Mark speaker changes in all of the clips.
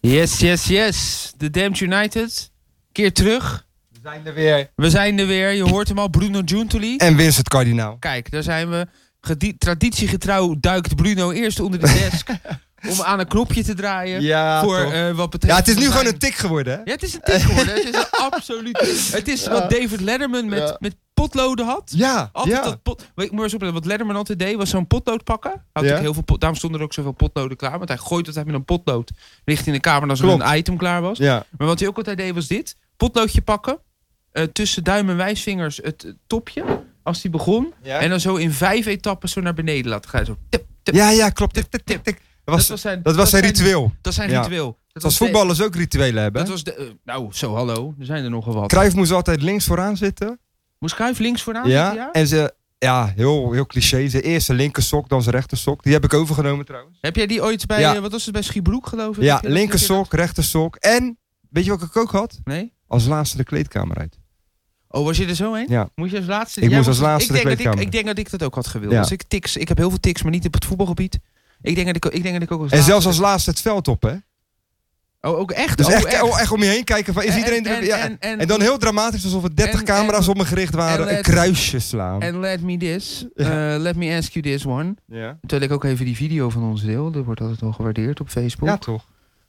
Speaker 1: Yes, yes, yes. De Damned United. Keer terug.
Speaker 2: We zijn er weer.
Speaker 1: We zijn er weer. Je hoort hem al, Bruno Giuntoli.
Speaker 2: En Vincent Kardinaal.
Speaker 1: Kijk, daar zijn we. Gedi- traditiegetrouw duikt Bruno eerst onder de desk om aan een knopje te draaien.
Speaker 2: Ja,
Speaker 1: voor
Speaker 2: toch.
Speaker 1: eh, wat betreft.
Speaker 2: ja, het is nu
Speaker 1: zijn-
Speaker 2: gewoon een tik geworden, hè?
Speaker 1: Ja, het is een tik geworden. Het is een absoluut. Het is wat David Letterman met,
Speaker 2: Ja.
Speaker 1: met potloden had.
Speaker 2: Ja,
Speaker 1: Altijd dat pot. Weet ik maar eens op, wat Letterman altijd deed, was zo'n potlood pakken. Had
Speaker 2: Ja.
Speaker 1: ik heel veel pot, daarom stonden er ook zoveel potloden klaar. Want hij gooit altijd met een potlood richting de kamer als
Speaker 2: Klopt.
Speaker 1: er een item klaar was.
Speaker 2: ja.
Speaker 1: Maar wat hij ook altijd deed was dit. Potloodje pakken. eh, tussen duim en wijsvingers het eh, topje. Als die begon.
Speaker 2: Ja.
Speaker 1: En dan zo in vijf etappes zo naar beneden laten gaan. Zo tip, tip.
Speaker 2: ja, ja, klopt. Tik, tik, tik, tik. Dat was,
Speaker 1: zijn,
Speaker 2: dat was zijn ritueel.
Speaker 1: Dat zijn
Speaker 2: Ja.
Speaker 1: ritueel. Dat,
Speaker 2: Als
Speaker 1: de-
Speaker 2: voetballers ook rituelen
Speaker 1: Dat
Speaker 2: hebben. hè?
Speaker 1: was de, eh, nou, zo hallo. Er zijn er nogal wat.
Speaker 2: Cruijff moest altijd links vooraan zitten.
Speaker 1: Moest Cruijff links vooraan?
Speaker 2: ja.
Speaker 1: zitten, Ah, ja?
Speaker 2: En ze, ja, heel, heel cliché. Zijn eerste linker sok, dan zijn rechter sok. Die heb ik overgenomen trouwens.
Speaker 1: Heb jij die ooit bij,
Speaker 2: Ja.
Speaker 1: eh, wat was het, bij Schiebroek geloof ik?
Speaker 2: Ja,
Speaker 1: Heb je dat-
Speaker 2: linker
Speaker 1: heb je dat-
Speaker 2: sok, rechter sok. En, weet je wat ik ook had?
Speaker 1: Nee?
Speaker 2: Als laatste de kleedkamer uit.
Speaker 1: Oh, was je er zo heen?
Speaker 2: Ja.
Speaker 1: Moest je als laatste?
Speaker 2: Ik
Speaker 1: Jij
Speaker 2: moest als
Speaker 1: was-
Speaker 2: laatste
Speaker 1: ik denk,
Speaker 2: de
Speaker 1: dat ik,
Speaker 2: kleedkamer.
Speaker 1: ik denk dat ik dat ook had gewild.
Speaker 2: Ja.
Speaker 1: Dus ik, tics, ik heb heel veel tics, maar niet op het voetbalgebied. Ik denk dat ik, ik, denk dat ik ook als
Speaker 2: En
Speaker 1: laatste...
Speaker 2: zelfs als laatste het veld op, hè?
Speaker 1: Oh, ook echt?
Speaker 2: Dus
Speaker 1: Oh,
Speaker 2: echt, oh, echt om je heen kijken. Van, is
Speaker 1: En-
Speaker 2: iedereen
Speaker 1: en,
Speaker 2: er? Ja.
Speaker 1: en, en,
Speaker 2: En dan heel dramatisch, alsof er 30
Speaker 1: en-
Speaker 2: camera's
Speaker 1: en-
Speaker 2: op me gericht waren,
Speaker 1: en
Speaker 2: een
Speaker 1: let-
Speaker 2: kruisje slaan.
Speaker 1: en let me this.
Speaker 2: Ja.
Speaker 1: eh, let me ask you this one.
Speaker 2: ja.
Speaker 1: Terwijl ik ook even die video van ons deel. Dat wordt altijd al gewaardeerd op Facebook.
Speaker 2: ja, toch?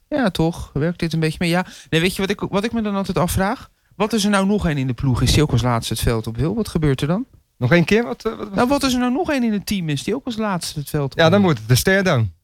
Speaker 1: Ja, toch? Werkt dit een beetje mee? Ja. Nee, weet je wat ik, wat ik me dan altijd afvraag? Wat is er nou nog één in de ploeg is die ook als laatste het veld op wil? Wat gebeurt er dan?
Speaker 2: Nog één keer? Wat, eh, wat- wat-
Speaker 1: Nou, wat is er nou nog één in het team is die ook als laatste het veld op
Speaker 2: Ja,
Speaker 1: wil?
Speaker 2: dan moet het de stare down.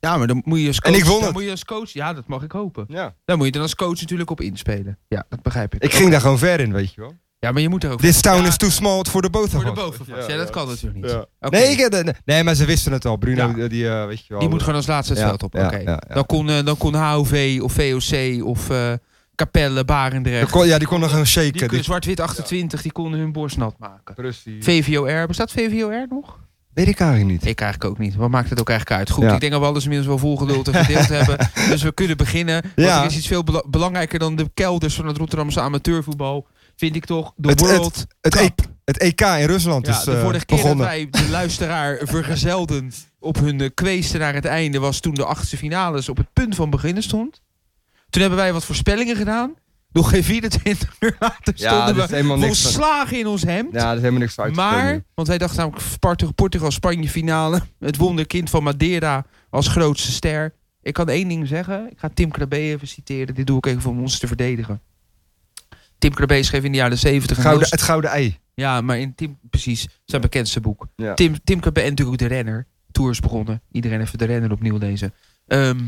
Speaker 1: Ja, maar dan moet je als
Speaker 2: En
Speaker 1: coach...
Speaker 2: ik won
Speaker 1: dan
Speaker 2: het.
Speaker 1: moet je als coach... Ja, dat mag ik hopen.
Speaker 2: Ja.
Speaker 1: Daar moet je dan als coach natuurlijk op inspelen. Ja, dat begrijp ik.
Speaker 2: Ik ging daar gewoon ver in, weet je wel.
Speaker 1: Ja, maar je moet er ook
Speaker 2: This town
Speaker 1: Ja.
Speaker 2: is too small for the both
Speaker 1: voor
Speaker 2: of
Speaker 1: de
Speaker 2: us.
Speaker 1: bovenvast. Ja, dat kan natuurlijk niet.
Speaker 2: Ja.
Speaker 1: Oké.
Speaker 2: Nee, ik, eh, nee, nee, maar ze wisten het al. Bruno,
Speaker 1: Ja.
Speaker 2: eh, die, eh, weet je wel.
Speaker 1: Die moet gewoon als laatste het
Speaker 2: Ja,
Speaker 1: veld op.
Speaker 2: ja,
Speaker 1: Oké.
Speaker 2: ja, ja.
Speaker 1: Dan, kon, eh, dan kon HOV of VOC of eh Capelle,
Speaker 2: Die
Speaker 1: Barendrecht...
Speaker 2: kon- ja, die kon nog gewoon
Speaker 1: Die
Speaker 2: shaken.
Speaker 1: kun-
Speaker 2: Die,
Speaker 1: zwart-wit 28, die konden hun borst nat maken.
Speaker 2: Rustig.
Speaker 1: VVOR, bestaat VVOR nog?
Speaker 2: Weet ik eigenlijk niet.
Speaker 1: Ik eigenlijk ook niet. Wat maakt het ook eigenlijk uit? Goed,
Speaker 2: Ja.
Speaker 1: ik denk dat we alles inmiddels wel volgeduld en gedeeld hebben. Dus we kunnen beginnen. Want
Speaker 2: Ja.
Speaker 1: er is iets veel bela- belangrijker dan de kelders van het Rotterdamse amateurvoetbal. Vind ik toch. De
Speaker 2: Het-
Speaker 1: World
Speaker 2: Het,
Speaker 1: Cup.
Speaker 2: EK, het EK in Rusland
Speaker 1: ja,
Speaker 2: is
Speaker 1: de
Speaker 2: eh,
Speaker 1: vorige keer dat
Speaker 2: begonnen.
Speaker 1: wij de luisteraar vergezelden op hun eh, kweesten naar het einde... was toen de achtste finales op het punt van beginnen stond. Toen hebben wij wat voorspellingen gedaan. Nog geen 24 uur later stonden we
Speaker 2: dus helemaal
Speaker 1: volslagen in ons hemd.
Speaker 2: Ja, dat is helemaal niks uit.
Speaker 1: Maar, want wij dachten namelijk Spart- Portugal-Spanje finale. Het wonderkind van Madeira als grootste ster. Ik kan één ding zeggen. Ik ga Tim Krabbe even citeren. Dit doe ik even om ons te verdedigen. Tim Krabbe schreef in de jaren 70 een
Speaker 2: Gouden,
Speaker 1: heel-
Speaker 2: het gouden ei.
Speaker 1: Ja, maar in Tim, precies, zijn bekendste boek.
Speaker 2: Ja.
Speaker 1: Tim, Tim Krabbe en natuurlijk ook de renner. Tours begonnen. Iedereen even de renner opnieuw lezen. Ehm,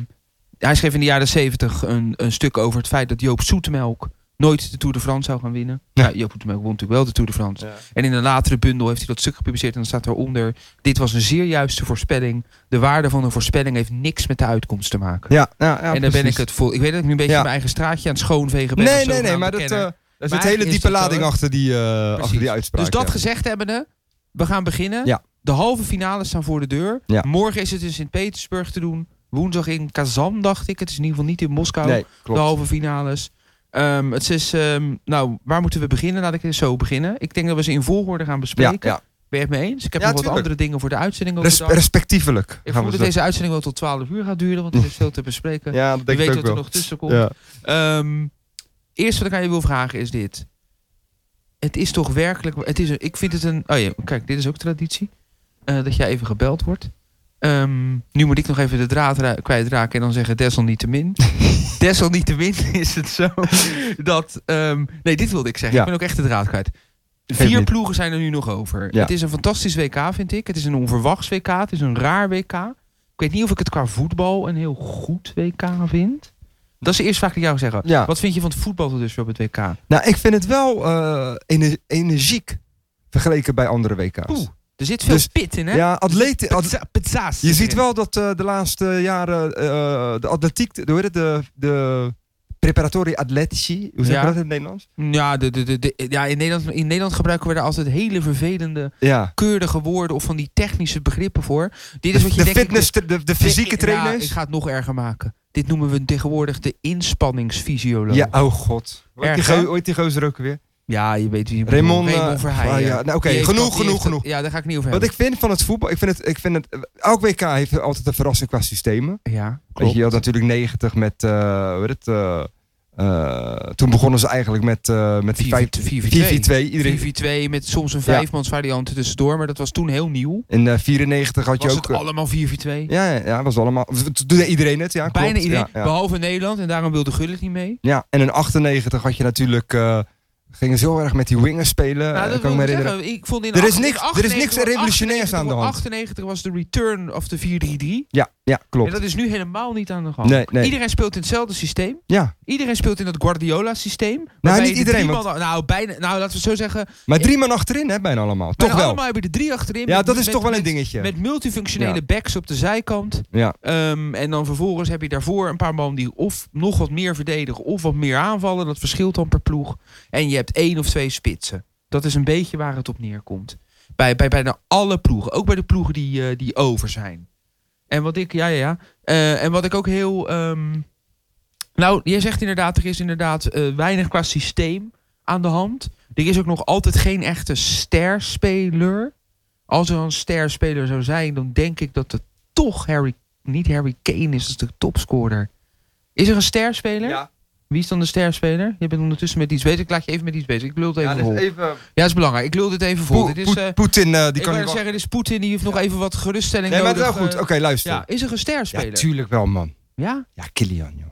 Speaker 1: hij schreef in de jaren 70 een, een stuk over het feit dat Joop Zoetemelk nooit de Tour de France zou gaan winnen.
Speaker 2: Ja.
Speaker 1: Ja, Joop Zoetemelk won natuurlijk wel de Tour de France. En in een latere bundel heeft hij dat stuk gepubliceerd. En dan staat daaronder: Dit was een zeer juiste voorspelling. De waarde van een voorspelling heeft niks met de uitkomst te maken.
Speaker 2: Ja, ja, ja,
Speaker 1: en daar ben ik
Speaker 2: precies.
Speaker 1: het vol. Ik weet dat ik nu een beetje
Speaker 2: Ja.
Speaker 1: mijn eigen straatje aan het schoonvegen ben.
Speaker 2: Nee,
Speaker 1: als
Speaker 2: nee, nee,
Speaker 1: zogenaamde
Speaker 2: maar dat, eh
Speaker 1: kenner.
Speaker 2: daar zit
Speaker 1: eigenlijk
Speaker 2: hele
Speaker 1: is
Speaker 2: diepe
Speaker 1: dat wel,
Speaker 2: lading
Speaker 1: hè?
Speaker 2: achter die, eh, achter die
Speaker 1: Precies.
Speaker 2: uitspraak.
Speaker 1: dus dat
Speaker 2: ja.
Speaker 1: gezegd hebbende, we gaan beginnen.
Speaker 2: Ja.
Speaker 1: De halve finales staan voor de deur.
Speaker 2: Ja.
Speaker 1: Morgen is het in Sint-Petersburg te doen. Woensdag in Kazan, dacht ik. Het is in ieder geval niet in Moskou.
Speaker 2: Nee,
Speaker 1: de
Speaker 2: klopt.
Speaker 1: halve finales. Ehm, het is, ehm, nou, waar moeten we beginnen? Laat ik eens zo beginnen. Ik denk dat we ze in volgorde gaan
Speaker 2: ja,
Speaker 1: bespreken.
Speaker 2: ja.
Speaker 1: Ben je het mee eens? Ik heb
Speaker 2: Ja,
Speaker 1: nog wat
Speaker 2: tuurlijk.
Speaker 1: andere dingen voor de uitzending over
Speaker 2: Res- respectievelijk.
Speaker 1: Ik
Speaker 2: gaan
Speaker 1: voel
Speaker 2: we
Speaker 1: dat
Speaker 2: zo-
Speaker 1: deze uitzending wel tot 12 uur gaat duren, want er is veel te bespreken.
Speaker 2: Ja, dat
Speaker 1: Je
Speaker 2: denk
Speaker 1: weet
Speaker 2: ik
Speaker 1: wat
Speaker 2: ook
Speaker 1: er
Speaker 2: wel.
Speaker 1: nog tussen komt.
Speaker 2: Ja.
Speaker 1: Ehm, eerst wat ik aan je wil vragen is dit. Het is toch werkelijk... Het is een, ik vind het een... Oh ja, kijk, dit is ook traditie. eh, dat jij even gebeld wordt. Ehm, nu moet ik nog even de draad ra- kwijtraken en dan zeggen desalniettemin. desalniettemin is het zo dat... ehm, nee, dit wilde ik zeggen.
Speaker 2: Ja.
Speaker 1: Ik ben ook echt de draad kwijt.
Speaker 2: Geeft
Speaker 1: Vier
Speaker 2: niet.
Speaker 1: ploegen zijn er nu nog over.
Speaker 2: Ja.
Speaker 1: Het is een fantastisch WK, vind ik. Het is een onverwachts WK. Het is een raar WK. Ik weet niet of ik het qua voetbal een heel goed WK vind. Dat is de eerste vraag die ik jou wil zeggen.
Speaker 2: Ja.
Speaker 1: Wat vind je van het voetbal tot dusver op het WK?
Speaker 2: Nou, ik vind het wel eh, ener- energiek vergeleken bij andere WK's.
Speaker 1: Oeh, er zit veel
Speaker 2: Dus-
Speaker 1: pit in, hè?
Speaker 2: Ja, atleten. at-
Speaker 1: Pizza- pizza's
Speaker 2: je ziet
Speaker 1: erin.
Speaker 2: wel dat eh, de laatste jaren eh, de atletiek, de, hoe heet het, de, de preparatorie atletici, hoe zeg je
Speaker 1: Ja.
Speaker 2: dat in het Nederlands?
Speaker 1: Ja, de, de, de, de- ja in, Nederland, in Nederland gebruiken we daar altijd hele vervelende,
Speaker 2: Ja.
Speaker 1: keurige woorden of van die technische begrippen voor. Dit is
Speaker 2: de
Speaker 1: wat je
Speaker 2: de
Speaker 1: denk ik-
Speaker 2: fitness, de, de, de fysieke
Speaker 1: Ja,
Speaker 2: trainers.
Speaker 1: ik ga het nog erger maken. Dit noemen we tegenwoordig de inspanningsfysioloog.
Speaker 2: Ja, oh god. Hoe heet
Speaker 1: Erg,
Speaker 2: die
Speaker 1: hè?
Speaker 2: go- hoe heet die gozer ook weer?
Speaker 1: Ja, je weet wie je bedoelt.
Speaker 2: Raymond, eh,
Speaker 1: Raymond Verheijen.
Speaker 2: ah, ja. Nou, oké,
Speaker 1: Die heeft
Speaker 2: genoeg,
Speaker 1: dat- die
Speaker 2: genoeg,
Speaker 1: heeft dat-
Speaker 2: genoeg.
Speaker 1: Ja, daar ga ik niet over
Speaker 2: Wat
Speaker 1: hebben.
Speaker 2: ik vind van het voetbal, ik vind het, ik vind het, elk WK heeft altijd een verrassing qua systemen.
Speaker 1: Ja,
Speaker 2: Weet je,
Speaker 1: klopt.
Speaker 2: je had natuurlijk 90 met, eh, hoe heet het, eh, eh, toen begonnen ze eigenlijk met, eh met die 5
Speaker 1: 4v2.
Speaker 2: 4-4-2. Iedereen,
Speaker 1: 4v2 met soms een vijfmans variant tussendoor, maar dat was toen heel nieuw.
Speaker 2: in eh, 94 had je
Speaker 1: Was
Speaker 2: ook... eh,
Speaker 1: het allemaal 4v2?
Speaker 2: ja, ja, ja, was allemaal. Toen deed iedereen het, ja.
Speaker 1: Bijna
Speaker 2: klopt,
Speaker 1: iedereen,
Speaker 2: Ja, ja.
Speaker 1: behalve Nederland en daarom wilde Gullit niet mee.
Speaker 2: Ja, en in 98 had je natuurlijk. eh, gingen ze heel erg met die wingers spelen.
Speaker 1: Nou,
Speaker 2: eh,
Speaker 1: dat
Speaker 2: kan ik me
Speaker 1: wil ik
Speaker 2: herinneren.
Speaker 1: zeggen. Ik vond in
Speaker 2: Er is
Speaker 1: acht- in
Speaker 2: niks- er is niks
Speaker 1: 98
Speaker 2: revolutionairs aan de hand.
Speaker 1: 98 was de return of de 4-3-3.
Speaker 2: Ja, ja, klopt.
Speaker 1: En dat is nu helemaal niet aan de hand.
Speaker 2: Nee, nee.
Speaker 1: Iedereen speelt in hetzelfde systeem.
Speaker 2: Ja,
Speaker 1: Iedereen speelt in dat Guardiola-systeem.
Speaker 2: nou,
Speaker 1: waarbij
Speaker 2: niet
Speaker 1: de
Speaker 2: iedereen.
Speaker 1: drie
Speaker 2: Want,
Speaker 1: mannen- nou, bijna, nou, laten we het zo zeggen.
Speaker 2: maar drie man achterin, hè, bijna allemaal. Toch
Speaker 1: bijna
Speaker 2: wel.
Speaker 1: allemaal hebben de drie achterin.
Speaker 2: ja,
Speaker 1: met-
Speaker 2: dat is
Speaker 1: met-
Speaker 2: toch wel een
Speaker 1: met-
Speaker 2: dingetje.
Speaker 1: Met multifunctionele
Speaker 2: Ja.
Speaker 1: backs op de zijkant.
Speaker 2: ja,
Speaker 1: Ehm, en dan vervolgens heb je daarvoor een paar man die of nog wat meer verdedigen of wat meer aanvallen. Dat verschilt dan per ploeg. En je hebt één of twee spitsen. Dat is een beetje waar het op neerkomt. Bij, bij bijna alle ploegen. Ook bij de ploegen die, eh, die over zijn. En wat ik, ja, ja, ja. Eh, en wat ik ook heel. ehm, nou, jij zegt inderdaad, er is inderdaad eh, weinig qua systeem aan de hand. Er is ook nog altijd geen echte sterspeler. Als er een sterspeler zou zijn, dan denk ik dat het toch Harry, niet Harry Kane is, dat is de topscorer. Is er een sterspeler? Wie is dan de sterspeler? Je bent ondertussen met iets bezig. Ik laat je even met iets bezig. Ik lul het even vol.
Speaker 2: even.
Speaker 1: Ja, dat is belangrijk. Ik lul dit even vol.
Speaker 2: Poe-
Speaker 1: dit is, eh,
Speaker 2: Poe- Poetin, eh, die
Speaker 1: ik
Speaker 2: kan
Speaker 1: kan
Speaker 2: ik wel.
Speaker 1: zeggen, dit is Poetin. Die heeft nog even wat geruststelling
Speaker 2: Nee, maar het is
Speaker 1: nodig.
Speaker 2: wel goed.
Speaker 1: eh.
Speaker 2: Oké, luister.
Speaker 1: ja,
Speaker 2: Ja,
Speaker 1: is er een sterspeler?
Speaker 2: tuurlijk wel, man.
Speaker 1: Ja?
Speaker 2: Ja, Kilian, joh.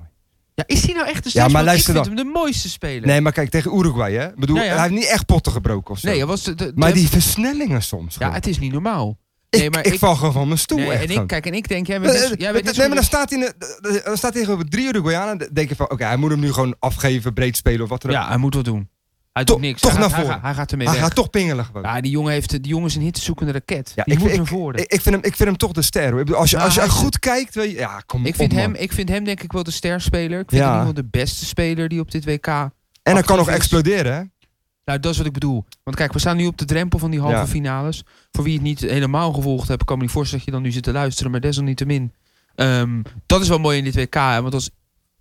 Speaker 1: Ja, is hij nou echt de
Speaker 2: Ja, maar
Speaker 1: sterspeler?
Speaker 2: luister
Speaker 1: ik vind hem de mooiste speler.
Speaker 2: Nee, maar kijk, tegen Uruguay, hè. Ik bedoel,
Speaker 1: Ja, ja.
Speaker 2: hij heeft niet echt potten gebroken of zo.
Speaker 1: Nee, hij was de, de- de-
Speaker 2: maar die versnellingen soms.
Speaker 1: Ja,
Speaker 2: gewoon.
Speaker 1: het is niet normaal.
Speaker 2: ik,
Speaker 1: nee, maar
Speaker 2: ik,
Speaker 1: ik-
Speaker 2: val gewoon van mijn stoel,
Speaker 1: Nee,
Speaker 2: echt.
Speaker 1: en
Speaker 2: gewoon. Eh,
Speaker 1: ik, dus- kijk, en ik denk, jij bent,
Speaker 2: Nee,
Speaker 1: net- jij bent net zo
Speaker 2: maar dan staat hij in de- de- dan staat hij tegenover drie Uruguayanen. Dan denk je van, oké, hij moet hem nu gewoon afgeven, breed spelen of wat dan ook.
Speaker 1: Ja, hij moet wat doen. Hij
Speaker 2: Toch-
Speaker 1: doet niks.
Speaker 2: toch
Speaker 1: hij, gaat-
Speaker 2: naar
Speaker 1: hij
Speaker 2: voren.
Speaker 1: gaat- Hij, gaat ermee
Speaker 2: hij
Speaker 1: weg.
Speaker 2: gaat toch pingelen gewoon.
Speaker 1: Ja, die jongen, heeft, die jongen is een hitzoekende raket.
Speaker 2: Ja,
Speaker 1: die
Speaker 2: ik
Speaker 1: moet
Speaker 2: vind-
Speaker 1: hem voorden.
Speaker 2: Ik, ik, vind hem, ik vind hem toch de ster. hoor. Ik bedoel, Als je,
Speaker 1: Nou,
Speaker 2: als je
Speaker 1: hij is-
Speaker 2: goed kijkt, weet je, ja, kom
Speaker 1: Ik vind,
Speaker 2: op, man.
Speaker 1: hem, ik vind hem denk ik wel de sterspeler. Ik vind
Speaker 2: Mm, Ja.
Speaker 1: hem in ieder geval de beste speler die op dit WK...
Speaker 2: En hij kan
Speaker 1: Actief
Speaker 2: nog
Speaker 1: is-
Speaker 2: exploderen, hè?
Speaker 1: Nou, dat is wat ik bedoel. Want kijk, we staan nu op de drempel van die halve
Speaker 2: Ja.
Speaker 1: finales. Voor wie het niet helemaal gevolgd hebt, kan me niet voorstellen dat je dan nu zit te luisteren. Maar desalniettemin, ehm, dat is wel mooi in dit WK. Hè, want als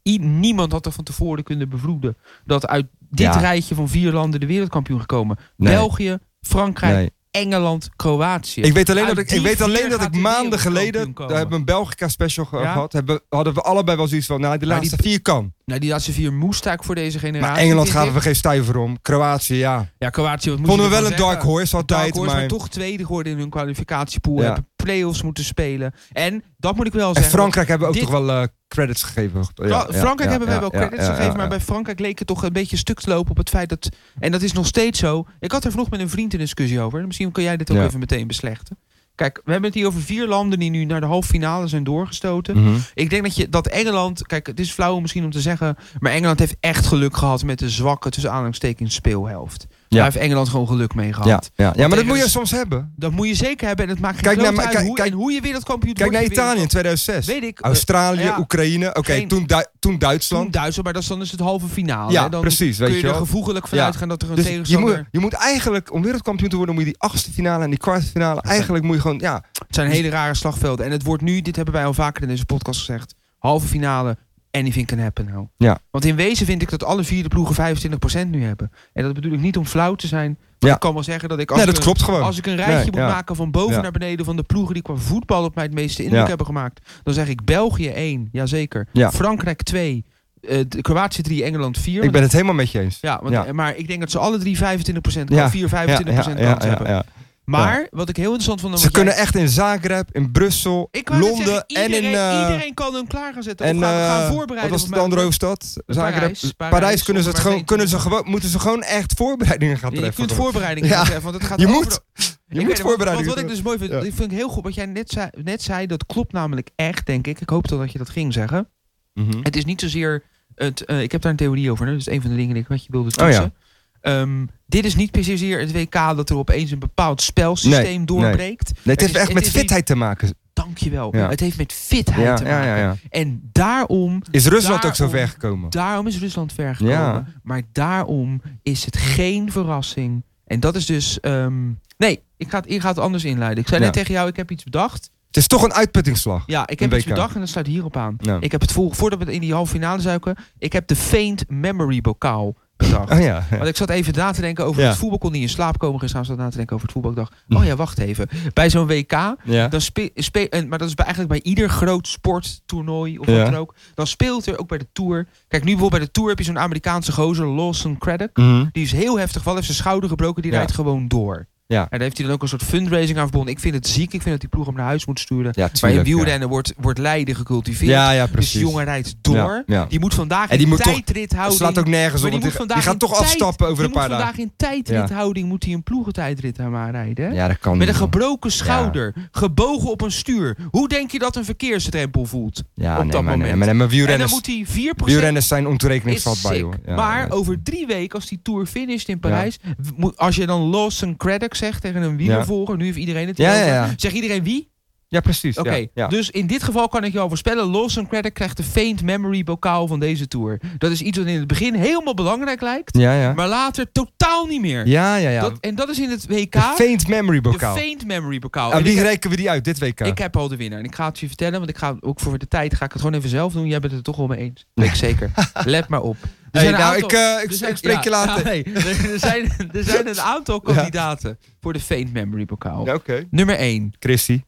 Speaker 1: i- niemand had er van tevoren kunnen bevroeden... dat uit dit
Speaker 2: Ja.
Speaker 1: rijtje van vier landen de wereldkampioen gekomen.
Speaker 2: Nee.
Speaker 1: België, Frankrijk,
Speaker 2: Nee.
Speaker 1: Engeland, Kroatië.
Speaker 2: Ik weet alleen
Speaker 1: Uit
Speaker 2: dat ik, ik,
Speaker 1: die
Speaker 2: weet alleen
Speaker 1: vier
Speaker 2: dat ik
Speaker 1: gaat hij
Speaker 2: maanden
Speaker 1: wereldkampioen
Speaker 2: geleden...
Speaker 1: komen.
Speaker 2: Daar hebben we een Belgica-special ge-
Speaker 1: Ja.
Speaker 2: gehad. Hebben, hadden we allebei wel zoiets van, nou, de
Speaker 1: Maar
Speaker 2: laatste
Speaker 1: die-
Speaker 2: vier kan.
Speaker 1: nou, die laatste vier moest eigenlijk voor deze generatie.
Speaker 2: Maar Engeland
Speaker 1: dit
Speaker 2: gaven
Speaker 1: dit.
Speaker 2: we geen stuiver om. Kroatië, ja.
Speaker 1: Ja, Kroatië, wat moest
Speaker 2: Vonden we
Speaker 1: je
Speaker 2: wel
Speaker 1: ervan
Speaker 2: een dark
Speaker 1: zeggen?
Speaker 2: horse altijd,
Speaker 1: Dark horse, maar...
Speaker 2: maar...
Speaker 1: toch tweede geworden in hun kwalificatiepool.
Speaker 2: Ja.
Speaker 1: Hebben play-offs moeten spelen. En dat moet ik wel
Speaker 2: En
Speaker 1: zeggen.
Speaker 2: Frankrijk hebben we ook
Speaker 1: dit-
Speaker 2: toch wel eh, credits gegeven. Ja,
Speaker 1: Fra-
Speaker 2: ja,
Speaker 1: Frankrijk
Speaker 2: ja,
Speaker 1: hebben wij
Speaker 2: ja,
Speaker 1: wel
Speaker 2: ja,
Speaker 1: credits
Speaker 2: ja,
Speaker 1: gegeven,
Speaker 2: ja,
Speaker 1: maar
Speaker 2: ja.
Speaker 1: bij Frankrijk leek het toch een beetje stuk te lopen op het feit dat... En dat is nog steeds zo. Ik had er vanochtend met een vriend een discussie over. Misschien kan jij dit ook
Speaker 2: Ja.
Speaker 1: even meteen beslechten. Kijk, we hebben het hier over vier landen die nu naar de halve finale zijn doorgestoten.
Speaker 2: Mhm.
Speaker 1: Ik denk dat, je, dat Engeland, kijk, het is flauw misschien om te zeggen, maar Engeland heeft echt geluk gehad met de zwakke tussen aanhalingstekens speelhelft. Daar heeft Engeland gewoon geluk mee gehad.
Speaker 2: Ja, ja. ja maar dat
Speaker 1: tegen
Speaker 2: moet je
Speaker 1: de-
Speaker 2: soms hebben.
Speaker 1: Dat moet je zeker hebben en het maakt geen
Speaker 2: Kijk
Speaker 1: kijk,
Speaker 2: naar-
Speaker 1: uit
Speaker 2: kijk-
Speaker 1: hoe,
Speaker 2: kijk-
Speaker 1: en hoe je wereldkampioen
Speaker 2: Kijk naar
Speaker 1: wordt, je
Speaker 2: Italië Oh, in
Speaker 1: wereldkamp-
Speaker 2: 2006.
Speaker 1: Weet ik. eh,
Speaker 2: Australië,
Speaker 1: ja.
Speaker 2: Oekraïne. Oké,
Speaker 1: Geen-
Speaker 2: toen, Du- toen
Speaker 1: toen
Speaker 2: Duitsland.
Speaker 1: Duitsland, maar dat is dan is het halve finale.
Speaker 2: ja,
Speaker 1: hè? dan
Speaker 2: precies.
Speaker 1: kun
Speaker 2: Weet
Speaker 1: je
Speaker 2: je
Speaker 1: er
Speaker 2: wel.
Speaker 1: gevoegelijk vanuit
Speaker 2: Ja.
Speaker 1: gaan dat er een
Speaker 2: Dus je
Speaker 1: tegenstander...
Speaker 2: moet, je moet eigenlijk, om wereldkampioen te worden, moet je die achtste finale en die kwartfinale. Eigenlijk moet je gewoon, ja.
Speaker 1: Het zijn hele rare slagvelden. En het wordt nu, dit hebben wij al vaker in deze podcast gezegd, halve finale, anything can happen nou.
Speaker 2: Ja.
Speaker 1: Want in wezen vind ik dat alle vier de ploegen 25% nu hebben. En dat bedoel ik niet om flauw te zijn, maar
Speaker 2: Ja.
Speaker 1: ik kan wel zeggen dat ik als,
Speaker 2: Nee,
Speaker 1: ik,
Speaker 2: dat
Speaker 1: een-
Speaker 2: klopt gewoon.
Speaker 1: als ik een rijtje
Speaker 2: Nee,
Speaker 1: moet
Speaker 2: ja.
Speaker 1: maken van boven
Speaker 2: Ja.
Speaker 1: naar beneden van de ploegen die qua voetbal op mij het meeste indruk
Speaker 2: Ja.
Speaker 1: hebben gemaakt, dan zeg ik België 1, jazeker.
Speaker 2: Ja.
Speaker 1: Frankrijk 2, eh, de- Kroatië 3, Engeland 4.
Speaker 2: Ik ben het helemaal met je eens.
Speaker 1: ja, want, eh,
Speaker 2: ja.
Speaker 1: maar ik denk dat ze alle drie 25% kan,
Speaker 2: Ja.
Speaker 1: 4, 25%
Speaker 2: Ja, ja,
Speaker 1: kans
Speaker 2: ja, ja,
Speaker 1: hebben.
Speaker 2: ja.
Speaker 1: Maar wat ik heel interessant vond... en
Speaker 2: Ze
Speaker 1: wat jij
Speaker 2: kunnen echt in Zagreb, in Brussel,
Speaker 1: Ik wou net
Speaker 2: Londen
Speaker 1: zeggen,
Speaker 2: en in...
Speaker 1: iedereen,
Speaker 2: eh,
Speaker 1: iedereen kan hem klaar gaan zetten.
Speaker 2: en,
Speaker 1: En, we gaan,
Speaker 2: eh,
Speaker 1: voorbereiden.
Speaker 2: wat was
Speaker 1: op
Speaker 2: het de
Speaker 1: mijn-
Speaker 2: andere hoofdstad? Zagreb.
Speaker 1: Parijs,
Speaker 2: Parijs,
Speaker 1: Parijs,
Speaker 2: kunnen ze het
Speaker 1: om
Speaker 2: gewoon,
Speaker 1: maar
Speaker 2: kunnen
Speaker 1: heen
Speaker 2: ze
Speaker 1: te
Speaker 2: gewoon, moeten ze gewoon echt voorbereidingen gaan
Speaker 1: Je
Speaker 2: treffen.
Speaker 1: kunt
Speaker 2: gewoon.
Speaker 1: voorbereidingen
Speaker 2: Ja.
Speaker 1: gaan treffen, want het gaat
Speaker 2: Je
Speaker 1: over
Speaker 2: moet-
Speaker 1: de- Ik
Speaker 2: je
Speaker 1: weet
Speaker 2: moet
Speaker 1: het, want-
Speaker 2: voorbereidingen
Speaker 1: want Wat ik dus mooi vind,
Speaker 2: Ja.
Speaker 1: ik vind ik heel goed wat jij net zei, net zei. Dat klopt namelijk echt, denk ik. Ik hoopte al dat je dat ging zeggen.
Speaker 2: Mhm.
Speaker 1: dus- Het is niet zozeer. Het, eh, ik heb daar een theorie over. Hè? Dat is een van de dingen die ik wat je wilde toetsen.
Speaker 2: Oh ja.
Speaker 1: Ehm, dit is niet zozeer het WK dat er opeens een bepaald spelsysteem
Speaker 2: Nee, nee.
Speaker 1: doorbreekt.
Speaker 2: Nee, het
Speaker 1: Het
Speaker 2: heeft
Speaker 1: is-
Speaker 2: echt
Speaker 1: het
Speaker 2: met
Speaker 1: is niet-
Speaker 2: fitheid te maken.
Speaker 1: Dankjewel.
Speaker 2: Ja.
Speaker 1: Het heeft met fitheid
Speaker 2: Ja,
Speaker 1: te
Speaker 2: ja,
Speaker 1: maken.
Speaker 2: ja, ja.
Speaker 1: En daarom
Speaker 2: Is Rusland ook zo
Speaker 1: Daarom-
Speaker 2: ver gekomen?
Speaker 1: Daarom is Rusland ver gekomen.
Speaker 2: Ja.
Speaker 1: Maar daarom is het geen verrassing. En dat is dus... ehm, nee, ik ga, het, ik ga het anders inleiden. Ik zei
Speaker 2: Ja.
Speaker 1: net tegen jou, ik heb iets bedacht.
Speaker 2: Het is toch een uitputtingsslag.
Speaker 1: Ja, ik heb
Speaker 2: Een
Speaker 1: iets
Speaker 2: WK.
Speaker 1: bedacht en dat staat hierop aan.
Speaker 2: Ja.
Speaker 1: Ik heb het vol, voordat we in die halve finale zuiken... Ik heb de Faint Memory Bokaal bedacht.
Speaker 2: Oh ja.
Speaker 1: Want ik zat even na te denken over
Speaker 2: Ja. Hm.
Speaker 1: het voetbal. Kon niet in slaap komen gisteravond. Zat na te denken over het voetbal. Ik dacht, oh ja, wacht even. Bij zo'n WK,
Speaker 2: ja.
Speaker 1: dan spe, spe- en- maar dat is bij- eigenlijk bij ieder groot sporttoernooi of
Speaker 2: Ja.
Speaker 1: wat dan ook. Dan speelt er ook bij de Tour. Kijk, nu bijvoorbeeld bij de Tour heb je zo'n Amerikaanse gozer, Lawson Craddock.
Speaker 2: Mhm.
Speaker 1: Die is heel heftig gevallen, heeft zijn schouder gebroken. Die
Speaker 2: Ja.
Speaker 1: rijdt gewoon door.
Speaker 2: Ja.
Speaker 1: En daar heeft hij dan ook een soort fundraising aan verbonden. Ik vind het ziek. Ik vind dat die ploeg hem naar huis moet sturen.
Speaker 2: ja,
Speaker 1: Maar in
Speaker 2: tuurlijk. ja.
Speaker 1: wielrennen wordt, wordt Leiden gecultiveerd.
Speaker 2: Ja, ja,
Speaker 1: dus
Speaker 2: precies.
Speaker 1: de jongen rijdt door.
Speaker 2: Ja, ja.
Speaker 1: Die moet vandaag
Speaker 2: En die
Speaker 1: in
Speaker 2: moet toch-
Speaker 1: tijdrit
Speaker 2: Het
Speaker 1: houden.
Speaker 2: slaat ook nergens
Speaker 1: Maar
Speaker 2: op. want
Speaker 1: die moet
Speaker 2: Die, die
Speaker 1: vandaag
Speaker 2: gaat
Speaker 1: in
Speaker 2: toch
Speaker 1: tijd-
Speaker 2: afstappen over
Speaker 1: die
Speaker 2: een paar
Speaker 1: moet
Speaker 2: dagen.
Speaker 1: vandaag in tijdrithouding moet hij een ploegentijdrit aan maar rijden. hè?
Speaker 2: Ja, dat kan
Speaker 1: Met een
Speaker 2: niet, man.
Speaker 1: gebroken schouder, gebogen op een stuur. Hoe denk je dat een verkeersdrempel voelt?
Speaker 2: ja,
Speaker 1: op
Speaker 2: nee,
Speaker 1: dat
Speaker 2: maar, nee,
Speaker 1: moment.
Speaker 2: maar, nee, maar
Speaker 1: En dan
Speaker 2: wielrenners,
Speaker 1: moet hij 4%
Speaker 2: wielrenners zijn
Speaker 1: is
Speaker 2: ontoerekeningsvatbaar,
Speaker 1: sick.
Speaker 2: joh. Ja,
Speaker 1: maar
Speaker 2: nee.
Speaker 1: over drie weken, als die Tour finisht in Parijs... w- moet- als je dan Lawson Craddock zegt tegen een wielervolger... nu heeft iedereen het
Speaker 2: Ja,
Speaker 1: hierover,
Speaker 2: ja, ja.
Speaker 1: Zegt iedereen wie?
Speaker 2: Ja, precies.
Speaker 1: Oké,
Speaker 2: Ja, ja.
Speaker 1: dus in dit geval kan ik je al voorspellen... Lawson Craddock krijgt de faint memory bokaal van deze Tour. Dat is iets wat in het begin helemaal belangrijk lijkt...
Speaker 2: ja, ja.
Speaker 1: maar later totaal niet meer.
Speaker 2: Ja, ja, ja.
Speaker 1: Dat, en dat is in het WK
Speaker 2: de faint memory
Speaker 1: de
Speaker 2: bokaal.
Speaker 1: faint memory bokaal.
Speaker 2: Aan
Speaker 1: En
Speaker 2: wie
Speaker 1: ik, heb,
Speaker 2: rekenen we die uit dit WK?
Speaker 1: ik heb al de winnaar. En ik ga het je vertellen, want ik ga ook voor de tijd ga ik het gewoon even zelf doen. Jij bent het er toch wel mee eens. Weet ik zeker. Let maar op. Er
Speaker 2: Hey,
Speaker 1: zijn een
Speaker 2: nou,
Speaker 1: aantal-
Speaker 2: ik, eh, ik,
Speaker 1: er zijn-
Speaker 2: ik spreek je
Speaker 1: ja,
Speaker 2: later.
Speaker 1: ja, nee. er, er zijn, er zijn een aantal kandidaten voor de faint memory bokaal.
Speaker 2: Ja, Oké.
Speaker 1: Nummer 1
Speaker 2: Christy.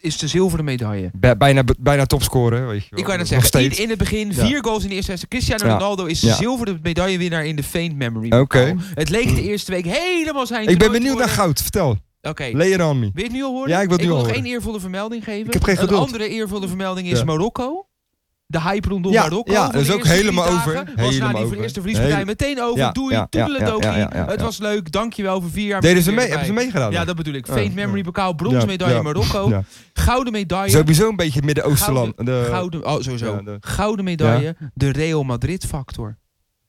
Speaker 1: is de zilveren medaille.
Speaker 2: Bij- bijna, bijna topscorer. Weet je wel.
Speaker 1: Ik kan het
Speaker 2: Nog
Speaker 1: zeggen,
Speaker 2: steeds.
Speaker 1: in, in het begin
Speaker 2: Ja.
Speaker 1: vier goals in de eerste wedstrijd. Cristiano
Speaker 2: Ja.
Speaker 1: Ronaldo is
Speaker 2: Ja.
Speaker 1: zilveren medaillewinnaar in de faint memory
Speaker 2: Oké.
Speaker 1: bokaal. Het leek de eerste week helemaal zijn
Speaker 2: Ik ben
Speaker 1: toernooi te
Speaker 2: benieuwd naar
Speaker 1: worden.
Speaker 2: goud. Vertel.
Speaker 1: Oké,
Speaker 2: Lay it on me.
Speaker 1: Wil je het nu al horen?
Speaker 2: Ja, ik wil het nu al
Speaker 1: nog
Speaker 2: horen.
Speaker 1: één eervolle vermelding geven.
Speaker 2: Ik heb geen geduld.
Speaker 1: Een andere eervolle vermelding is
Speaker 2: Ja.
Speaker 1: Marokko. De hype rondom
Speaker 2: Ja,
Speaker 1: Marokko.
Speaker 2: ja,
Speaker 1: van
Speaker 2: dat is
Speaker 1: de
Speaker 2: ook
Speaker 1: eerste drie
Speaker 2: helemaal
Speaker 1: dagen
Speaker 2: over.
Speaker 1: Was
Speaker 2: Helemaal
Speaker 1: na die
Speaker 2: over.
Speaker 1: eerste verliespartij
Speaker 2: Hele-
Speaker 1: meteen over.
Speaker 2: Ja,
Speaker 1: Doei,
Speaker 2: ja, ja,
Speaker 1: toedeledokie.
Speaker 2: ja, ja, ja,
Speaker 1: Het
Speaker 2: ja.
Speaker 1: was leuk. Dankjewel voor vier jaar.
Speaker 2: Deden
Speaker 1: ben
Speaker 2: ze
Speaker 1: je
Speaker 2: mee?
Speaker 1: weer
Speaker 2: Hebben ze
Speaker 1: erbij.
Speaker 2: meegedaan?
Speaker 1: Ja,
Speaker 2: dan?
Speaker 1: dat bedoel ik.
Speaker 2: Ja,
Speaker 1: Faint
Speaker 2: ja.
Speaker 1: memory bokaal, bronzen medaille
Speaker 2: Ja,
Speaker 1: Marokko.
Speaker 2: ja.
Speaker 1: Gouden medaille.
Speaker 2: Sowieso een beetje Midden-Oostenland.
Speaker 1: gouden,
Speaker 2: De-
Speaker 1: gouden, oh, sowieso.
Speaker 2: eh, Ja, de-
Speaker 1: gouden medaille, de Real Madrid factor.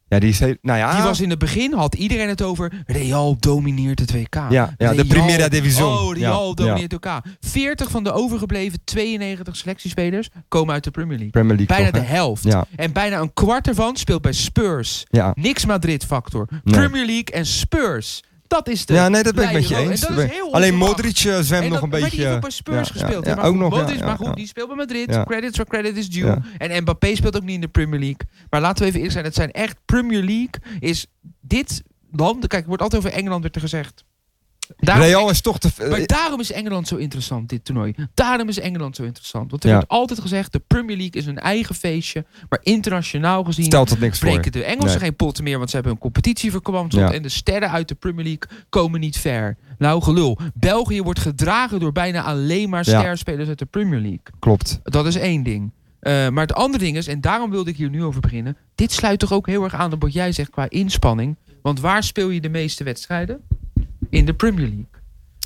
Speaker 2: Ja, die is heel, Nou ja.
Speaker 1: Die was in het begin, had iedereen het over. Real domineert het WK.
Speaker 2: Ja, ja, de
Speaker 1: Real-
Speaker 2: Primera División.
Speaker 1: Oh, Real
Speaker 2: Ja,
Speaker 1: domineert het WK. 40 van de overgebleven 92 selectiespelers komen uit de Premier League.
Speaker 2: Premier League.
Speaker 1: Bijna de
Speaker 2: toch, hè?
Speaker 1: helft.
Speaker 2: Ja.
Speaker 1: En bijna een kwart ervan speelt bij Spurs.
Speaker 2: Ja.
Speaker 1: Niks Madrid-factor.
Speaker 2: Nee.
Speaker 1: Premier League en Spurs. Dat is de...
Speaker 2: ja, nee, dat ben ik met je
Speaker 1: Leiden-
Speaker 2: eens.
Speaker 1: en dat
Speaker 2: Dat
Speaker 1: is
Speaker 2: ben-
Speaker 1: heel
Speaker 2: Alleen
Speaker 1: onverwacht.
Speaker 2: Modric eh, zwemt
Speaker 1: En
Speaker 2: nog
Speaker 1: dat-
Speaker 2: een
Speaker 1: maar
Speaker 2: beetje...
Speaker 1: die heeft ook
Speaker 2: eh,
Speaker 1: bij Spurs
Speaker 2: ja,
Speaker 1: gespeeld.
Speaker 2: ja,
Speaker 1: hè, maar
Speaker 2: ook
Speaker 1: goed,
Speaker 2: nog, ja,
Speaker 1: Modric,
Speaker 2: ja,
Speaker 1: maar goed,
Speaker 2: ja.
Speaker 1: die speelt bij Madrid.
Speaker 2: Ja.
Speaker 1: Credits where credit is due.
Speaker 2: Ja.
Speaker 1: En Mbappé speelt ook niet in de Premier League. Maar laten we even eerlijk zijn. Het zijn echt Premier League. Is dit land... Kijk, er wordt altijd over Engeland werd er gezegd. Daarom-
Speaker 2: Real is toch te...
Speaker 1: maar
Speaker 2: eh,
Speaker 1: daarom is Engeland zo interessant, dit toernooi. Daarom is Engeland zo interessant. Want er
Speaker 2: Ja.
Speaker 1: wordt altijd gezegd, de Premier League is een eigen feestje. Maar internationaal gezien
Speaker 2: Stelt dat niks voor.
Speaker 1: breken de Engelsen
Speaker 2: Nee.
Speaker 1: geen potten meer. Want ze hebben een competitie verkwanseld.
Speaker 2: Ja.
Speaker 1: En de sterren uit de Premier League komen niet ver. Nou, gelul. België wordt gedragen door bijna alleen maar
Speaker 2: Ja.
Speaker 1: sterspelers uit de Premier League.
Speaker 2: Klopt.
Speaker 1: Dat is één ding. Eh, maar het andere ding is, en daarom wilde ik hier nu over beginnen. Dit sluit toch ook heel erg aan op wat jij zegt qua inspanning. Want waar speel je de meeste wedstrijden? In de Premier League.
Speaker 2: Ja,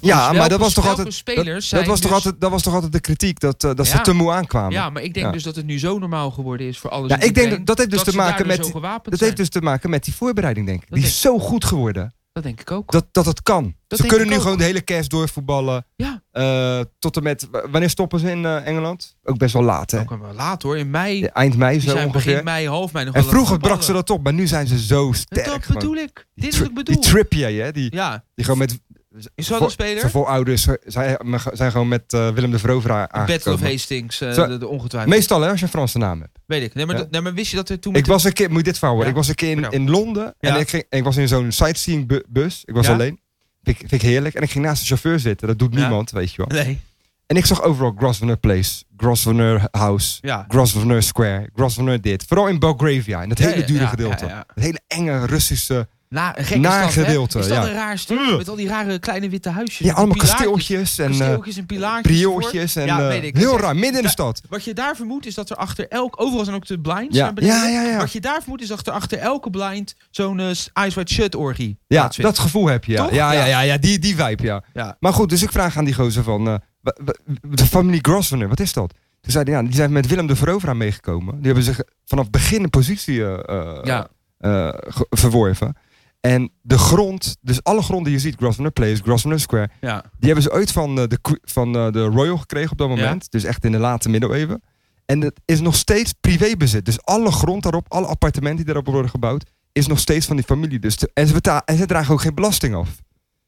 Speaker 1: Dus
Speaker 2: Ah, maar
Speaker 1: welke-
Speaker 2: dat was toch
Speaker 1: welke
Speaker 2: altijd...
Speaker 1: spelers zijn
Speaker 2: dat, was toch
Speaker 1: dus-
Speaker 2: altijd, dat was toch altijd de kritiek, dat, eh, dat ze
Speaker 1: Ja.
Speaker 2: te moe aankwamen.
Speaker 1: Ja, maar ik denk
Speaker 2: Ja.
Speaker 1: dus dat het nu zo normaal geworden is voor alles.
Speaker 2: Ja,
Speaker 1: en
Speaker 2: ik denk
Speaker 1: iedereen,
Speaker 2: dat, dat heeft dus
Speaker 1: dat
Speaker 2: te
Speaker 1: ze daar
Speaker 2: maken
Speaker 1: dus
Speaker 2: met...
Speaker 1: zo gewapend
Speaker 2: Dat
Speaker 1: zijn.
Speaker 2: heeft dus te maken met die voorbereiding, denk ik.
Speaker 1: Dat
Speaker 2: die
Speaker 1: denk
Speaker 2: is zo goed geworden
Speaker 1: Dat denk ik ook.
Speaker 2: dat, dat het kan.
Speaker 1: Dat
Speaker 2: ze
Speaker 1: denk
Speaker 2: kunnen
Speaker 1: ik
Speaker 2: nu
Speaker 1: ook.
Speaker 2: gewoon de hele kerst doorvoetballen.
Speaker 1: Ja.
Speaker 2: Eh, tot en met... w- Wanneer stoppen ze in eh, Engeland? Ook best wel laat, hè?
Speaker 1: Ook wel laat hoor. In mei,
Speaker 2: Ja, Eind mei
Speaker 1: die
Speaker 2: zo
Speaker 1: zijn
Speaker 2: ongeveer.
Speaker 1: begin mei, half mei nog wel
Speaker 2: En
Speaker 1: aan het
Speaker 2: vroeger brak ze
Speaker 1: voetballen.
Speaker 2: dat op, maar nu zijn ze zo sterk.
Speaker 1: Dat
Speaker 2: gewoon.
Speaker 1: bedoel ik. Dit is
Speaker 2: Tri-
Speaker 1: wat ik bedoel.
Speaker 2: Die Trippier, hè? Die,
Speaker 1: Ja,
Speaker 2: die gewoon met...
Speaker 1: is dat
Speaker 2: voor-
Speaker 1: een speler?
Speaker 2: Zijn voorouders eh, zijn, zijn gewoon met eh, Willem de Verovera
Speaker 1: Battle of
Speaker 2: aangekomen.
Speaker 1: Hastings, eh,
Speaker 2: Zo-
Speaker 1: de, de ongetwijfeld.
Speaker 2: Meestal, hè, als je een Franse naam hebt.
Speaker 1: Weet ik. Nee maar,
Speaker 2: Ja.
Speaker 1: dat- nee, maar wist je dat er toen...
Speaker 2: Ik was een keer, moet je dit verhaal horen.
Speaker 1: Ja.
Speaker 2: Ik was een keer in,
Speaker 1: Vertel.
Speaker 2: in Londen
Speaker 1: Ja.
Speaker 2: en ik, ging, ik was in zo'n sightseeing bu- bus. Ik was
Speaker 1: Ja.
Speaker 2: alleen. Vind ik, vind ik heerlijk. En ik ging naast de chauffeur zitten. Dat doet
Speaker 1: Ja.
Speaker 2: niemand, weet je wel.
Speaker 1: Nee,
Speaker 2: En ik zag overal Grosvenor Place, Grosvenor House,
Speaker 1: ja.
Speaker 2: Grosvenor Square, Grosvenor dit. Vooral in Belgravia, in dat
Speaker 1: Ja,
Speaker 2: hele
Speaker 1: ja,
Speaker 2: dure
Speaker 1: ja,
Speaker 2: gedeelte.
Speaker 1: ja, ja.
Speaker 2: Dat hele enge Russische,
Speaker 1: Na, een gekke
Speaker 2: Naar
Speaker 1: stad, hè?
Speaker 2: gedeelte,
Speaker 1: Is dat
Speaker 2: ja.
Speaker 1: een raar stuk? Met al die rare kleine witte huisjes.
Speaker 2: ja,
Speaker 1: met
Speaker 2: allemaal
Speaker 1: pilaartjes.
Speaker 2: kasteeltjes en eh
Speaker 1: Kasteeltjes en pilaartjes.
Speaker 2: priooltjes. En,
Speaker 1: Ja,
Speaker 2: eh,
Speaker 1: weet ik.
Speaker 2: heel
Speaker 1: Dat is-
Speaker 2: raar, midden in de
Speaker 1: Ja.
Speaker 2: stad.
Speaker 1: Wat je daar vermoedt is dat er achter elk... Overal zijn ook de blinds
Speaker 2: Ja.
Speaker 1: naar beneden.
Speaker 2: Ja, ja, ja.
Speaker 1: Wat je daar vermoedt is dat er achter elke blind zo'n eh, Ice White Shut orgie
Speaker 2: Ja,
Speaker 1: plaatsvindt.
Speaker 2: dat gevoel heb je. Ja,
Speaker 1: Toch?
Speaker 2: ja, ja,
Speaker 1: Ja.
Speaker 2: ja, ja, die, die vibe, ja.
Speaker 1: Ja.
Speaker 2: Maar goed, dus ik vraag aan die gozer van... eh, wa- wa- de familie Grosvenor, wat is dat? Toen zei hij, ja, die zijn met Willem de Verovera meegekomen. Die hebben zich vanaf het begin een positie eh, eh,
Speaker 1: Ja.
Speaker 2: eh, ge- verworven. En de grond, dus alle grond die je ziet, Grosvenor Place, Grosvenor Square...
Speaker 1: Ja.
Speaker 2: die hebben ze ooit van, eh, de, que- van eh, de Royal gekregen op dat moment. Dus echt in de late middeleeuwen. En dat is nog steeds privébezit. Dus alle grond daarop, alle appartementen die daarop worden gebouwd... is nog steeds van die familie. Dus de- en, ze betaal, en ze dragen ook geen belasting af.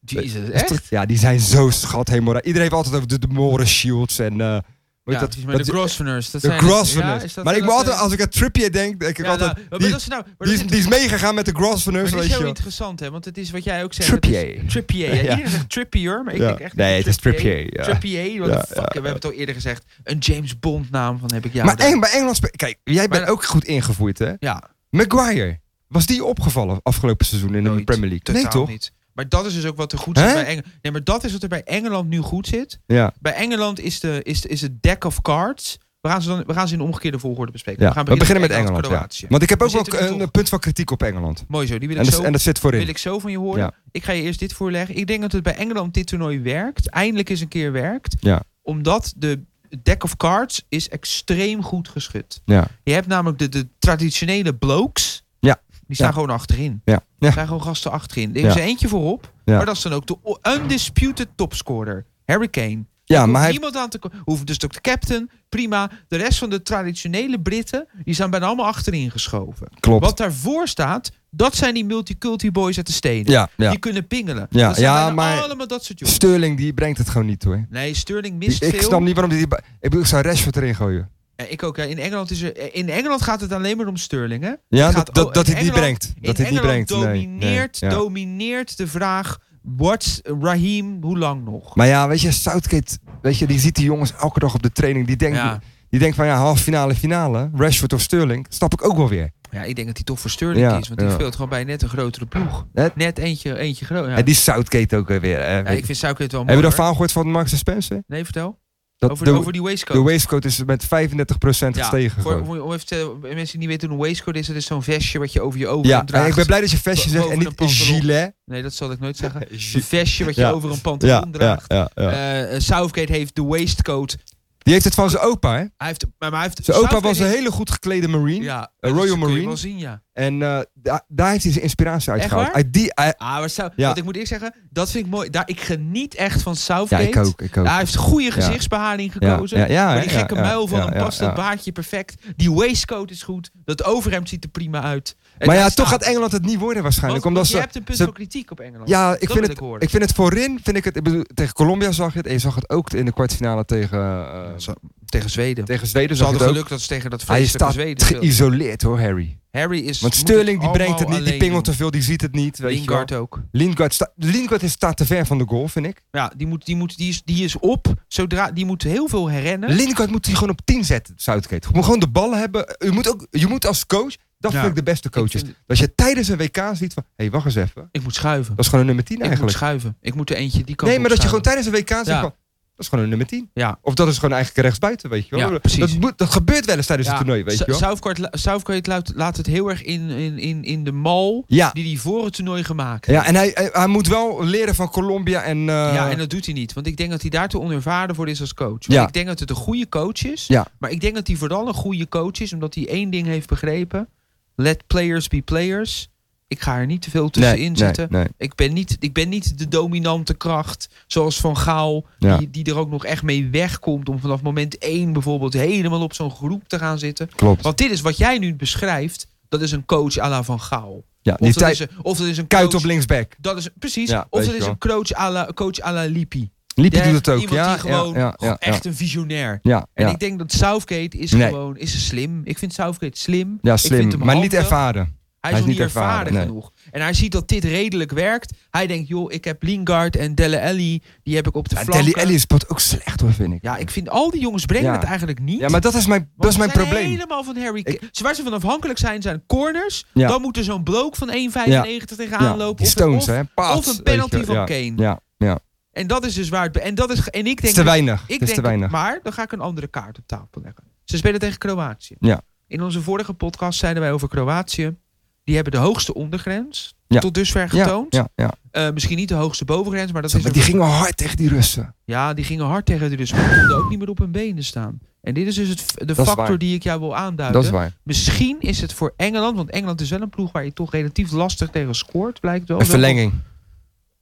Speaker 2: Dus
Speaker 1: Jezus,
Speaker 2: Dat is
Speaker 1: echt?
Speaker 2: toch- Ja, die zijn zo schat helemaal raar. Iedereen heeft altijd over de, de Moren Shields en eh
Speaker 1: Ja,
Speaker 2: dat,
Speaker 1: precies, maar
Speaker 2: dat-
Speaker 1: de Grosvenors. Dat
Speaker 2: de
Speaker 1: zijn-
Speaker 2: Grosvenors.
Speaker 1: Ja, is dat-
Speaker 2: maar ik
Speaker 1: dat,
Speaker 2: moet altijd,
Speaker 1: eh,
Speaker 2: als ik aan Trippier denk, denk ik
Speaker 1: ja,
Speaker 2: altijd...
Speaker 1: nou, maar
Speaker 2: die,
Speaker 1: dat is nou, maar dat
Speaker 2: die, is,
Speaker 1: is-
Speaker 2: die is meegegaan met de
Speaker 1: maar
Speaker 2: Grosvenors,
Speaker 1: dit
Speaker 2: weet
Speaker 1: is heel
Speaker 2: je wel.
Speaker 1: interessant, hè? Want het is wat jij ook zegt. het is
Speaker 2: Trippier.
Speaker 1: Trippier. Ja,
Speaker 2: Ja.
Speaker 1: Iedereen zegt Trippier, maar ik
Speaker 2: Ja.
Speaker 1: denk echt...
Speaker 2: Nee, het is Trippier, ja.
Speaker 1: Trippier, what
Speaker 2: Ja,
Speaker 1: the fuck.
Speaker 2: ja,
Speaker 1: We hebben het al eerder gezegd. Een James Bond naam van heb ik jou.
Speaker 2: maar
Speaker 1: daar.
Speaker 2: Eng, bij Engeland... spe- Kijk, jij bent
Speaker 1: Maar-
Speaker 2: ook goed ingevoerd, hè?
Speaker 1: Ja,
Speaker 2: Maguire. Was die opgevallen afgelopen seizoen in de
Speaker 1: nooit.
Speaker 2: Premier League?
Speaker 1: Totaal
Speaker 2: nee, toch?
Speaker 1: niet. Maar dat is dus ook wat er goed
Speaker 2: Hè?
Speaker 1: zit bij Engeland. Nee, maar dat is wat er bij Engeland nu goed zit.
Speaker 2: Ja.
Speaker 1: Bij Engeland is, de, is, is het deck of cards. We gaan ze, dan, we gaan ze in de omgekeerde volgorde bespreken.
Speaker 2: ja. We beginnen met Engeland,
Speaker 1: Kroatië.
Speaker 2: ja. Want ik heb
Speaker 1: We
Speaker 2: ook wel
Speaker 1: zitten nu
Speaker 2: een
Speaker 1: toch-
Speaker 2: punt van kritiek op Engeland.
Speaker 1: Mooi zo, die wil
Speaker 2: En
Speaker 1: ik
Speaker 2: dat,
Speaker 1: zo
Speaker 2: en dat zit
Speaker 1: wil
Speaker 2: voorin.
Speaker 1: ik zo van je horen.
Speaker 2: Ja.
Speaker 1: Ik ga je eerst dit voorleggen. Ik denk dat het bij Engeland dit toernooi werkt. Eindelijk eens een keer werkt.
Speaker 2: Ja.
Speaker 1: Omdat de deck of cards is extreem goed geschud.
Speaker 2: Ja.
Speaker 1: Je hebt namelijk de, de traditionele blokes.
Speaker 2: Ja.
Speaker 1: Die staan
Speaker 2: Ja.
Speaker 1: gewoon achterin.
Speaker 2: Ja.
Speaker 1: Er
Speaker 2: ja.
Speaker 1: zijn gewoon gasten achterin. Er
Speaker 2: Ja.
Speaker 1: is er eentje voorop.
Speaker 2: Ja.
Speaker 1: Maar dat is dan ook de o- undisputed topscorer. Harry Kane.
Speaker 2: Ja,
Speaker 1: Hoeft
Speaker 2: maar hij,
Speaker 1: niemand aan te ko- hoeft dus ook de captain. Prima. De rest van de traditionele Britten. Die zijn bijna allemaal achterin geschoven.
Speaker 2: klopt.
Speaker 1: Wat daarvoor staat. Dat zijn die multiculti boys uit de steden.
Speaker 2: Ja, ja.
Speaker 1: Die kunnen pingelen.
Speaker 2: Ja,
Speaker 1: dat zijn
Speaker 2: ja,
Speaker 1: bijna
Speaker 2: maar-
Speaker 1: allemaal dat soort jongens.
Speaker 2: Sterling, die brengt het gewoon niet, hoor.
Speaker 1: Nee, Sterling
Speaker 2: Die-
Speaker 1: mist
Speaker 2: Ik
Speaker 1: veel.
Speaker 2: snap niet waarom die... die- Ik bedoel, ik zou Rashford erin gooien.
Speaker 1: Ja, ik ook. ja. In, Engeland is er, in Engeland gaat het alleen maar om Sterling. Hè?
Speaker 2: Ja,
Speaker 1: Het
Speaker 2: dat,
Speaker 1: gaat-
Speaker 2: dat,
Speaker 1: oh,
Speaker 2: dat
Speaker 1: in
Speaker 2: hij het niet
Speaker 1: Engeland-
Speaker 2: brengt.
Speaker 1: in
Speaker 2: Dat hij het niet
Speaker 1: Engeland
Speaker 2: brengt. Nee, nee,
Speaker 1: domineert,
Speaker 2: ja.
Speaker 1: domineert de vraag... What's Raheem, hoe lang nog?
Speaker 2: Maar ja, weet je, Southgate, weet je, die ziet die jongens elke dag op de training. Die denkt,
Speaker 1: Ja.
Speaker 2: die denkt van ja, half finale, finale. Rashford of Sterling, snap ik ook wel weer.
Speaker 1: Ja, ik denk dat hij toch voor Sterling
Speaker 2: Ja,
Speaker 1: is. Want die
Speaker 2: ja.
Speaker 1: speelt gewoon bij net een grotere ploeg.
Speaker 2: Net-
Speaker 1: Net, eentje, eentje groot. Ja.
Speaker 2: En die Southgate ook weer. hè,
Speaker 1: Ja,
Speaker 2: weet
Speaker 1: ik
Speaker 2: je.
Speaker 1: vind Suiker het wel
Speaker 2: Heb
Speaker 1: mooi.
Speaker 2: je dat
Speaker 1: hoor.
Speaker 2: verhaal gehoord van Max Spencer?
Speaker 1: Nee, vertel.
Speaker 2: Dat
Speaker 1: over,
Speaker 2: de,
Speaker 1: over die waistcoat.
Speaker 2: de waistcoat is met 35%
Speaker 1: ja,
Speaker 2: gestegen.
Speaker 1: voor,
Speaker 2: gewoon.
Speaker 1: om, om even te, om mensen die niet weten hoe een waistcoat is, dat is zo'n vestje wat je over je ogen
Speaker 2: ja, en
Speaker 1: draagt.
Speaker 2: ik ben blij dat je vestje
Speaker 1: Bo-
Speaker 2: zegt en
Speaker 1: boven
Speaker 2: niet
Speaker 1: een pantalon.
Speaker 2: gilet.
Speaker 1: Nee, dat zal ik nooit zeggen. Een
Speaker 2: Gilet.
Speaker 1: vestje wat je
Speaker 2: Ja.
Speaker 1: over een pantalon
Speaker 2: Ja, ja,
Speaker 1: draagt.
Speaker 2: ja, ja.
Speaker 1: Eh, eh, Southgate heeft de waistcoat.
Speaker 2: Die heeft het van zijn opa, hè?
Speaker 1: Hij heeft, maar, maar hij heeft,
Speaker 2: Zijn opa
Speaker 1: Southgate
Speaker 2: was een
Speaker 1: heeft-
Speaker 2: hele goed geklede marine.
Speaker 1: ja,
Speaker 2: Royal
Speaker 1: dat kun je
Speaker 2: Marine.
Speaker 1: wel zien, ja.
Speaker 2: En eh, da- daar heeft hij zijn inspiratie uit
Speaker 1: Echt
Speaker 2: gehaald.
Speaker 1: waar?
Speaker 2: Uit die, uit-
Speaker 1: Ah, maar Sou-
Speaker 2: Ja.
Speaker 1: Want ik moet eerlijk zeggen, dat vind ik mooi. Daar, ik geniet echt van
Speaker 2: ja,
Speaker 1: Southgate.
Speaker 2: ik ook, ik ook.
Speaker 1: Hij heeft goede gezichtsbehaling gekozen. maar die gekke muil van
Speaker 2: een
Speaker 1: hem past dat baardje perfect. Die waistcoat is goed. Dat overhemd ziet er prima uit. En
Speaker 2: Maar ja,
Speaker 1: hij
Speaker 2: toch
Speaker 1: staat-
Speaker 2: gaat Engeland het niet worden waarschijnlijk.
Speaker 1: Want- want
Speaker 2: omdat ze,
Speaker 1: je hebt een punt
Speaker 2: ze-
Speaker 1: van kritiek op Engeland.
Speaker 2: ja,
Speaker 1: dat
Speaker 2: ik vind,
Speaker 1: wil
Speaker 2: het,
Speaker 1: ik horen.
Speaker 2: ik vind het voorin, vind ik het, ik bedoel, tegen Colombia zag je het en je zag het ook in de kwartfinale tegen, eh,
Speaker 1: Zo- tegen Zweden.
Speaker 2: tegen Zweden.
Speaker 1: Ze
Speaker 2: Zag je
Speaker 1: hadden
Speaker 2: het ook.
Speaker 1: geluk dat ze tegen dat
Speaker 2: Hij
Speaker 1: vreselijke
Speaker 2: staat
Speaker 1: Zweden speelden.
Speaker 2: geïsoleerd hoor, Harry.
Speaker 1: Harry is...
Speaker 2: Want
Speaker 1: moet
Speaker 2: Sterling die brengt het
Speaker 1: allemaal
Speaker 2: niet, die
Speaker 1: alleen
Speaker 2: pingelt te
Speaker 1: doen.
Speaker 2: veel, die ziet het niet. Weet
Speaker 1: Lingard
Speaker 2: Je
Speaker 1: ook.
Speaker 2: wel. Lingard, sta, Lingard is, staat te ver van de goal, vind ik.
Speaker 1: Ja, die, moet, die, moet, die, is, die is op. Zodra, die moet heel veel herrennen.
Speaker 2: Lingard moet hij gewoon op 10 zetten, Southgate. Je moet gewoon de ballen hebben. Je moet, ook, je moet als coach, dat
Speaker 1: Ja.
Speaker 2: vind ik de beste coaches.
Speaker 1: Ik vind-
Speaker 2: Dat je tijdens een WK ziet van, hé, hey, wacht eens even.
Speaker 1: ik moet schuiven.
Speaker 2: Dat is gewoon een nummer 10
Speaker 1: Ik moet
Speaker 2: eigenlijk.
Speaker 1: schuiven. Ik moet er eentje die kan
Speaker 2: nee, maar dat je gewoon tijdens een WK zegt
Speaker 1: Ja.
Speaker 2: van, dat is gewoon een nummer 10.
Speaker 1: Ja.
Speaker 2: Of dat is gewoon eigenlijk rechtsbuiten, weet je wel.
Speaker 1: Ja, precies.
Speaker 2: Dat, moet, dat gebeurt wel eens tijdens het toernooi, weet je wel.
Speaker 1: Southgate, la- Southgate laat, laat het heel erg in, in, in, in de mal
Speaker 2: Ja,
Speaker 1: die hij voor het toernooi gemaakt heeft.
Speaker 2: ja en hij, hij, hij moet wel leren van Colombia en... eh,
Speaker 1: ja, en dat doet hij niet. Want ik denk dat hij daar te onervaren voor is als coach. Want
Speaker 2: Ja.
Speaker 1: Ik denk dat het een goede coach is.
Speaker 2: Ja.
Speaker 1: Maar ik denk dat hij vooral een goede coach is. Omdat hij één ding heeft begrepen. Let players be players. Ik ga er niet te veel tussenin zitten.
Speaker 2: Nee,
Speaker 1: Ik, ben niet, ik ben niet de dominante kracht. Zoals Van Gaal.
Speaker 2: Ja.
Speaker 1: Die, die er ook nog echt mee wegkomt. Om vanaf moment één bijvoorbeeld helemaal op zo'n groep te gaan zitten.
Speaker 2: klopt.
Speaker 1: Want dit is wat jij nu beschrijft. Dat is een coach à la Van Gaal.
Speaker 2: ja,
Speaker 1: Of
Speaker 2: die
Speaker 1: dat,
Speaker 2: tijd
Speaker 1: is een, of dat is een
Speaker 2: kuit
Speaker 1: coach-
Speaker 2: op linksback.
Speaker 1: dat is, precies.
Speaker 2: Ja,
Speaker 1: of
Speaker 2: weet
Speaker 1: dat is
Speaker 2: je wel.
Speaker 1: een coach à la, coach à la Lippi.
Speaker 2: Lipi
Speaker 1: Ja,
Speaker 2: doet het ook,
Speaker 1: iemand
Speaker 2: ja.
Speaker 1: die gewoon
Speaker 2: ja, ja, ja,
Speaker 1: echt een visionair.
Speaker 2: Ja,
Speaker 1: En
Speaker 2: ja,
Speaker 1: ik denk dat Southgate is
Speaker 2: Nee.
Speaker 1: gewoon is slim. Ik vind Southgate slim.
Speaker 2: ja,
Speaker 1: ik
Speaker 2: slim.
Speaker 1: vind hem
Speaker 2: Maar niet
Speaker 1: handig.
Speaker 2: ervaren.
Speaker 1: Hij
Speaker 2: Hij
Speaker 1: is
Speaker 2: is
Speaker 1: nog niet
Speaker 2: niet ervaren,
Speaker 1: ervaren,
Speaker 2: nee.
Speaker 1: genoeg. En hij ziet dat dit redelijk werkt. Hij denkt, joh, ik heb Lingard en Dele Alli. Die heb ik op de
Speaker 2: Ja,
Speaker 1: flanken.
Speaker 2: Deli Alli speelt ook slecht hoor, vind ik.
Speaker 1: Ja, ik vind al die jongens brengen
Speaker 2: Ja.
Speaker 1: het eigenlijk niet.
Speaker 2: Ja, maar dat is mijn, dat
Speaker 1: Want
Speaker 2: is
Speaker 1: ze
Speaker 2: mijn
Speaker 1: zijn
Speaker 2: probleem.
Speaker 1: helemaal van Harry
Speaker 2: Ik-
Speaker 1: Kane. Ze Waar ze van afhankelijk zijn, zijn corners.
Speaker 2: Ja.
Speaker 1: Dan moet er zo'n bloke van 1,95 tegenaan
Speaker 2: Ja,
Speaker 1: lopen.
Speaker 2: die
Speaker 1: Of-
Speaker 2: Stones,
Speaker 1: of,
Speaker 2: hè. Paas,
Speaker 1: of
Speaker 2: weet
Speaker 1: een
Speaker 2: je
Speaker 1: penalty
Speaker 2: wel,
Speaker 1: van
Speaker 2: ja.
Speaker 1: Kane.
Speaker 2: Ja, ja.
Speaker 1: En dat is dus waar het... be- En, dat is, ge- en ik
Speaker 2: Het is
Speaker 1: denk...
Speaker 2: te weinig.
Speaker 1: Ik
Speaker 2: Het is
Speaker 1: denk
Speaker 2: te weinig.
Speaker 1: maar dan ga ik een andere kaart op tafel leggen. Ze spelen tegen Kroatië.
Speaker 2: Ja.
Speaker 1: In onze vorige podcast zeiden wij over Kroatië. Die hebben de hoogste ondergrens
Speaker 2: Ja.
Speaker 1: tot dusver
Speaker 2: Ja,
Speaker 1: getoond.
Speaker 2: ja, ja.
Speaker 1: Eh, misschien niet de hoogste bovengrens, maar dat
Speaker 2: Zo,
Speaker 1: is
Speaker 2: maar
Speaker 1: er
Speaker 2: die gingen hard tegen die Russen.
Speaker 1: Ja, die gingen hard tegen de dus. Maar die konden ook niet meer op hun benen staan. En dit is dus het, f- de
Speaker 2: Dat is waar.
Speaker 1: factor die ik jou wil aanduiden.
Speaker 2: Dat is waar.
Speaker 1: Misschien is het voor Engeland, want Engeland is wel een ploeg waar je toch relatief lastig tegen scoort, blijkt wel.
Speaker 2: Een verlenging.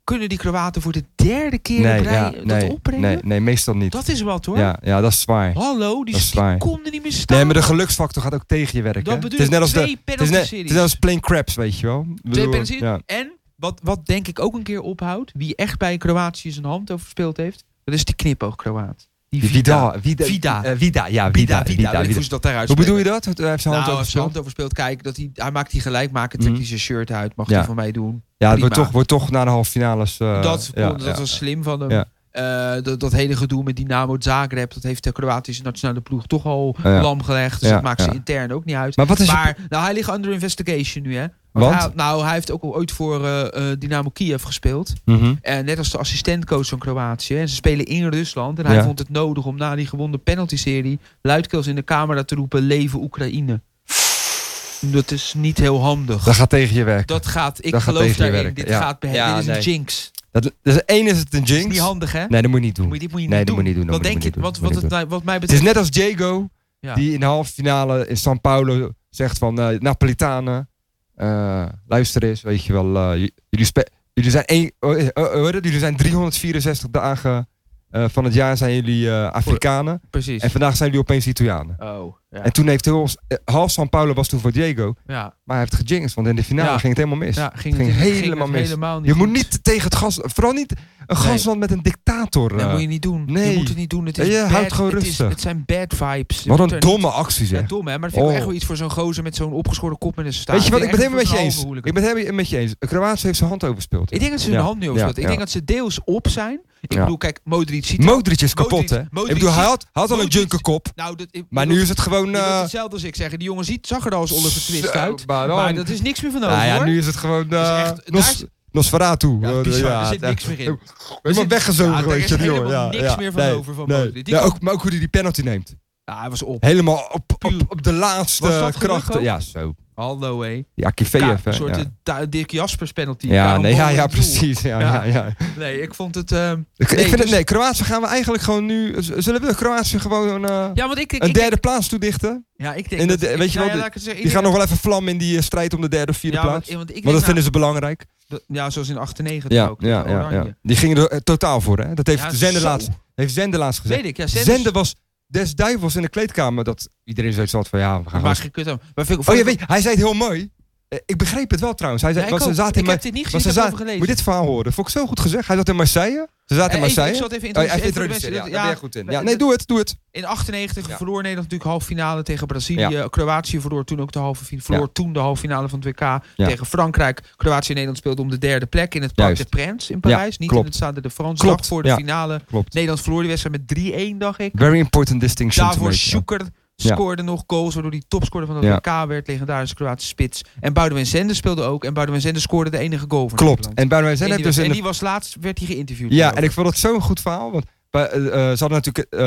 Speaker 1: Kunnen die Kroaten voor de derde keer
Speaker 2: Nee,
Speaker 1: op rij
Speaker 2: ja,
Speaker 1: dat
Speaker 2: nee,
Speaker 1: opbrengen?
Speaker 2: nee, nee, meestal niet.
Speaker 1: Dat is wat hoor.
Speaker 2: ja, ja, dat is zwaar.
Speaker 1: Hallo, die,
Speaker 2: Dat is
Speaker 1: die
Speaker 2: waar.
Speaker 1: konden niet meer staan.
Speaker 2: Nee, maar de geluksfactor gaat ook tegen je werken.
Speaker 1: dat
Speaker 2: hè?
Speaker 1: bedoel
Speaker 2: het is
Speaker 1: ik,
Speaker 2: net als de,
Speaker 1: twee
Speaker 2: het is
Speaker 1: penalty
Speaker 2: net, het is
Speaker 1: series.
Speaker 2: net als plain craps, weet je wel. Ik
Speaker 1: Twee
Speaker 2: bedoel,
Speaker 1: penalty series.
Speaker 2: Ja.
Speaker 1: En wat, wat denk ik ook een keer ophoudt, wie echt bij Kroatië zijn hand over verspeeld heeft, dat is die knipoog Kroaat. Die Die
Speaker 2: Die
Speaker 1: Vida.
Speaker 2: Vida. Vida.
Speaker 1: Vida.
Speaker 2: eh, Vida, ja,
Speaker 1: Vida,
Speaker 2: Vida.
Speaker 1: Vida.
Speaker 2: Vida,
Speaker 1: Weet ik
Speaker 2: Vida.
Speaker 1: Hoe ze dat daaruit
Speaker 2: Hoe bedoel je
Speaker 1: spreken.
Speaker 2: dat? Hij heeft zijn hand
Speaker 1: Nou,
Speaker 2: over
Speaker 1: als je
Speaker 2: gespeeld.
Speaker 1: hand overspeelt, kijk, dat hij, hij maakt die gelijk maken, trekt
Speaker 2: Mhm.
Speaker 1: hij zijn shirt uit, mag
Speaker 2: Ja.
Speaker 1: hij van mij doen.
Speaker 2: Ja, het
Speaker 1: Prima.
Speaker 2: wordt toch, wordt toch naar de halve finales. eh,
Speaker 1: dat
Speaker 2: ja,
Speaker 1: dat
Speaker 2: ja.
Speaker 1: was slim van hem.
Speaker 2: Ja.
Speaker 1: Eh, dat, dat hele gedoe met Dynamo Zagreb, dat heeft de Kroatische nationale ploeg toch al
Speaker 2: Ja.
Speaker 1: lam gelegd. Dus
Speaker 2: Ja,
Speaker 1: dat maakt ze
Speaker 2: ja.
Speaker 1: intern ook niet uit.
Speaker 2: Maar wat is je-
Speaker 1: Maar nou, hij ligt under investigation nu, hè?
Speaker 2: Want?
Speaker 1: hij- nou, hij heeft ook al ooit voor eh, eh, Dynamo Kiev gespeeld.
Speaker 2: Mhm.
Speaker 1: Eh, net als de assistentcoach van Kroatië. En ze spelen in Rusland. En hij
Speaker 2: Ja.
Speaker 1: vond het nodig om na die gewonnen penalty-serie... luidkeels in de camera te roepen... Leven Oekraïne. Dat is niet heel handig.
Speaker 2: Dat gaat tegen je werk.
Speaker 1: Dat gaat, ik
Speaker 2: dat gaat
Speaker 1: geloof
Speaker 2: tegen je
Speaker 1: daarin.
Speaker 2: werken,
Speaker 1: Dit
Speaker 2: ja.
Speaker 1: gaat behe-
Speaker 3: Ja,
Speaker 1: Dit is een
Speaker 3: nee.
Speaker 1: jinx.
Speaker 2: Dat, dus één is het een
Speaker 1: Dat is
Speaker 2: jinx.
Speaker 1: niet handig, hè?
Speaker 2: Nee, dat moet je niet doen.
Speaker 1: Moet je, dit moet je
Speaker 2: Nee,
Speaker 1: niet
Speaker 2: dat
Speaker 1: doen.
Speaker 2: moet je niet doen,
Speaker 1: Wat
Speaker 2: dat
Speaker 1: denk
Speaker 2: moet
Speaker 1: je?
Speaker 2: je niet
Speaker 1: Wat,
Speaker 2: doen,
Speaker 1: wat,
Speaker 2: dat
Speaker 1: het,
Speaker 2: moet
Speaker 1: nou- wat mij
Speaker 2: Het is
Speaker 1: betreft...
Speaker 2: net als Diego,
Speaker 1: Ja.
Speaker 2: die in de halve finale in São Paulo zegt van eh Napolitanen, eh, luister eens, weet je wel, eh, j- jullie, spe- jullie zijn één, oh, eh, oh, hoor je dat? jullie zijn 364 dagen eh, van het jaar zijn jullie eh, Afrikanen
Speaker 1: Precies.
Speaker 2: en vandaag zijn jullie opeens Italianen.
Speaker 1: Oh, ja.
Speaker 2: En toen heeft heel, eh, half São Paulo was toen voor Diego,
Speaker 1: Ja,
Speaker 2: maar hij heeft gejinxed, want in de finale
Speaker 1: Ja.
Speaker 2: ging het helemaal mis.
Speaker 1: ja,
Speaker 2: ging
Speaker 1: het-
Speaker 2: helemaal
Speaker 1: het
Speaker 2: mis.
Speaker 1: helemaal niet
Speaker 2: je moet
Speaker 1: goed.
Speaker 2: niet tegen het gas, vooral niet een
Speaker 1: Nee.
Speaker 2: gasland met een dictator.
Speaker 1: Dat
Speaker 2: eh.
Speaker 1: moet je niet doen. Je
Speaker 2: nee.
Speaker 1: moet het niet doen. Het
Speaker 2: Ja,
Speaker 1: is
Speaker 2: je
Speaker 1: bad-
Speaker 2: houdt gewoon
Speaker 1: het is-
Speaker 2: rustig.
Speaker 1: Het zijn bad vibes. Je moet
Speaker 2: Wat
Speaker 1: er
Speaker 2: een
Speaker 1: niet-
Speaker 2: domme actie zeg.
Speaker 1: Ja, dom hè, maar dat vind ik wel
Speaker 2: Oh.
Speaker 1: echt wel iets voor zo'n gozer met zo'n opgeschoren kop en een staart.
Speaker 2: Weet je wat, ik ben
Speaker 1: Echt
Speaker 2: het helemaal met
Speaker 1: voor
Speaker 2: je
Speaker 1: zo'n
Speaker 2: eens.
Speaker 1: halve hooligan.
Speaker 2: Ik ben het helemaal met je eens. Kroatië heeft zijn hand overspeeld.
Speaker 1: Ik denk dat ze hun
Speaker 2: Ja.
Speaker 1: hand nu overspeelt.
Speaker 2: Ja,
Speaker 1: Ik denk
Speaker 2: ja.
Speaker 1: dat ze deels op zijn. Ik
Speaker 2: Ja.
Speaker 1: bedoel, kijk, Modric ziet...
Speaker 2: Modric is kapot,
Speaker 1: Modric-
Speaker 2: hè?
Speaker 1: Modric
Speaker 2: ik bedoel, hij
Speaker 1: ziet-
Speaker 2: had, had al een
Speaker 1: Modric-
Speaker 2: junker kop.
Speaker 1: Nou, dat, ik
Speaker 2: Maar
Speaker 1: bedoel,
Speaker 2: nu is het
Speaker 1: je
Speaker 2: gewoon...
Speaker 1: wilt
Speaker 2: eh
Speaker 1: hetzelfde als ik zeggen. Die jongen ziet, zag er al als Oliver Twist
Speaker 2: zo,
Speaker 1: uit.
Speaker 2: Maar, dan-
Speaker 1: Maar dat is niks meer van over,
Speaker 2: nou ja,
Speaker 1: hoor.
Speaker 2: nu is het gewoon... eh
Speaker 1: Dat is echt-
Speaker 2: Nos-
Speaker 1: daar is-
Speaker 2: Nosferatu.
Speaker 1: Ja,
Speaker 2: Eh,
Speaker 1: bizar,
Speaker 2: ja,
Speaker 1: er zit
Speaker 2: het-
Speaker 1: niks meer in.
Speaker 2: Helemaal
Speaker 1: zit-
Speaker 2: weggezogen
Speaker 1: Ja, daar
Speaker 2: geweest,
Speaker 1: is
Speaker 2: joh, die
Speaker 1: helemaal
Speaker 2: jongen. Ja,
Speaker 1: niks
Speaker 2: ja.
Speaker 1: meer van
Speaker 2: Nee,
Speaker 1: over van
Speaker 2: nee.
Speaker 1: Modric. Die
Speaker 2: Ja,
Speaker 1: kan-
Speaker 2: ook, maar ook hoe hij die penalty neemt.
Speaker 1: Ja, Ah, hij was op.
Speaker 2: Helemaal op, op,
Speaker 1: Puur.
Speaker 2: op de laatste
Speaker 1: Was dat gelukt
Speaker 2: krachten.
Speaker 1: ook?
Speaker 2: Ja, zo.
Speaker 1: Hallo, hé.
Speaker 2: Ja,
Speaker 1: Ka-
Speaker 2: Kiviev, hè.
Speaker 1: Een soort
Speaker 2: ja.
Speaker 1: eh, Du- Dirk Jaspers penalty.
Speaker 2: Ja,
Speaker 1: Daarom
Speaker 2: nee, ja,
Speaker 1: bal in
Speaker 2: ja,
Speaker 1: het doel.
Speaker 2: precies. Ja,
Speaker 1: Ja.
Speaker 2: ja, ja.
Speaker 1: Nee, ik vond het... ehm,
Speaker 2: Ik, ik
Speaker 1: Nee,
Speaker 2: vind het,
Speaker 1: dus-
Speaker 2: nee, Kroatië gaan we eigenlijk gewoon nu... z- Zullen we Kroatië gewoon eh,
Speaker 1: Ja, want ik denk...
Speaker 2: een
Speaker 1: ik denk-
Speaker 2: derde plaats toedichten?
Speaker 1: Ja, ik denk...
Speaker 2: En dat-
Speaker 1: dat- ik-
Speaker 2: weet je
Speaker 1: nou
Speaker 2: wel,
Speaker 1: ja,
Speaker 2: die-
Speaker 1: laat ik het zeggen, ik
Speaker 2: Die gaan
Speaker 1: denk
Speaker 2: nog wel even vlam in die eh, strijd om de derde of vierde
Speaker 1: Ja,
Speaker 2: plaats.
Speaker 1: want,
Speaker 2: Want,
Speaker 1: want ik denk
Speaker 2: dat
Speaker 1: nou-
Speaker 2: vinden ze belangrijk.
Speaker 1: Dat- Ja, zoals in 98
Speaker 2: Ja,
Speaker 1: ook. tegen
Speaker 2: ja, ja,
Speaker 1: Oranje.
Speaker 2: ja. Die gingen er eh, totaal voor, hè? Dat heeft
Speaker 1: Ja,
Speaker 2: Zender
Speaker 1: zo.
Speaker 2: laatst, heeft Zender laatst gezegd.
Speaker 1: Weet ik, ja.
Speaker 2: Zender, was des duivels in de kleedkamer. Dat iedereen zoiets had van, ja, we gaan
Speaker 1: Maakt
Speaker 2: gewoon-
Speaker 1: geen kut aan. Maar vind ik-
Speaker 2: Oh, ja, weet je, hij zei het heel mooi. Eh, ik begreep het wel trouwens. Hij
Speaker 1: Ja,
Speaker 2: zei,
Speaker 1: ik
Speaker 2: want ze
Speaker 1: ook.
Speaker 2: zaten in
Speaker 1: ik heb
Speaker 2: Mar-
Speaker 1: dit niet
Speaker 2: want
Speaker 1: gezien,
Speaker 2: ze
Speaker 1: ik heb erover
Speaker 2: zaten-
Speaker 1: gelezen.
Speaker 2: Moet je dit verhaal horen? Vond ik zo goed gezegd. Hij zat in Marseille. Ze zaten in
Speaker 1: Eh, even-
Speaker 2: Marseille.
Speaker 1: ik zal het even
Speaker 2: Oh, ja, even
Speaker 1: introduceren. voor de
Speaker 2: introduceren.
Speaker 1: mensen.
Speaker 2: Ja,
Speaker 1: Dat-
Speaker 2: daar ben
Speaker 1: ja,
Speaker 2: je goed in. Ja,
Speaker 1: dat-
Speaker 2: nee, doe het, doe het.
Speaker 1: In 98
Speaker 2: Ja.
Speaker 1: verloor Nederland natuurlijk halve finale tegen Brazilië. Kroatië verloor toen ook de halve finale. Verloor toen de halve finale van het WK
Speaker 2: Ja.
Speaker 1: tegen Frankrijk. Kroatië en Nederland speelden om de derde plek in het Parc des
Speaker 2: Juist.
Speaker 1: Princes in Parijs. Niet in
Speaker 2: klopt.
Speaker 1: het Stade de France.
Speaker 2: Klopt,
Speaker 1: Dag voor de
Speaker 2: ja.
Speaker 1: finale.
Speaker 2: Klopt.
Speaker 1: Nederland verloor die wedstrijd met 3-1, dacht ik.
Speaker 2: Very important distinction to
Speaker 1: Daarvoor
Speaker 2: make, ja.
Speaker 1: Sjoeker scoorde nog goals, waardoor hij topscorer van het WK werd. Legendarische Kroatische spits. En Boudewijn Zender speelde ook. En Boudewijn Zender scoorde de enige goal van
Speaker 2: Klopt.
Speaker 1: Nederland.
Speaker 2: En bij mij
Speaker 1: En,
Speaker 2: zijn
Speaker 1: die,
Speaker 2: heeft dus
Speaker 1: was,
Speaker 2: in
Speaker 1: en
Speaker 2: de
Speaker 1: die was laatst, werd hij geïnterviewd.
Speaker 2: Ja,
Speaker 1: hierover.
Speaker 2: en ik vond dat zo'n goed verhaal. Want bij, eh, eh, ze hadden natuurlijk eh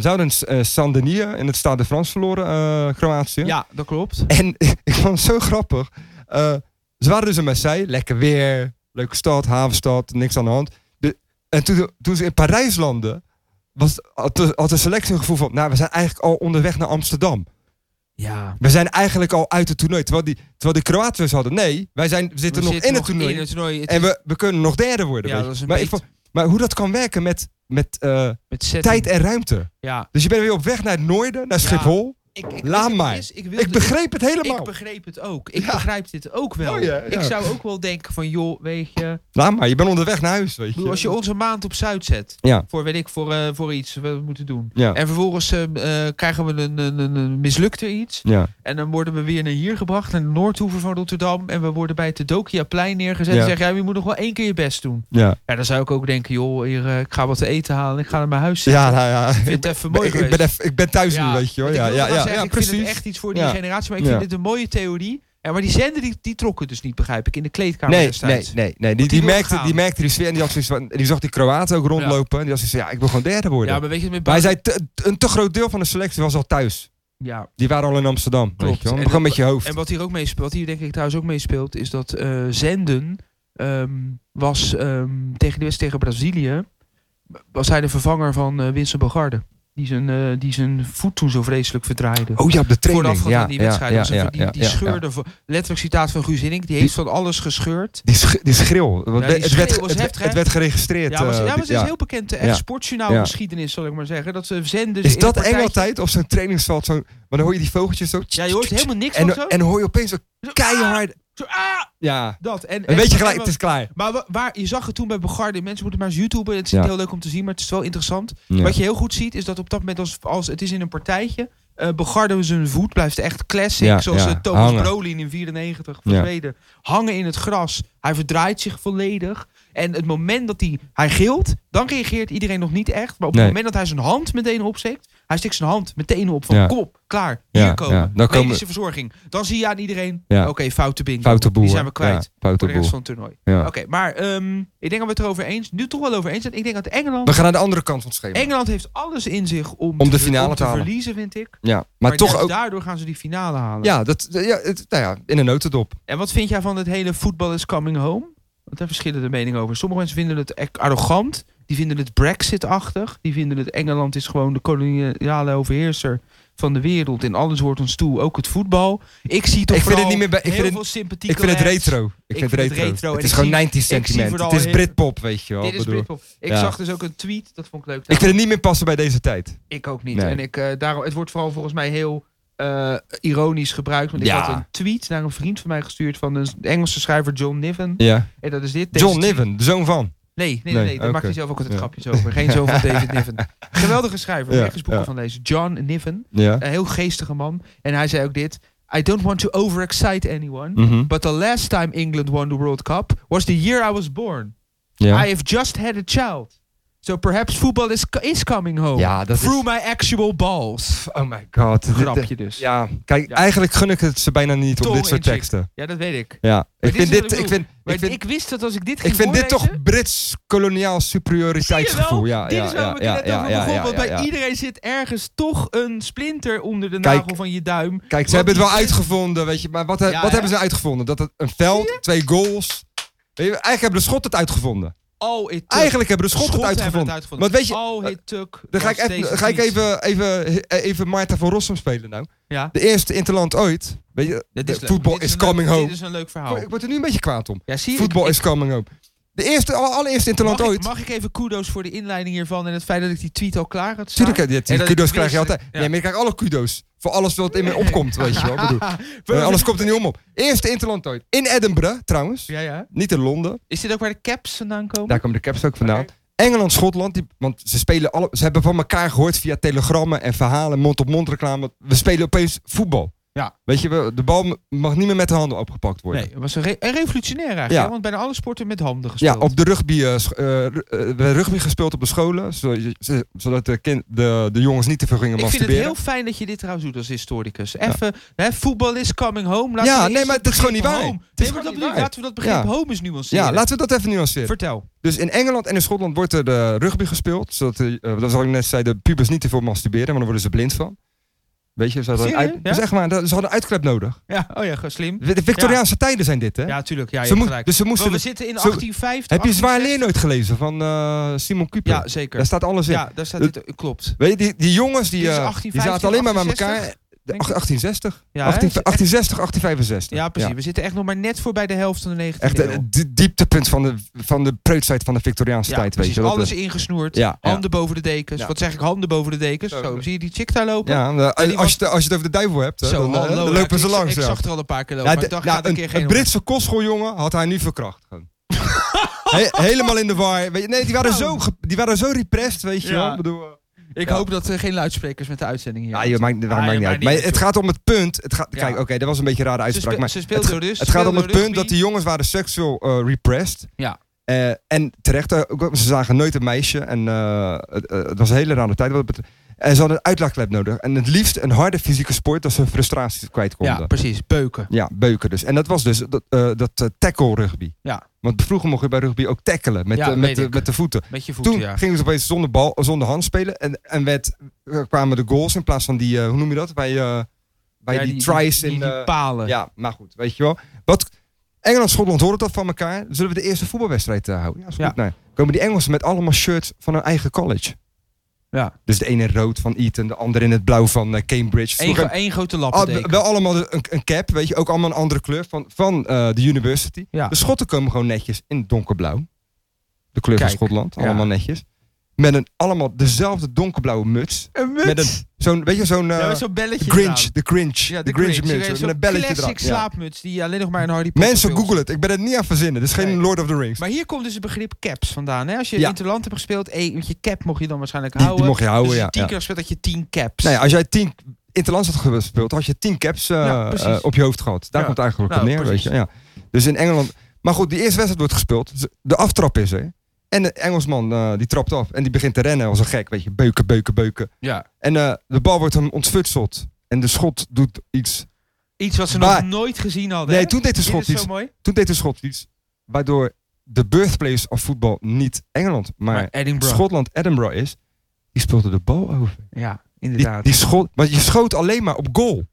Speaker 2: ze hadden een eh, Saint-Denis in het Stade de France verloren, eh, Kroatië.
Speaker 1: ja, dat klopt.
Speaker 2: En ik vond het zo grappig. Eh, ze waren dus in Marseille, lekker weer, leuke stad, havenstad, niks aan de hand. De, en toen, toen ze in Parijs landden, was, had, de, had de selectie een gevoel van, nou we zijn eigenlijk al onderweg naar Amsterdam.
Speaker 1: Ja.
Speaker 2: We zijn eigenlijk al uit het toernooi. Terwijl die, terwijl die Kroaten dus hadden, nee, wij zijn, we zitten
Speaker 1: We
Speaker 2: nog in het
Speaker 1: nog
Speaker 2: toernooi.
Speaker 1: in het toernooi. Het
Speaker 2: En
Speaker 1: is
Speaker 2: we, we kunnen nog derde worden.
Speaker 1: Ja,
Speaker 2: weet je.
Speaker 1: dat is een
Speaker 2: maar, ik
Speaker 1: beet.
Speaker 2: vond- maar hoe dat kan werken met, met eh,
Speaker 1: met setting.
Speaker 2: tijd en ruimte.
Speaker 1: Ja.
Speaker 2: Dus je bent weer op weg naar het noorden, naar
Speaker 1: Ja.
Speaker 2: Schiphol.
Speaker 1: Ik, ik,
Speaker 2: Laat
Speaker 1: ik-
Speaker 2: maar.
Speaker 1: is- Ik, wilde,
Speaker 2: Ik begreep het
Speaker 1: ik,
Speaker 2: helemaal.
Speaker 1: begreep het ook. Ik
Speaker 2: Ja.
Speaker 1: begrijp dit ook wel.
Speaker 2: Oh ja, ja.
Speaker 1: Ik zou ook wel denken van, joh, weet je...
Speaker 2: Laat Nou, maar, je bent onderweg naar huis, weet
Speaker 1: Ik
Speaker 2: je.
Speaker 1: bedoel, als je ons een maand op Zuid zet...
Speaker 2: Ja.
Speaker 1: Voor, weet ik, voor, eh, voor iets wat we moeten doen.
Speaker 2: Ja.
Speaker 1: En vervolgens eh, eh, krijgen we een, een, een, een mislukte iets.
Speaker 2: Ja.
Speaker 1: En dan worden we weer naar hier gebracht, naar de Noordhoever van Rotterdam. En we worden bij het Tedokiaplein neergezet.
Speaker 2: Ja.
Speaker 1: En zeggen, ja, je moet nog wel één keer je best doen.
Speaker 2: Ja.
Speaker 1: Ja, dan zou ik ook denken, joh, hier, eh, ik ga wat te eten halen. Ik ga naar mijn huis zitten.
Speaker 2: Ja, nou ja.
Speaker 1: Ik
Speaker 2: Ik,
Speaker 1: vind het even
Speaker 2: ben-
Speaker 1: mooi
Speaker 2: ik,
Speaker 1: geweest.
Speaker 2: ben, even- ik ben thuis
Speaker 1: Ja,
Speaker 2: nu, weet je hoor.
Speaker 1: want ik wilde
Speaker 2: Ja, ja,
Speaker 1: gaan
Speaker 2: ja,
Speaker 1: zeggen,
Speaker 2: ja,
Speaker 1: ik vind het
Speaker 2: precies.
Speaker 1: echt iets voor die
Speaker 2: Ja.
Speaker 1: generatie. Maar ik
Speaker 2: Ja.
Speaker 1: vind het een mooie theorie. En maar die zender die, die trok het dus niet, begrijp ik, in de kleedkamer
Speaker 2: Nee, nee,
Speaker 1: destijds.
Speaker 2: nee, nee. Die,
Speaker 1: die
Speaker 2: die,
Speaker 1: wil
Speaker 2: merkte,
Speaker 1: gaan.
Speaker 2: die merkte die sfeer en die, had zoiets van, die zag die Kroaten ook rondlopen. En die had zoiets van, ja, ik wil gewoon derde worden.
Speaker 1: Ja, maar weet je, met
Speaker 2: maar hij
Speaker 1: Boudewijn-
Speaker 2: zei, te- een te groot deel van de selectie was al thuis.
Speaker 1: Ja,
Speaker 2: Die waren al in Amsterdam,
Speaker 1: Klopt.
Speaker 2: weet je
Speaker 1: En
Speaker 2: wel. Gewoon
Speaker 1: dat-
Speaker 2: met je hoofd.
Speaker 1: en wat hier ook meespeelt, wat hier denk ik trouwens ook meespeelt, is dat eh, zenden ehm, was ehm, tegen de wedstrijd tegen Brazilië, was hij de vervanger van eh Winston Bogarde. Die zijn, eh, die zijn voet toen zo vreselijk verdraaide.
Speaker 2: Oh ja, op de training.
Speaker 1: Voorafgaand
Speaker 2: ja,
Speaker 1: aan die
Speaker 2: ja,
Speaker 1: wedstrijd.
Speaker 2: ja,
Speaker 1: was het-
Speaker 2: ja,
Speaker 1: die,
Speaker 2: ja,
Speaker 1: die
Speaker 2: ja, ja.
Speaker 1: scheurde, voor- letterlijk citaat van Guus Hiddink, die heeft van alles gescheurd.
Speaker 2: Die, sch die schreeuw. Want
Speaker 1: Ja, die
Speaker 2: het,
Speaker 1: schreeuw
Speaker 2: werd,
Speaker 1: was
Speaker 2: het,
Speaker 1: heftig, hè?
Speaker 2: het werd geregistreerd.
Speaker 1: Ja, maar, ze- ja,
Speaker 2: eh,
Speaker 1: maar
Speaker 2: dit-
Speaker 1: ze is heel bekend. De
Speaker 2: Ja.
Speaker 1: sportjournaal
Speaker 2: Ja.
Speaker 1: geschiedenis, zal ik maar zeggen. Dat ze zenden.
Speaker 2: is dat eng altijd op zo'n trainingsveld? Zo, maar dan hoor je die vogeltjes zo.
Speaker 1: Ja, je hoort helemaal niks van
Speaker 2: en,
Speaker 1: zo.
Speaker 2: en dan hoor je opeens zo keihard
Speaker 1: Zo, ah,
Speaker 2: Ja.
Speaker 1: dat. En,
Speaker 2: Een beetje
Speaker 1: en-
Speaker 2: gelijk, het is klaar.
Speaker 1: Maar wa- waar, je zag het toen bij Bogarde. Mensen moeten maar eens YouTuben. Het is
Speaker 2: Ja.
Speaker 1: niet heel leuk om te zien, maar het is wel interessant.
Speaker 2: Ja.
Speaker 1: Wat je heel goed ziet, is dat op dat moment, als, als het is in een partijtje... eh Bogarde zijn voet blijft echt classic.
Speaker 2: Ja,
Speaker 1: zoals
Speaker 2: ja,
Speaker 1: eh, Thomas
Speaker 2: hangen.
Speaker 1: Brolin in 94 van
Speaker 2: Ja.
Speaker 1: Zweden. Hangen in het gras. Hij verdraait zich volledig. En het moment dat hij, hij gilt, dan reageert iedereen nog niet echt. Maar op
Speaker 2: Nee.
Speaker 1: het moment dat hij zijn hand meteen opsteekt... Hij steekt zijn hand meteen op van
Speaker 2: Ja.
Speaker 1: kom op, klaar,
Speaker 2: Ja,
Speaker 1: hier komen.
Speaker 2: ja. Dan komen-
Speaker 1: Medische verzorging. Dan zie je aan iedereen,
Speaker 2: Ja.
Speaker 1: oké, foute bingo.
Speaker 2: Foute boer.
Speaker 1: Die zijn we kwijt
Speaker 2: Ja, foute
Speaker 1: voor de rest
Speaker 2: boer.
Speaker 1: van het toernooi.
Speaker 2: Ja.
Speaker 1: Oké, maar ehm, ik denk dat we het erover eens, nu toch wel over eens zijn. Ik denk dat Engeland,
Speaker 2: We gaan naar de andere kant van het schema.
Speaker 1: Engeland heeft alles in zich om,
Speaker 2: de finale
Speaker 1: om
Speaker 2: te halen.
Speaker 1: verliezen, vind ik. Maar,
Speaker 2: Ja, maar, toch
Speaker 1: juist
Speaker 2: ook.
Speaker 1: daardoor gaan ze die finale halen.
Speaker 2: Ja, dat, ja, het- nou ja, in een notendop.
Speaker 1: En wat vind jij van het hele voetbal is coming home? Want daar verschillen de meningen over. Sommige mensen vinden het echt arrogant. Die vinden het Brexit-achtig. Die vinden het Engeland is gewoon de koloniale overheerser van de wereld. En alles wordt ons toe, ook het voetbal. Ik zie toch
Speaker 2: Ik vind het
Speaker 1: vooral
Speaker 2: niet meer bij- ik
Speaker 1: heel
Speaker 2: vind het-
Speaker 1: veel sympathie.
Speaker 2: Ik vind het retro. Ik vind het retro.
Speaker 1: retro.
Speaker 2: Het
Speaker 1: En
Speaker 2: is
Speaker 1: ik
Speaker 2: gewoon
Speaker 1: zie-
Speaker 2: 90
Speaker 1: zie
Speaker 2: sentiment.
Speaker 1: vooral
Speaker 2: Het is
Speaker 1: heel-
Speaker 2: Britpop, weet je wel.
Speaker 1: Dit is
Speaker 2: bedoel.
Speaker 1: Britpop. Ik
Speaker 2: Ja.
Speaker 1: zag dus ook een tweet, dat vond ik leuk.
Speaker 2: Ik vind het niet meer passen bij deze tijd.
Speaker 1: Ik ook niet.
Speaker 2: Nee.
Speaker 1: En ik, eh, daarom, het wordt vooral volgens mij heel eh, ironisch gebruikt. Want ik
Speaker 2: Ja.
Speaker 1: had een tweet naar een vriend van mij gestuurd van een Engelse schrijver John Niven.
Speaker 2: Ja.
Speaker 1: En dat is dit. Deze
Speaker 2: John
Speaker 1: tweet-
Speaker 2: Niven, de zoon van.
Speaker 1: Nee, nee, nee.
Speaker 2: Nee,
Speaker 1: nee, daar
Speaker 2: oké.
Speaker 1: maakt hij zelf ook altijd
Speaker 2: Ja.
Speaker 1: grapjes over. Geen zoon van David Niven. Geweldige schrijver.
Speaker 2: Ja,
Speaker 1: Nergens boeken
Speaker 2: ja.
Speaker 1: van lezen. John Niven.
Speaker 2: Ja.
Speaker 1: Een heel geestige man. En hij zei ook dit. I don't want to overexcite anyone.
Speaker 2: Mhm.
Speaker 1: But the last time England won the World Cup was the year I was born. I
Speaker 2: ja.
Speaker 1: have just had a child. So perhaps football is, is coming home.
Speaker 2: Ja, dat is-
Speaker 1: Through my actual balls.
Speaker 2: Oh my god. Dit- eh,
Speaker 1: Grapje dus. Ja,
Speaker 2: Ja, kijk,
Speaker 1: Ja.
Speaker 2: eigenlijk gun ik het ze bijna niet op
Speaker 1: Tong
Speaker 2: dit soort
Speaker 1: in cheek.
Speaker 2: teksten.
Speaker 1: dat weet ik.
Speaker 2: Ja. Ik
Speaker 1: dit is
Speaker 2: vind
Speaker 1: wat
Speaker 2: dit,
Speaker 1: ik
Speaker 2: ik
Speaker 1: bedoel.
Speaker 2: vind,
Speaker 1: Maar
Speaker 2: ik
Speaker 1: ik,
Speaker 2: vind,
Speaker 1: wist dat als ik dit ging
Speaker 2: ik vind dit
Speaker 1: voorlezen-
Speaker 2: toch Brits koloniaal superioriteitsgevoel. Ja,
Speaker 1: Dit
Speaker 2: ja,
Speaker 1: is waarom
Speaker 2: ja,
Speaker 1: ik
Speaker 2: ja,
Speaker 1: het net
Speaker 2: ja,
Speaker 1: over
Speaker 2: ja,
Speaker 1: begon.
Speaker 2: ja,
Speaker 1: Want
Speaker 2: ja,
Speaker 1: bij
Speaker 2: ja.
Speaker 1: iedereen zit ergens toch een splinter onder de
Speaker 2: Kijk.
Speaker 1: nagel van je duim.
Speaker 2: Kijk, ze
Speaker 1: Want
Speaker 2: hebben het wel
Speaker 1: die-
Speaker 2: uitgevonden, weet je. Maar wat, he-
Speaker 1: Ja,
Speaker 2: wat
Speaker 1: hè?
Speaker 2: hebben ze uitgevonden? Dat het een veld, twee goals. Weet je, eigenlijk hebben de Schotten het uitgevonden.
Speaker 1: Al Oh, it took.
Speaker 2: Eigenlijk hebben de Schotten het
Speaker 1: Schotten hebben
Speaker 2: uitgevonden. Want weet je,
Speaker 1: All Oh, it took.
Speaker 2: dan ga ik,
Speaker 1: was deze
Speaker 2: even, ga ik
Speaker 1: tweet.
Speaker 2: even, even, even Maarten van Rossum spelen nou.
Speaker 1: Ja.
Speaker 2: De eerste Interland ooit. Weet je,
Speaker 1: Dit
Speaker 2: de
Speaker 1: leuk.
Speaker 2: voetbal
Speaker 1: Dit
Speaker 2: is
Speaker 1: een leuk-
Speaker 2: coming home.
Speaker 1: Dit is een leuk verhaal.
Speaker 2: Ik word er nu een beetje kwaad om.
Speaker 1: Ja, zie je,
Speaker 2: Voetbal
Speaker 1: ik-
Speaker 2: is coming home. De eerste, alle- allereerste Interland
Speaker 1: mag
Speaker 2: ooit.
Speaker 1: Ik, mag ik even kudo's voor de inleiding hiervan en het feit dat ik die tweet al klaar had staan?
Speaker 2: Tuurlijk, ja, die- die
Speaker 1: En dat ik
Speaker 2: kudo's
Speaker 1: wist
Speaker 2: krijg je
Speaker 1: dat-
Speaker 2: altijd.
Speaker 1: ja.
Speaker 2: Nee, maar je krijgt alle kudo's. Voor alles wat in me opkomt, weet je wel. Ik
Speaker 1: Ah,
Speaker 2: Bedoel, eh,
Speaker 1: Wel-
Speaker 2: alles komt er niet om op. Eerste Interland ooit. In Edinburgh, trouwens.
Speaker 1: Ja, ja.
Speaker 2: Niet in Londen.
Speaker 1: Is dit ook waar de caps vandaan komen?
Speaker 2: Daar komen de caps ook vandaan. Engeland, Schotland, die, want ze spelen alle, ze hebben van elkaar gehoord via telegrammen en verhalen, mond-op-mond reclame. We spelen opeens voetbal.
Speaker 1: Ja.
Speaker 2: Weet je, we- de bal mag niet meer met de handen opgepakt worden.
Speaker 1: nee, het was een, re- een revolutionair eigenlijk.
Speaker 2: Ja.
Speaker 1: hè, Want bijna alle sporten met handen gespeeld.
Speaker 2: Ja, op de rugby, eh, sch- eh, ru- eh, we hebben rugby gespeeld op de scholen, zo- ze- zodat de, kind, de, de jongens niet te veel gingen
Speaker 1: Ik vind het
Speaker 2: masturberen.
Speaker 1: heel fijn dat je dit trouwens doet als historicus. Even, hè, voetbal is coming home. Laten
Speaker 2: Ja,
Speaker 1: we
Speaker 2: nee,
Speaker 1: eerst
Speaker 2: maar
Speaker 1: dat
Speaker 2: dat is gewoon
Speaker 1: begrip
Speaker 2: niet waar.
Speaker 1: home-
Speaker 2: Het is
Speaker 1: Nee, maar
Speaker 2: gewoon
Speaker 1: dat
Speaker 2: niet
Speaker 1: bedoel ik.
Speaker 2: waar.
Speaker 1: Laten we dat begrip
Speaker 2: Ja.
Speaker 1: home eens nuanceren.
Speaker 2: ja, laten we dat even nuanceren.
Speaker 1: Vertel.
Speaker 2: Dus in Engeland en in Schotland wordt er de rugby gespeeld, zodat, de, eh, dat zal ik net zei, de pubers niet te veel masturberen, maar dan worden ze blind van. Weet je, ze hadden, een
Speaker 1: Serieus?
Speaker 2: uit-
Speaker 1: Ja?
Speaker 2: zeg maar, ze hadden een uitklep nodig.
Speaker 1: Ja, oh ja, ge- slim.
Speaker 2: De de Victoriaanse tijden zijn dit, hè?
Speaker 1: Ja, tuurlijk. Ja, je
Speaker 2: ze
Speaker 1: hebt
Speaker 2: moe-
Speaker 1: gelijk.
Speaker 2: dus ze moesten...
Speaker 1: Want we zitten in
Speaker 2: zo-
Speaker 1: 1850.
Speaker 2: heb je Zwaar
Speaker 1: 1860.
Speaker 2: Leernoot gelezen van eh, Simon Kuper?
Speaker 1: Ja, zeker.
Speaker 2: daar staat alles in.
Speaker 1: Ja, daar staat dit. Klopt.
Speaker 2: Weet je, die, die jongens die,
Speaker 1: Dit is
Speaker 2: eh,
Speaker 1: 1815,
Speaker 2: die zaten alleen maar met
Speaker 1: 1860,
Speaker 2: elkaar... De ach- 1860.
Speaker 1: Ja, hè?
Speaker 2: 18 1860, 1865.
Speaker 1: Ja, precies. We zitten echt nog maar net voorbij de helft van de 19e
Speaker 2: Echt
Speaker 1: eeuw.
Speaker 2: eh, het dieptepunt van de, van de preutsheid van de Victoriaanse
Speaker 1: ja,
Speaker 2: tijd,
Speaker 1: precies.
Speaker 2: weet je. Dat,
Speaker 1: Alles
Speaker 2: eh,
Speaker 1: ingesnoerd.
Speaker 2: ja, ja.
Speaker 1: Handen boven de dekens.
Speaker 2: Ja.
Speaker 1: Wat zeg ik? Handen boven de dekens.
Speaker 2: Zo.
Speaker 1: Zo, zie je die chick daar lopen?
Speaker 2: Ja, eh,
Speaker 1: En die
Speaker 2: als, je, het- als je het over de duivel hebt, hè,
Speaker 1: Zo,
Speaker 2: dan, eh,
Speaker 1: hallo,
Speaker 2: dan
Speaker 1: ja,
Speaker 2: lopen
Speaker 1: ik
Speaker 2: ze
Speaker 1: zag-
Speaker 2: langs.
Speaker 1: Ik
Speaker 2: ja.
Speaker 1: zag er al een paar keer
Speaker 2: Ja,
Speaker 1: lopen. maar
Speaker 2: de-
Speaker 1: ik dacht,
Speaker 2: nou,
Speaker 1: gaat een keer
Speaker 2: een, een
Speaker 1: geen
Speaker 2: Britse kostschooljongen had hij nu verkracht. gewoon. He- helemaal in de war. Weet je, nee, die waren,
Speaker 1: Nou.
Speaker 2: zo, ge- die waren zo repressed, weet je
Speaker 1: Ja.
Speaker 2: wel. Ik bedoel, eh,
Speaker 1: om. Ik
Speaker 2: Ja.
Speaker 1: hoop dat er geen luidsprekers met de uitzending hier
Speaker 2: Ja, joh, maakt, dat
Speaker 1: Ah,
Speaker 2: maakt
Speaker 1: ja,
Speaker 2: niet uit.
Speaker 1: maakt
Speaker 2: Maar
Speaker 1: niet uit,
Speaker 2: het gaat om het punt. Het gaat,
Speaker 1: Ja.
Speaker 2: Kijk, oké, dat was een beetje een rare
Speaker 1: Ze,
Speaker 2: uitspraak.
Speaker 1: spe-
Speaker 2: maar
Speaker 1: ze speelde
Speaker 2: het,
Speaker 1: dus.
Speaker 2: het gaat om het
Speaker 1: speelde
Speaker 2: punt dat die
Speaker 1: rugby.
Speaker 2: jongens waren seksueel eh, repressed.
Speaker 1: Ja.
Speaker 2: Eh, en terecht, eh, ook, want ze zagen nooit een meisje. En eh, het, eh, het was een hele rare tijd. Wat het betreft. en ze hadden een uitlaatklep nodig. En het liefst een harde fysieke sport dat ze hun frustraties kwijt konden.
Speaker 1: Ja, precies. Beuken.
Speaker 2: Ja, beuken dus. En dat was dus dat, eh, dat eh, tackle rugby.
Speaker 1: Ja.
Speaker 2: Want vroeger mocht je bij rugby ook tackelen met,
Speaker 1: Ja,
Speaker 2: eh, met,
Speaker 1: weet
Speaker 2: de,
Speaker 1: ik.
Speaker 2: met de voeten.
Speaker 1: Met je voeten,
Speaker 2: Toen
Speaker 1: ja.
Speaker 2: gingen ze opeens zonder, bal, zonder hand spelen. En, en werd, er kwamen de goals in plaats van die, eh, hoe noem je dat? Bij, eh, bij
Speaker 1: Ja,
Speaker 2: die, tries
Speaker 1: die-
Speaker 2: in...
Speaker 1: die
Speaker 2: eh,
Speaker 1: palen.
Speaker 2: ja, maar goed, weet je wel. Wat, Engeland Schotland horen dat van elkaar. Zullen we de eerste voetbalwedstrijd eh, houden? Ja, is goed.
Speaker 1: Ja.
Speaker 2: Nou, komen die Engelsen met allemaal shirts van hun eigen college.
Speaker 1: Ja.
Speaker 2: Dus de ene in rood van Eton, de andere in het blauw van eh, Cambridge.
Speaker 1: Eén
Speaker 2: Vroeger-
Speaker 1: gro- één grote
Speaker 2: Ah,
Speaker 1: lappendeken.
Speaker 2: wel allemaal de- een, een cap, weet je. Ook allemaal een andere kleur van, van eh, de university.
Speaker 1: Ja.
Speaker 2: De schotten komen gewoon netjes in donkerblauw. De kleur
Speaker 1: Kijk,
Speaker 2: van Schotland,
Speaker 1: ja.
Speaker 2: allemaal netjes. Met een, allemaal dezelfde donkerblauwe muts.
Speaker 3: Een muts.
Speaker 2: Met een, zo'n, weet je, zo'n eh,
Speaker 3: ja, met zo'n belletje
Speaker 2: Grinch.
Speaker 3: eraan.
Speaker 2: De Grinch.
Speaker 3: Ja,
Speaker 2: de, Grinch, muts.
Speaker 3: Zo'n
Speaker 2: Met een belletje
Speaker 3: classic
Speaker 2: eraan. Ja.
Speaker 3: slaapmuts die alleen nog maar in Harry Potter
Speaker 2: Mensen,
Speaker 3: films-
Speaker 2: google het. Ik ben het niet aan het verzinnen. Dit is geen
Speaker 3: Nee.
Speaker 2: Lord of the Rings.
Speaker 3: Maar hier komt dus het begrip caps vandaan. Hè? Als je
Speaker 2: Ja.
Speaker 3: Interland hebt gespeeld, eh, met je cap mocht je dan waarschijnlijk
Speaker 2: Die,
Speaker 3: houden.
Speaker 2: die mocht je houden,
Speaker 3: dus
Speaker 2: ja.
Speaker 3: je tien
Speaker 2: ja.
Speaker 3: keer gespeeld had je tien caps.
Speaker 2: Nou ja, als jij tien Interlands had gespeeld, had je tien caps eh,
Speaker 3: Ja, precies.
Speaker 2: eh, op je hoofd gehad. Daar
Speaker 3: Ja.
Speaker 2: komt het eigenlijk op
Speaker 3: Nou,
Speaker 2: neer,
Speaker 3: precies.
Speaker 2: weet je. Ja. Dus in Engeland... Maar goed, die eerste wedstrijd wordt gespeeld. Z- De aftrap is er. En de Engelsman eh, die trapt af en die begint te rennen als een gek, weet je. Beuken, beuken, beuken.
Speaker 1: Ja.
Speaker 2: En eh, de bal wordt hem ontfutseld. En de schot doet iets.
Speaker 3: Iets wat ze
Speaker 2: Maar-
Speaker 3: nog nooit gezien hadden.
Speaker 2: Nee,
Speaker 3: hè?
Speaker 2: toen deed de
Speaker 3: Dit
Speaker 2: schot
Speaker 3: is zo
Speaker 2: iets.
Speaker 3: mooi.
Speaker 2: Toen deed de schot iets. Waardoor de birthplace of voetbal niet Engeland, maar,
Speaker 1: Maar Edinburgh.
Speaker 2: Schotland, Edinburgh is. Die speelde de bal over.
Speaker 1: Ja,
Speaker 2: Die,
Speaker 1: inderdaad.
Speaker 2: die schot, want je schoot alleen maar op goal.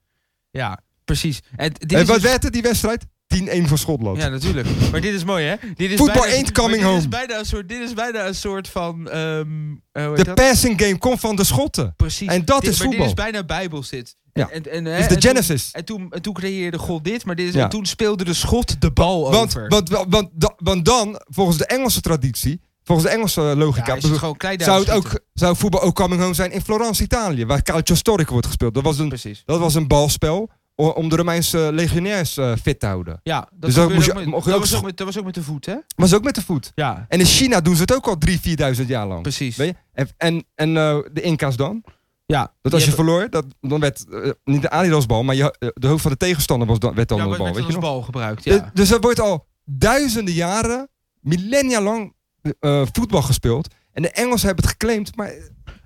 Speaker 1: ja, precies. En dit
Speaker 2: En
Speaker 1: is
Speaker 2: wat
Speaker 1: dus-
Speaker 2: werd het die wedstrijd? 10-1 voor Schotland.
Speaker 1: ja, natuurlijk. Maar dit is mooi, hè? Dit is
Speaker 2: Voetbal
Speaker 1: bijna-
Speaker 2: ain't
Speaker 1: maar
Speaker 2: coming
Speaker 1: dit
Speaker 2: home.
Speaker 1: Is bijna een soort, dit is bijna een soort van... ehm, eh, hoe heet
Speaker 2: de
Speaker 1: dat?
Speaker 2: passing game komt van de Schotten.
Speaker 1: Precies.
Speaker 2: en dat
Speaker 1: Dit-
Speaker 2: is
Speaker 1: maar
Speaker 2: voetbal.
Speaker 1: Dit is bijna bijbels dit.
Speaker 2: Ja.
Speaker 1: En, en, hè,
Speaker 2: Is
Speaker 1: en
Speaker 2: de
Speaker 1: toen-
Speaker 2: Genesis.
Speaker 1: En toen, en toen creëerde God dit, maar dit is,
Speaker 2: Ja.
Speaker 1: en toen speelde de schot de bal
Speaker 2: Want,
Speaker 1: over.
Speaker 2: want, want, da- want dan, volgens de Engelse traditie, volgens de Engelse
Speaker 1: ja,
Speaker 2: logica,
Speaker 1: is het
Speaker 2: bedoel-
Speaker 1: gewoon klein
Speaker 2: zou, het
Speaker 1: duimpje
Speaker 2: ook, zou voetbal ook coming home zijn in Florence, Italië, waar Calcio Storico wordt gespeeld. Dat was
Speaker 1: schieten.
Speaker 2: een,
Speaker 1: Precies.
Speaker 2: dat was een balspel o- om de Romeinse legionairs eh, fit te houden.
Speaker 1: Ja, dat,
Speaker 2: Dus dan
Speaker 1: gebeurde
Speaker 2: moest je-
Speaker 1: ook
Speaker 2: mocht
Speaker 1: met,
Speaker 2: je
Speaker 1: dat,
Speaker 2: ook
Speaker 1: was
Speaker 2: scho-
Speaker 1: ook met, dat was ook met de voet, hè?
Speaker 2: Maar ze ook met de voet.
Speaker 1: Ja,
Speaker 2: En in China doen ze het ook al 3.000, 4.000 jaar lang.
Speaker 1: precies.
Speaker 2: Weet je? En, en, en eh, de Inca's dan?
Speaker 1: Ja,
Speaker 2: Dat als je
Speaker 1: die hebben-
Speaker 2: verloor, dat, dan werd eh, niet de Adidas bal, maar je, eh, de hoofd van de tegenstander was dan, werd dan
Speaker 1: ja,
Speaker 2: de
Speaker 1: wordt
Speaker 2: bal.
Speaker 1: met
Speaker 2: Weet je
Speaker 1: als
Speaker 2: nog?
Speaker 1: bal gebruikt, ja.
Speaker 2: Eh, Dus er wordt al duizenden jaren, millennia lang eh, voetbal gespeeld. En de Engelsen hebben het geclaimd, maar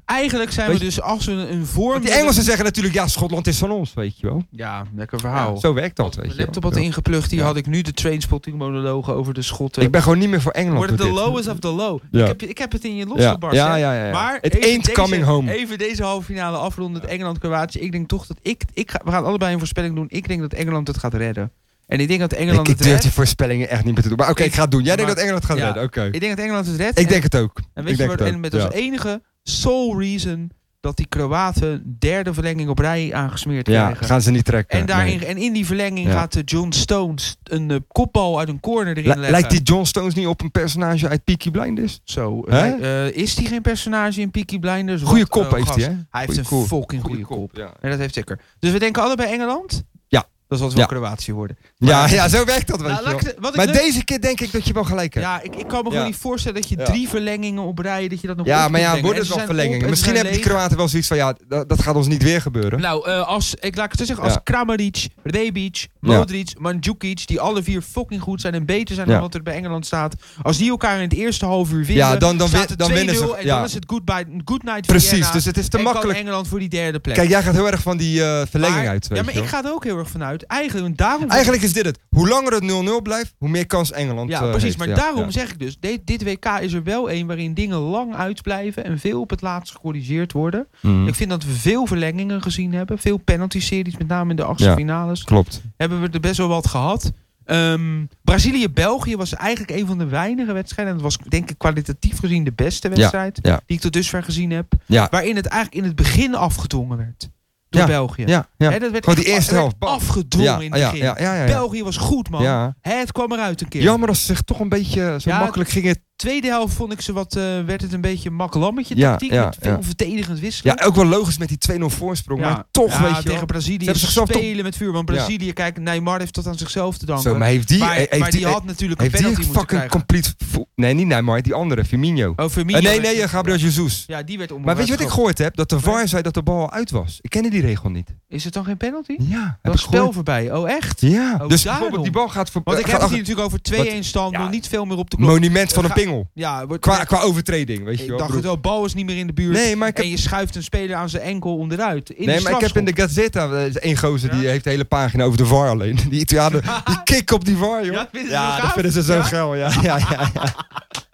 Speaker 1: Eigenlijk zijn we
Speaker 2: Weet je-
Speaker 1: dus als we een, een vorm...
Speaker 2: want die Engelsen zeggen natuurlijk, ja, Schotland is van ons, weet je wel.
Speaker 1: Ja, lekker verhaal.
Speaker 2: Zo werkt dat,
Speaker 1: Als ik
Speaker 2: weet
Speaker 1: mijn
Speaker 2: je wel.
Speaker 1: laptop had ingeplucht, die
Speaker 2: Ja.
Speaker 1: had ik nu de trainspotting monologen over de schotten.
Speaker 2: Ik ben gewoon niet meer voor Engeland.
Speaker 1: Wordt het
Speaker 2: door
Speaker 1: eh, de
Speaker 2: dit.
Speaker 1: lowest of the low?
Speaker 2: Ja.
Speaker 1: Ik, heb, je- ik heb het in je
Speaker 2: ja.
Speaker 1: losgebarst.
Speaker 2: Ja,
Speaker 1: hè?
Speaker 2: ja, ja, ja.
Speaker 1: Maar
Speaker 2: het
Speaker 1: even
Speaker 2: ain't
Speaker 1: deze-
Speaker 2: coming home.
Speaker 1: Even deze halve finale afronden. het Engeland-Kroatië. Ik denk toch dat ik, ik ga, we gaan allebei een voorspelling doen. Ik denk dat Engeland het gaat redden. En ik denk dat Engeland
Speaker 2: ik, ik
Speaker 1: het
Speaker 2: durf
Speaker 1: redt.
Speaker 2: die voorspellingen echt niet meer te doen. Maar oké,
Speaker 1: Ik-
Speaker 2: ik ga het doen. Jij denkt
Speaker 1: maar-
Speaker 2: dat Engeland gaat
Speaker 1: ja.
Speaker 2: redden, oké.
Speaker 1: Ik denk dat Engeland het redt.
Speaker 2: Ik denk het ook.
Speaker 1: en, en
Speaker 2: ik
Speaker 1: weet je
Speaker 2: denk
Speaker 1: wat,
Speaker 2: het ook,
Speaker 1: en met
Speaker 2: ja.
Speaker 1: als enige sole reason dat die Kroaten derde verlenging op rij aangesmeerd
Speaker 2: Ja,
Speaker 1: krijgen.
Speaker 2: gaan ze niet trekken.
Speaker 1: En, daarin,
Speaker 2: nee.
Speaker 1: en in die verlenging
Speaker 2: Ja.
Speaker 1: gaat eh, John Stones een eh, kopbal uit een corner erin
Speaker 2: Li-
Speaker 1: leggen.
Speaker 2: Lijkt die John Stones niet op een personage uit Peaky Blinders?
Speaker 1: Zo,
Speaker 2: Hè?
Speaker 1: hij- eh, is die geen personage in Peaky Blinders?
Speaker 2: Goeie
Speaker 1: Wat,
Speaker 2: kop
Speaker 1: eh,
Speaker 2: heeft
Speaker 1: gast.
Speaker 2: hij, hè?
Speaker 1: Hij heeft
Speaker 2: Goeie
Speaker 1: een
Speaker 2: kop.
Speaker 1: fucking goede
Speaker 2: Goeie
Speaker 1: kop.
Speaker 2: Ja.
Speaker 1: En dat heeft zeker. Dus we denken allebei Engeland?
Speaker 2: Ja.
Speaker 1: Dat zal het wel
Speaker 2: Ja.
Speaker 1: Kroatië worden.
Speaker 2: Ja,
Speaker 1: Maar-
Speaker 2: ja, zo werkt dat, weet
Speaker 1: Nou,
Speaker 2: je
Speaker 1: laat
Speaker 2: wel.
Speaker 1: ik de- wat ik
Speaker 2: Maar
Speaker 1: leuk-
Speaker 2: deze keer denk ik dat je wel gelijk hebt.
Speaker 1: Ja, ik, ik kan me
Speaker 2: Ja.
Speaker 1: gewoon niet voorstellen dat je
Speaker 2: Ja.
Speaker 1: drie verlengingen op rij, dat je dat nog
Speaker 2: Ja,
Speaker 1: op
Speaker 2: maar
Speaker 1: kunt
Speaker 2: ja,
Speaker 1: brengen.
Speaker 2: worden
Speaker 1: En
Speaker 2: het
Speaker 1: ze
Speaker 2: wel
Speaker 1: zijn
Speaker 2: verlengingen.
Speaker 1: op en ze
Speaker 2: Misschien
Speaker 1: zijn
Speaker 2: hebben die
Speaker 1: leeg.
Speaker 2: Kroaten wel zoiets van, ja, dat, dat gaat ons niet weer gebeuren.
Speaker 1: Nou, eh, als, ik laat ik het zo zeggen, als
Speaker 2: Ja.
Speaker 1: Kramaric, Rebic,
Speaker 2: Ja.
Speaker 1: Modric, Mandzukic, die alle vier fucking goed zijn en beter zijn
Speaker 2: Ja.
Speaker 1: dan wat er bij Engeland staat. Als die elkaar in het eerste half uur winnen,
Speaker 2: ja, dan, dan,
Speaker 1: staat
Speaker 2: win-
Speaker 1: het
Speaker 2: dan winnen
Speaker 1: 2-0
Speaker 2: ze.
Speaker 1: En
Speaker 2: Ja,
Speaker 1: dan is het goodbye, goodnight
Speaker 2: precies,
Speaker 1: Vienna.
Speaker 2: dus het is te
Speaker 1: en
Speaker 2: makkelijk.
Speaker 1: kan Engeland voor die derde plek.
Speaker 2: Kijk, jij gaat heel erg van die eh, verlenging
Speaker 1: Maar-
Speaker 2: uit. Weet
Speaker 1: ja,
Speaker 2: je
Speaker 1: maar
Speaker 2: wel.
Speaker 1: ik ga er ook heel erg vanuit. Eigenlijk, en daarom
Speaker 2: Eigenlijk is dit het. Hoe langer het 0-0 blijft, hoe meer kans Engeland
Speaker 1: Ja,
Speaker 2: eh,
Speaker 1: precies.
Speaker 2: heeft.
Speaker 1: maar
Speaker 2: Ja,
Speaker 1: daarom
Speaker 2: ja.
Speaker 1: zeg ik dus, dit, dit WK is er wel een waarin dingen lang uitblijven en veel op het laatst gecorrigeerd worden.
Speaker 2: Mhm.
Speaker 1: Ik vind dat we veel verlengingen gezien hebben, veel penalty-series, met name in de achtste
Speaker 2: Ja.
Speaker 1: finales.
Speaker 2: Klopt.
Speaker 1: Hebben we er best wel wat gehad. Ehm, Brazilië-België was eigenlijk een van de weinige wedstrijden. En het was denk ik kwalitatief gezien de beste wedstrijd
Speaker 2: ja.
Speaker 1: die ik tot dusver gezien heb.
Speaker 2: Ja.
Speaker 1: Waarin het eigenlijk in het begin afgedwongen werd door België.
Speaker 2: Ja, ja.
Speaker 1: Hè, dat werd
Speaker 2: Gewoon die
Speaker 1: echt-
Speaker 2: eerste
Speaker 1: werd
Speaker 2: helft, bam.
Speaker 1: Afgedwongen
Speaker 2: ja,
Speaker 1: in
Speaker 2: ja,
Speaker 1: het
Speaker 2: ja,
Speaker 1: begin.
Speaker 2: ja, ja, ja.
Speaker 1: België was goed, man.
Speaker 2: Ja.
Speaker 1: Hè, het kwam eruit een keer.
Speaker 2: Jammer dat ze zich toch een beetje zo
Speaker 1: Ja,
Speaker 2: makkelijk gingen.
Speaker 1: Tweede helft vond ik ze wat, eh, werd het een beetje maklammetje
Speaker 2: Ja,
Speaker 1: tactiek.
Speaker 2: ja,
Speaker 1: met veel
Speaker 2: ja.
Speaker 1: verdedigend wisselen.
Speaker 2: Ja, ook wel logisch met die 2-0 voorsprong. Maar toch,
Speaker 1: Ja,
Speaker 2: weet je
Speaker 1: tegen
Speaker 2: wel. Ze
Speaker 1: Brazilië
Speaker 2: hebben zichzelf toch-
Speaker 1: spelen met vuur. Want
Speaker 2: Ja.
Speaker 1: Brazilië, kijk, Neymar heeft dat aan zichzelf te danken.
Speaker 2: Zo, maar heeft die...
Speaker 1: maar,
Speaker 2: eh, heeft
Speaker 1: maar die,
Speaker 2: die,
Speaker 1: had natuurlijk een
Speaker 2: heeft die
Speaker 1: penalty
Speaker 2: een
Speaker 1: moeten
Speaker 2: fucking
Speaker 1: krijgen.
Speaker 2: complete... vo- Nee, niet Neymar, die andere, Firmino.
Speaker 1: Oh, Firmino
Speaker 2: Eh, nee,
Speaker 1: werd-
Speaker 2: nee, eh, Gabriel Jesus.
Speaker 1: Ja, die werd
Speaker 2: Maar
Speaker 1: onbereid
Speaker 2: weet je wat ik
Speaker 1: getrapt.
Speaker 2: gehoord heb? Dat de
Speaker 1: Nee.
Speaker 2: VAR zei dat de bal al uit was. Ik kende die regel niet.
Speaker 1: Is het dan geen penalty?
Speaker 2: Ja,
Speaker 1: Dat
Speaker 2: ik
Speaker 1: was spel
Speaker 2: gehoord.
Speaker 1: voorbij. Oh, echt?
Speaker 2: Ja,
Speaker 1: Oh,
Speaker 2: dus
Speaker 1: daarom.
Speaker 2: bijvoorbeeld die bal gaat... Voor,
Speaker 1: Want ik
Speaker 2: gaat
Speaker 1: heb het hier
Speaker 2: achter-
Speaker 1: natuurlijk over 2-1 stand.
Speaker 2: Ja.
Speaker 1: Nog niet veel meer op de klok.
Speaker 2: Monument van
Speaker 1: Het
Speaker 2: een
Speaker 1: gaat-
Speaker 2: pingel.
Speaker 1: Ja, wordt...
Speaker 2: Qua, qua overtreding, weet je
Speaker 1: ik
Speaker 2: wel.
Speaker 1: dacht het
Speaker 2: broer.
Speaker 1: wel. Bal is niet meer in de buurt.
Speaker 2: Nee, maar ik heb,
Speaker 1: En je schuift een speler aan zijn enkel onderuit. In
Speaker 2: nee,
Speaker 1: de
Speaker 2: maar ik heb in de Gazzetta eh, is één gozer die
Speaker 1: Ja.
Speaker 2: heeft de hele pagina over de VAR alleen. Die Italianen, die kick op die VAR, joh.
Speaker 1: Ja, vinden ze zo
Speaker 2: dat
Speaker 1: gaaf?
Speaker 2: vinden ze zo
Speaker 1: Ja.
Speaker 2: geil, ja. ja, ja, ja.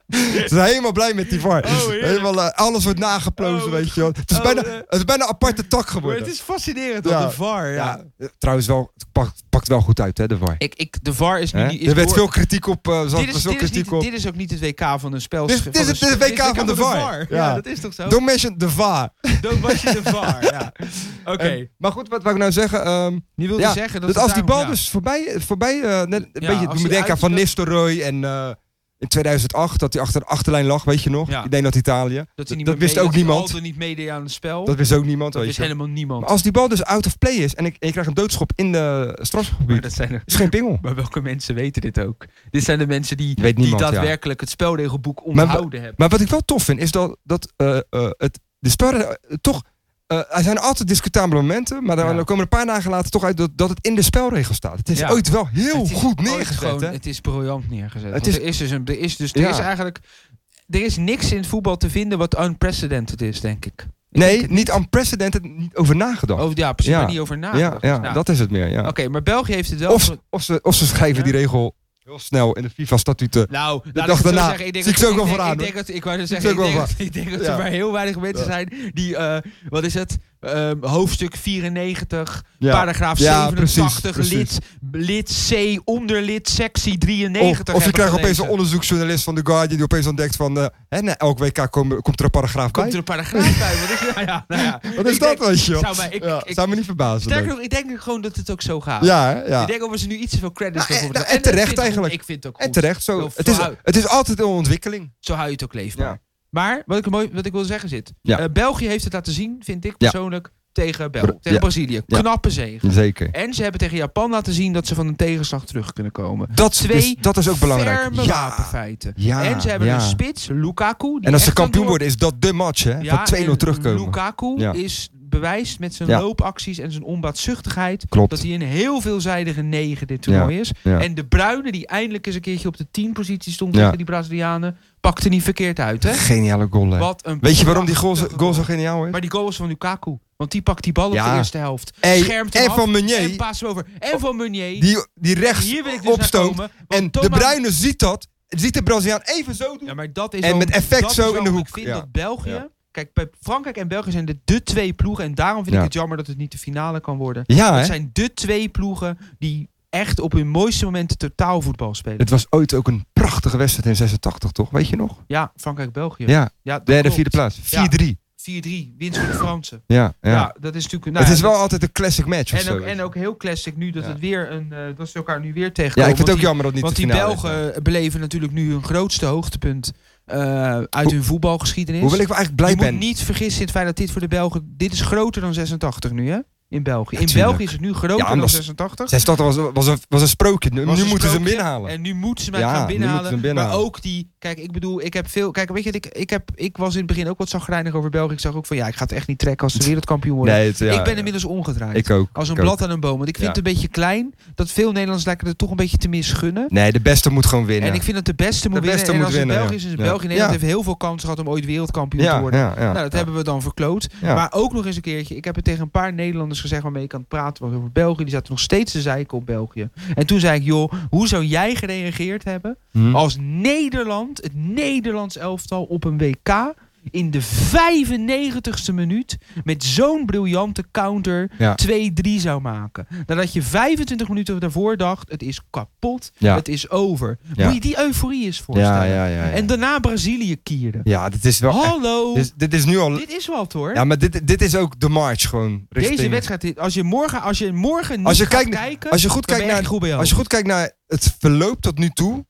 Speaker 2: Ze zijn helemaal blij met die VAR.
Speaker 1: Oh, heerlijk.
Speaker 2: helemaal, eh, alles wordt nageplozen,
Speaker 1: Oh,
Speaker 2: weet je wel. Het is,
Speaker 1: oh,
Speaker 2: bijna,
Speaker 1: eh.
Speaker 2: het is bijna een aparte tak
Speaker 1: Maar
Speaker 2: geworden.
Speaker 1: het is fascinerend, dat
Speaker 2: Ja.
Speaker 1: de VAR. Ja.
Speaker 2: Ja. eh, Trouwens, wel, het pakt, pakt wel goed uit, hè, de VAR.
Speaker 1: Ik, ik, de VAR is nu
Speaker 2: Hè?
Speaker 1: niet...
Speaker 2: Er werd veel kritiek op. eh, er zat
Speaker 1: dit is,
Speaker 2: veel
Speaker 1: dit, is
Speaker 2: kritiek
Speaker 1: niet,
Speaker 2: op.
Speaker 1: dit is ook niet het WK van een spel.
Speaker 2: Dit is-
Speaker 1: van
Speaker 2: dit is
Speaker 1: een
Speaker 2: het
Speaker 1: spel-
Speaker 2: WK van de VAR.
Speaker 1: Ja.
Speaker 2: Ja.
Speaker 1: dat is toch zo?
Speaker 2: Don't mention de VAR.
Speaker 1: Dan was je de VAR, ja. Oké.
Speaker 2: Eh, maar goed, wat wou ik nou zeggen? ehm,
Speaker 1: Ehm, Je wilde
Speaker 2: Ja,
Speaker 1: zeggen dat,
Speaker 2: dat
Speaker 1: het
Speaker 2: als die
Speaker 1: daarom-
Speaker 2: bal
Speaker 1: ja.
Speaker 2: dus voorbij, voorbij eh, net een
Speaker 1: Ja,
Speaker 2: beetje
Speaker 1: als
Speaker 2: doet me
Speaker 1: die
Speaker 2: denken aan Van
Speaker 1: uitspeelt-
Speaker 2: Nistelrooy en eh in 2008 dat hij achter de achterlijn lag, weet je nog?
Speaker 1: Ja.
Speaker 2: Ik denk dat Italië.
Speaker 1: Dat, hij niet
Speaker 2: dat
Speaker 1: meer
Speaker 2: wist
Speaker 1: mee-
Speaker 2: ook
Speaker 1: dat
Speaker 2: niemand.
Speaker 1: Ronaldo niet meedeed aan het spel.
Speaker 2: Dat wist ook niemand,
Speaker 1: Dat
Speaker 2: weet
Speaker 1: wist
Speaker 2: je.
Speaker 1: helemaal niemand.
Speaker 2: Maar als die bal dus out of play is en ik, en je krijgt een doodschop in de
Speaker 1: Maar,
Speaker 2: strafgebied,
Speaker 1: dat zijn er,
Speaker 2: is geen pingel.
Speaker 1: maar welke mensen weten dit ook? Dit zijn de mensen die,
Speaker 2: Weet
Speaker 1: die
Speaker 2: niemand, ja.
Speaker 1: daadwerkelijk het spelregelboek onthouden hebben.
Speaker 2: Maar wat ik wel tof vind, is dat, dat eh, eh, het, de spel eh, toch... eh, er zijn altijd discutabele momenten, maar dan
Speaker 1: Ja.
Speaker 2: komen er een paar dagen later toch uit dat, dat het in de spelregels staat. Het is
Speaker 1: Ja.
Speaker 2: ooit wel heel
Speaker 1: Het is
Speaker 2: goed
Speaker 1: ooit
Speaker 2: neergezet.
Speaker 1: gewoon-
Speaker 2: hè?
Speaker 1: Het is briljant neergezet.
Speaker 2: Het
Speaker 1: Het
Speaker 2: is-
Speaker 1: is, er is dus, een, er is, dus er
Speaker 2: Ja.
Speaker 1: is eigenlijk er is niks in het voetbal te vinden wat unprecedented is, denk ik. Ik denk
Speaker 2: Nee,
Speaker 1: het
Speaker 2: niet unprecedented, niet over nagedacht.
Speaker 1: Over, ja, precies,
Speaker 2: Ja.
Speaker 1: maar niet over na.
Speaker 2: ja, ja,
Speaker 1: Nou,
Speaker 2: dat is het meer. Ja.
Speaker 1: Oké, maar België heeft het wel...
Speaker 2: Of, of, ze, of ze schrijven
Speaker 1: Ja.
Speaker 2: die regel heel snel in de FIFA-statuten.
Speaker 1: nou, laat
Speaker 2: dag
Speaker 1: ik het zo
Speaker 2: daarna
Speaker 1: zeggen, ik denk
Speaker 2: zie ik
Speaker 1: dat-
Speaker 2: ze ook wel
Speaker 1: denk-
Speaker 2: vooraan,
Speaker 1: Ik
Speaker 2: hoor.
Speaker 1: denk dat, ik wou net
Speaker 2: Zie ik
Speaker 1: zeggen, ik
Speaker 2: ze ook
Speaker 1: denk
Speaker 2: wel
Speaker 1: dat, ik denk dat
Speaker 2: Ja.
Speaker 1: er maar heel weinig mensen
Speaker 2: Ja.
Speaker 1: zijn die, eh, wat is het, Ehm, hoofdstuk 94,
Speaker 2: Ja.
Speaker 1: paragraaf
Speaker 2: Ja,
Speaker 1: 87,
Speaker 2: precies, precies.
Speaker 1: Lid, lid C, onderlid sectie 93
Speaker 2: Of, of je
Speaker 1: hebben
Speaker 2: krijgt opeens
Speaker 1: gelezen.
Speaker 2: een onderzoeksjournalist van The Guardian die opeens ontdekt van... eh, hè, na elk WK kom- komt er een paragraaf
Speaker 1: Komt
Speaker 2: bij.
Speaker 1: er een paragraaf bij? Wat is, nou ja, nou ja.
Speaker 2: Wat is
Speaker 1: Ik
Speaker 2: dat,
Speaker 1: denk-
Speaker 2: weet je?
Speaker 1: zou mij- ik-
Speaker 2: ja,
Speaker 1: ik-
Speaker 2: zou me niet verbazen.
Speaker 1: Sterker
Speaker 2: denk ik.
Speaker 1: nog, ik denk gewoon dat het ook zo gaat.
Speaker 2: ja, hè, ja.
Speaker 1: Ik denk dat we ze nu iets te veel credits
Speaker 2: Nou, en-
Speaker 1: voor
Speaker 2: nou, en terecht eigenlijk.
Speaker 1: Ik vind het ook
Speaker 2: En
Speaker 1: goed.
Speaker 2: terecht, zo.
Speaker 1: Heel
Speaker 2: Het is,
Speaker 1: flauw.
Speaker 2: het is altijd een ontwikkeling.
Speaker 1: Zo hou je het ook leefbaar.
Speaker 2: Ja.
Speaker 1: Maar wat ik, mooi, wat ik wil zeggen zit.
Speaker 2: Ja.
Speaker 1: eh, België heeft het laten zien, vind ik
Speaker 2: Ja.
Speaker 1: persoonlijk, tegen, Bel,
Speaker 2: Bra-
Speaker 1: tegen
Speaker 2: ja.
Speaker 1: Brazilië.
Speaker 2: Ja.
Speaker 1: Knappe zege.
Speaker 2: Zeker.
Speaker 1: En ze hebben tegen Japan laten zien dat ze van een tegenslag terug kunnen komen.
Speaker 2: Dat, is-
Speaker 1: Twee
Speaker 2: dus, dat is ook belangrijk.
Speaker 1: Ferme
Speaker 2: Ja.
Speaker 1: wapenfeiten.
Speaker 2: Ja,
Speaker 1: en ze hebben
Speaker 2: ja.
Speaker 1: een spits, Lukaku. die
Speaker 2: En als ze
Speaker 1: echt kan
Speaker 2: kampioen
Speaker 1: door-
Speaker 2: worden, is dat de match, hè?
Speaker 1: Ja,
Speaker 2: van 2-0
Speaker 1: en
Speaker 2: terugkomen.
Speaker 1: Lukaku
Speaker 2: Ja.
Speaker 1: is bewijst met zijn
Speaker 2: Ja.
Speaker 1: loopacties en zijn onbaatzuchtigheid...
Speaker 2: Klopt.
Speaker 1: dat hij een heel veelzijdige negen dit toernooi is.
Speaker 2: ja.
Speaker 1: En de Bruine, die eindelijk eens een keertje op de 10 positie stond
Speaker 2: Ja.
Speaker 1: tegen die Brazilianen, pakte niet verkeerd uit. Hè?
Speaker 2: Geniale goal, hè?
Speaker 1: Wat een
Speaker 2: Weet je waarom die goal, zo-
Speaker 1: prachtige
Speaker 2: goal zo geniaal is?
Speaker 1: Maar die goal was van Lukaku. Want die pakt die bal op
Speaker 2: Ja.
Speaker 1: de eerste helft.
Speaker 2: Hey,
Speaker 1: schermt hem
Speaker 2: en
Speaker 1: af
Speaker 2: van
Speaker 1: en
Speaker 2: Meunier, Oh,
Speaker 1: paast hem over. En van Meunier.
Speaker 2: die, die rechts
Speaker 1: hier wil ik dus naar
Speaker 2: opstoot.
Speaker 1: komen. want
Speaker 2: En de
Speaker 1: Thomas-
Speaker 2: Bruyne ziet dat. Ziet de Braziliaan even zo doen.
Speaker 1: Ja, maar dat is
Speaker 2: En
Speaker 1: wel-
Speaker 2: met effect
Speaker 1: dat is
Speaker 2: zo
Speaker 1: wel-
Speaker 2: in de hoek.
Speaker 1: Ik vind
Speaker 2: Ja.
Speaker 1: dat België...
Speaker 2: Ja.
Speaker 1: Kijk, bij Frankrijk en België zijn dit de twee ploegen. En daarom vind
Speaker 2: Ja.
Speaker 1: ik het jammer dat het niet de finale kan worden.
Speaker 2: Ja,
Speaker 1: Het
Speaker 2: hè?
Speaker 1: zijn de twee ploegen die echt op hun mooiste momenten totaal voetbal spelen.
Speaker 2: Het was ooit ook een prachtige wedstrijd in 86, toch? Weet je nog?
Speaker 1: Ja, Frankrijk-België.
Speaker 2: Ja,
Speaker 1: Ja, dat
Speaker 2: derde,
Speaker 1: klopt.
Speaker 2: vierde plaats. 4-3.
Speaker 1: Ja.
Speaker 2: Ja,
Speaker 1: 4-3, winst voor de Fransen.
Speaker 2: ja.
Speaker 1: Ja, dat is natuurlijk... nou
Speaker 2: het
Speaker 1: ja,
Speaker 2: is
Speaker 1: dat-
Speaker 2: wel altijd een classic match. of
Speaker 1: En
Speaker 2: zo,
Speaker 1: ook,
Speaker 2: weet
Speaker 1: en
Speaker 2: je.
Speaker 1: ook heel classic nu dat
Speaker 2: Ja.
Speaker 1: het weer een, eh, dat ze elkaar nu weer tegenkomen.
Speaker 2: ja, ik vind het ook
Speaker 1: Want die-
Speaker 2: jammer dat niet
Speaker 1: Want
Speaker 2: de
Speaker 1: die
Speaker 2: finale is.
Speaker 1: Belgen beleven natuurlijk nu hun grootste hoogtepunt eh, uit
Speaker 2: Hoe-
Speaker 1: hun voetbalgeschiedenis.
Speaker 2: Hoewel ik wel eigenlijk blij
Speaker 1: je
Speaker 2: ben.
Speaker 1: moet niet vergissen in het feit dat dit voor de Belgen... Dit is groter dan 86 nu, hè? In België.
Speaker 2: Ja,
Speaker 1: in
Speaker 2: tuurlijk.
Speaker 1: België is het nu groter
Speaker 2: Ja,
Speaker 1: dan
Speaker 2: anders-
Speaker 1: 86.
Speaker 2: Zij stad was, was, een, was een sprookje. Nu,
Speaker 1: Was
Speaker 2: nu
Speaker 1: een
Speaker 2: moeten ze hem
Speaker 1: sprookje.
Speaker 2: binnenhalen.
Speaker 1: En nu moeten ze mij
Speaker 2: Ja,
Speaker 1: gaan
Speaker 2: nu moeten ze
Speaker 1: binnenhalen.
Speaker 2: hem binnenhalen.
Speaker 1: Maar ook die... Kijk, ik bedoel, ik heb veel... Kijk, weet je, wat ik, ik, heb, ik was in het begin ook wat zagrijnig over België. Ik zag ook van, ja, ik ga het echt niet trekken als ze wereldkampioen worden.
Speaker 2: Nee, het- ja,
Speaker 1: ik ben
Speaker 2: ja.
Speaker 1: inmiddels omgedraaid.
Speaker 2: Ik ook.
Speaker 1: Als een
Speaker 2: ik ook.
Speaker 1: blad aan een boom. Want ik vind
Speaker 2: Ja.
Speaker 1: het een beetje klein. Dat veel Nederlanders lijken er toch een beetje te misgunnen.
Speaker 2: Nee, de beste moet gewoon winnen.
Speaker 1: En ik vind dat de beste moet
Speaker 2: De beste
Speaker 1: winnen.
Speaker 2: moet
Speaker 1: en als het
Speaker 2: winnen,
Speaker 1: België is, is
Speaker 2: ja.
Speaker 1: het
Speaker 2: Ja.
Speaker 1: België. Nederland
Speaker 2: Ja.
Speaker 1: heeft heel veel kansen gehad om ooit wereldkampioen
Speaker 2: ja,
Speaker 1: te worden.
Speaker 2: Ja, ja,
Speaker 1: nou, dat
Speaker 2: ja.
Speaker 1: hebben we dan verkloot.
Speaker 2: Ja.
Speaker 1: Maar ook nog eens een keertje. Ik heb het tegen een paar Nederlanders gezegd waarmee ik aan het praten was over België. Die zaten nog steeds te zeiken op België. En toen zei ik, joh, hoe zou jij gereageerd hebben
Speaker 2: Hm.
Speaker 1: als Nederland, het Nederlands elftal op een WK in de 95ste minuut met zo'n briljante counter
Speaker 2: Ja.
Speaker 1: 2-3 zou maken. Nadat je 25 minuten daarvoor dacht, het is kapot,
Speaker 2: Ja.
Speaker 1: het is over.
Speaker 2: Ja.
Speaker 1: Moet je die euforie eens
Speaker 2: ja,
Speaker 1: voorstellen.
Speaker 2: ja, ja, ja.
Speaker 1: En daarna Brazilië kieren.
Speaker 2: ja, dit is wel. echt-
Speaker 1: Hallo,
Speaker 2: dit, is- dit is nu al.
Speaker 1: Oh. dit is wat hoor.
Speaker 2: Ja, maar dit, dit is ook de march gewoon.
Speaker 1: Deze
Speaker 2: richting-
Speaker 1: wedstrijd, dit- als je morgen, als je morgen niet
Speaker 2: Als je
Speaker 1: gaat
Speaker 2: kijkt-
Speaker 1: kijken,
Speaker 2: Als je goed
Speaker 1: dan
Speaker 2: kijkt
Speaker 1: ben je
Speaker 2: naar
Speaker 1: goed bij jou.
Speaker 2: Als je goed kijkt naar het verloop tot nu toe,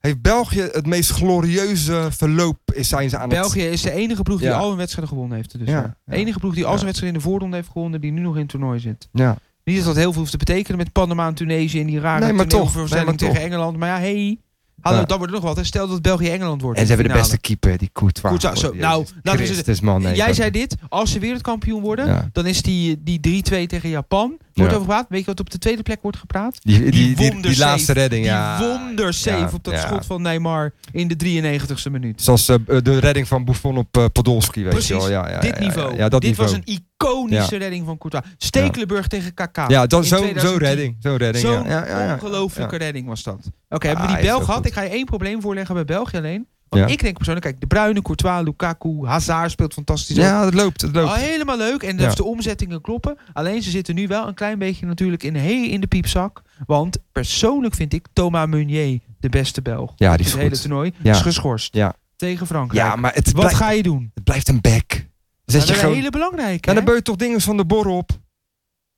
Speaker 2: heeft België het meest glorieuze verloop is zijn ze aan het...
Speaker 1: België is de enige ploeg die
Speaker 2: Ja.
Speaker 1: al hun wedstrijden gewonnen heeft. Dus
Speaker 2: Ja,
Speaker 1: ja. De
Speaker 2: ja.
Speaker 1: enige ploeg die al
Speaker 2: Ja.
Speaker 1: zijn wedstrijd in de voorronde heeft gewonnen, die nu nog in het toernooi zit.
Speaker 2: Ja.
Speaker 1: Niet dat dat heel veel hoeft te betekenen met Panama en Tunesië en die rare
Speaker 2: Nee, maar toch.
Speaker 1: toneelvoorstelling
Speaker 2: Nee, maar
Speaker 1: tegen Engeland. Maar ja, hey, hallo,
Speaker 2: Ja.
Speaker 1: dat wordt het nog wat. hè. Stel dat België-Engeland wordt.
Speaker 2: En ze
Speaker 1: in
Speaker 2: hebben de
Speaker 1: finale.
Speaker 2: beste keeper, die Courtois.
Speaker 1: Courtois, zo,
Speaker 2: Jezus
Speaker 1: nou, laten we
Speaker 2: Christus, man. nee,
Speaker 1: Jij
Speaker 2: dat-
Speaker 1: zei dit, als ze wereldkampioen worden,
Speaker 2: Ja.
Speaker 1: dan is die, die 3-2 tegen Japan. Wordt
Speaker 2: Ja.
Speaker 1: over gepraat. Weet je wat op de tweede plek wordt gepraat?
Speaker 2: Die, die, die, die,
Speaker 1: wondersave.
Speaker 2: laatste redding, ja.
Speaker 1: Die wondersave
Speaker 2: Ja,
Speaker 1: op dat
Speaker 2: ja.
Speaker 1: schot van Neymar in de 93ste minuut.
Speaker 2: Zoals eh, de redding van Buffon op eh, Podolski, weet je wel.
Speaker 1: Precies,
Speaker 2: Ja, ja,
Speaker 1: dit
Speaker 2: ja,
Speaker 1: niveau.
Speaker 2: Ja, ja, dat
Speaker 1: dit
Speaker 2: niveau.
Speaker 1: was een iconische redding van Courtois. Stekelenburg tegen KK.
Speaker 2: Ja, dat-
Speaker 1: in
Speaker 2: zo'n zo
Speaker 1: 2010.
Speaker 2: redding. Zo'n redding, ja.
Speaker 1: Zo'n
Speaker 2: ja. ja, ja.
Speaker 1: ongelooflijke redding was dat. Oké, hebben
Speaker 2: Ah,
Speaker 1: we
Speaker 2: hij
Speaker 1: die
Speaker 2: is
Speaker 1: Belg
Speaker 2: wel
Speaker 1: gehad?
Speaker 2: goed.
Speaker 1: Ik ga je één probleem voorleggen bij België alleen. Want
Speaker 2: Ja.
Speaker 1: ik denk persoonlijk, kijk, De Bruyne, Courtois, Lukaku, Hazard speelt fantastisch. ook.
Speaker 2: Ja, het loopt, het loopt.
Speaker 1: Al helemaal leuk en
Speaker 2: Ja.
Speaker 1: de omzettingen kloppen. Alleen ze zitten nu wel een klein beetje natuurlijk in, hey, in de piepzak. Want persoonlijk vind ik Thomas Meunier de beste Belg.
Speaker 2: Ja, die is
Speaker 1: het hele
Speaker 2: goed.
Speaker 1: toernooi
Speaker 2: Ja.
Speaker 1: is geschorst
Speaker 2: Ja.
Speaker 1: tegen Frankrijk.
Speaker 2: Ja, maar het,
Speaker 1: Wat
Speaker 2: blijft,
Speaker 1: ga je doen?
Speaker 2: het blijft een bek.
Speaker 1: Dat
Speaker 2: Zet
Speaker 1: is
Speaker 2: je
Speaker 1: een
Speaker 2: gewoon...
Speaker 1: hele belangrijke.
Speaker 2: En dan
Speaker 1: hè?
Speaker 2: beut toch dingen van de borrel op.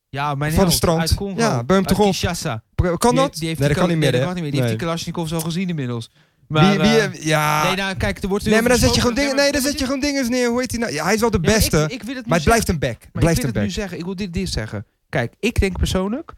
Speaker 1: ja, mijn
Speaker 2: van het
Speaker 1: held
Speaker 2: strand.
Speaker 1: Uit Congo,
Speaker 2: Ja, beum
Speaker 1: uit
Speaker 2: toch op.
Speaker 1: Kinshasa. Die,
Speaker 2: Kan dat?
Speaker 1: die heeft
Speaker 2: nee, dat
Speaker 1: die
Speaker 2: kan niet meer,
Speaker 1: nee, dat
Speaker 2: hè?
Speaker 1: kan niet meer. Die heeft die Kalashnikovs al gezien inmiddels. Maar,
Speaker 2: wie, wie,
Speaker 1: eh,
Speaker 2: ja.
Speaker 1: nee, nou, kijk, er wordt
Speaker 2: Nee, maar dan zet je gewoon dingen.
Speaker 1: dingen.
Speaker 2: Nee, dan zet je gewoon dingen neer. Hoe heet hij nou? Ja, hij is wel de beste.
Speaker 1: ik, wil het nu
Speaker 2: maar het
Speaker 1: zeggen.
Speaker 2: blijft een back. Het
Speaker 1: Maar
Speaker 2: blijft
Speaker 1: ik
Speaker 2: een
Speaker 1: wil het
Speaker 2: back.
Speaker 1: nu zeggen. Ik wil dit, dit zeggen. Kijk, ik denk persoonlijk...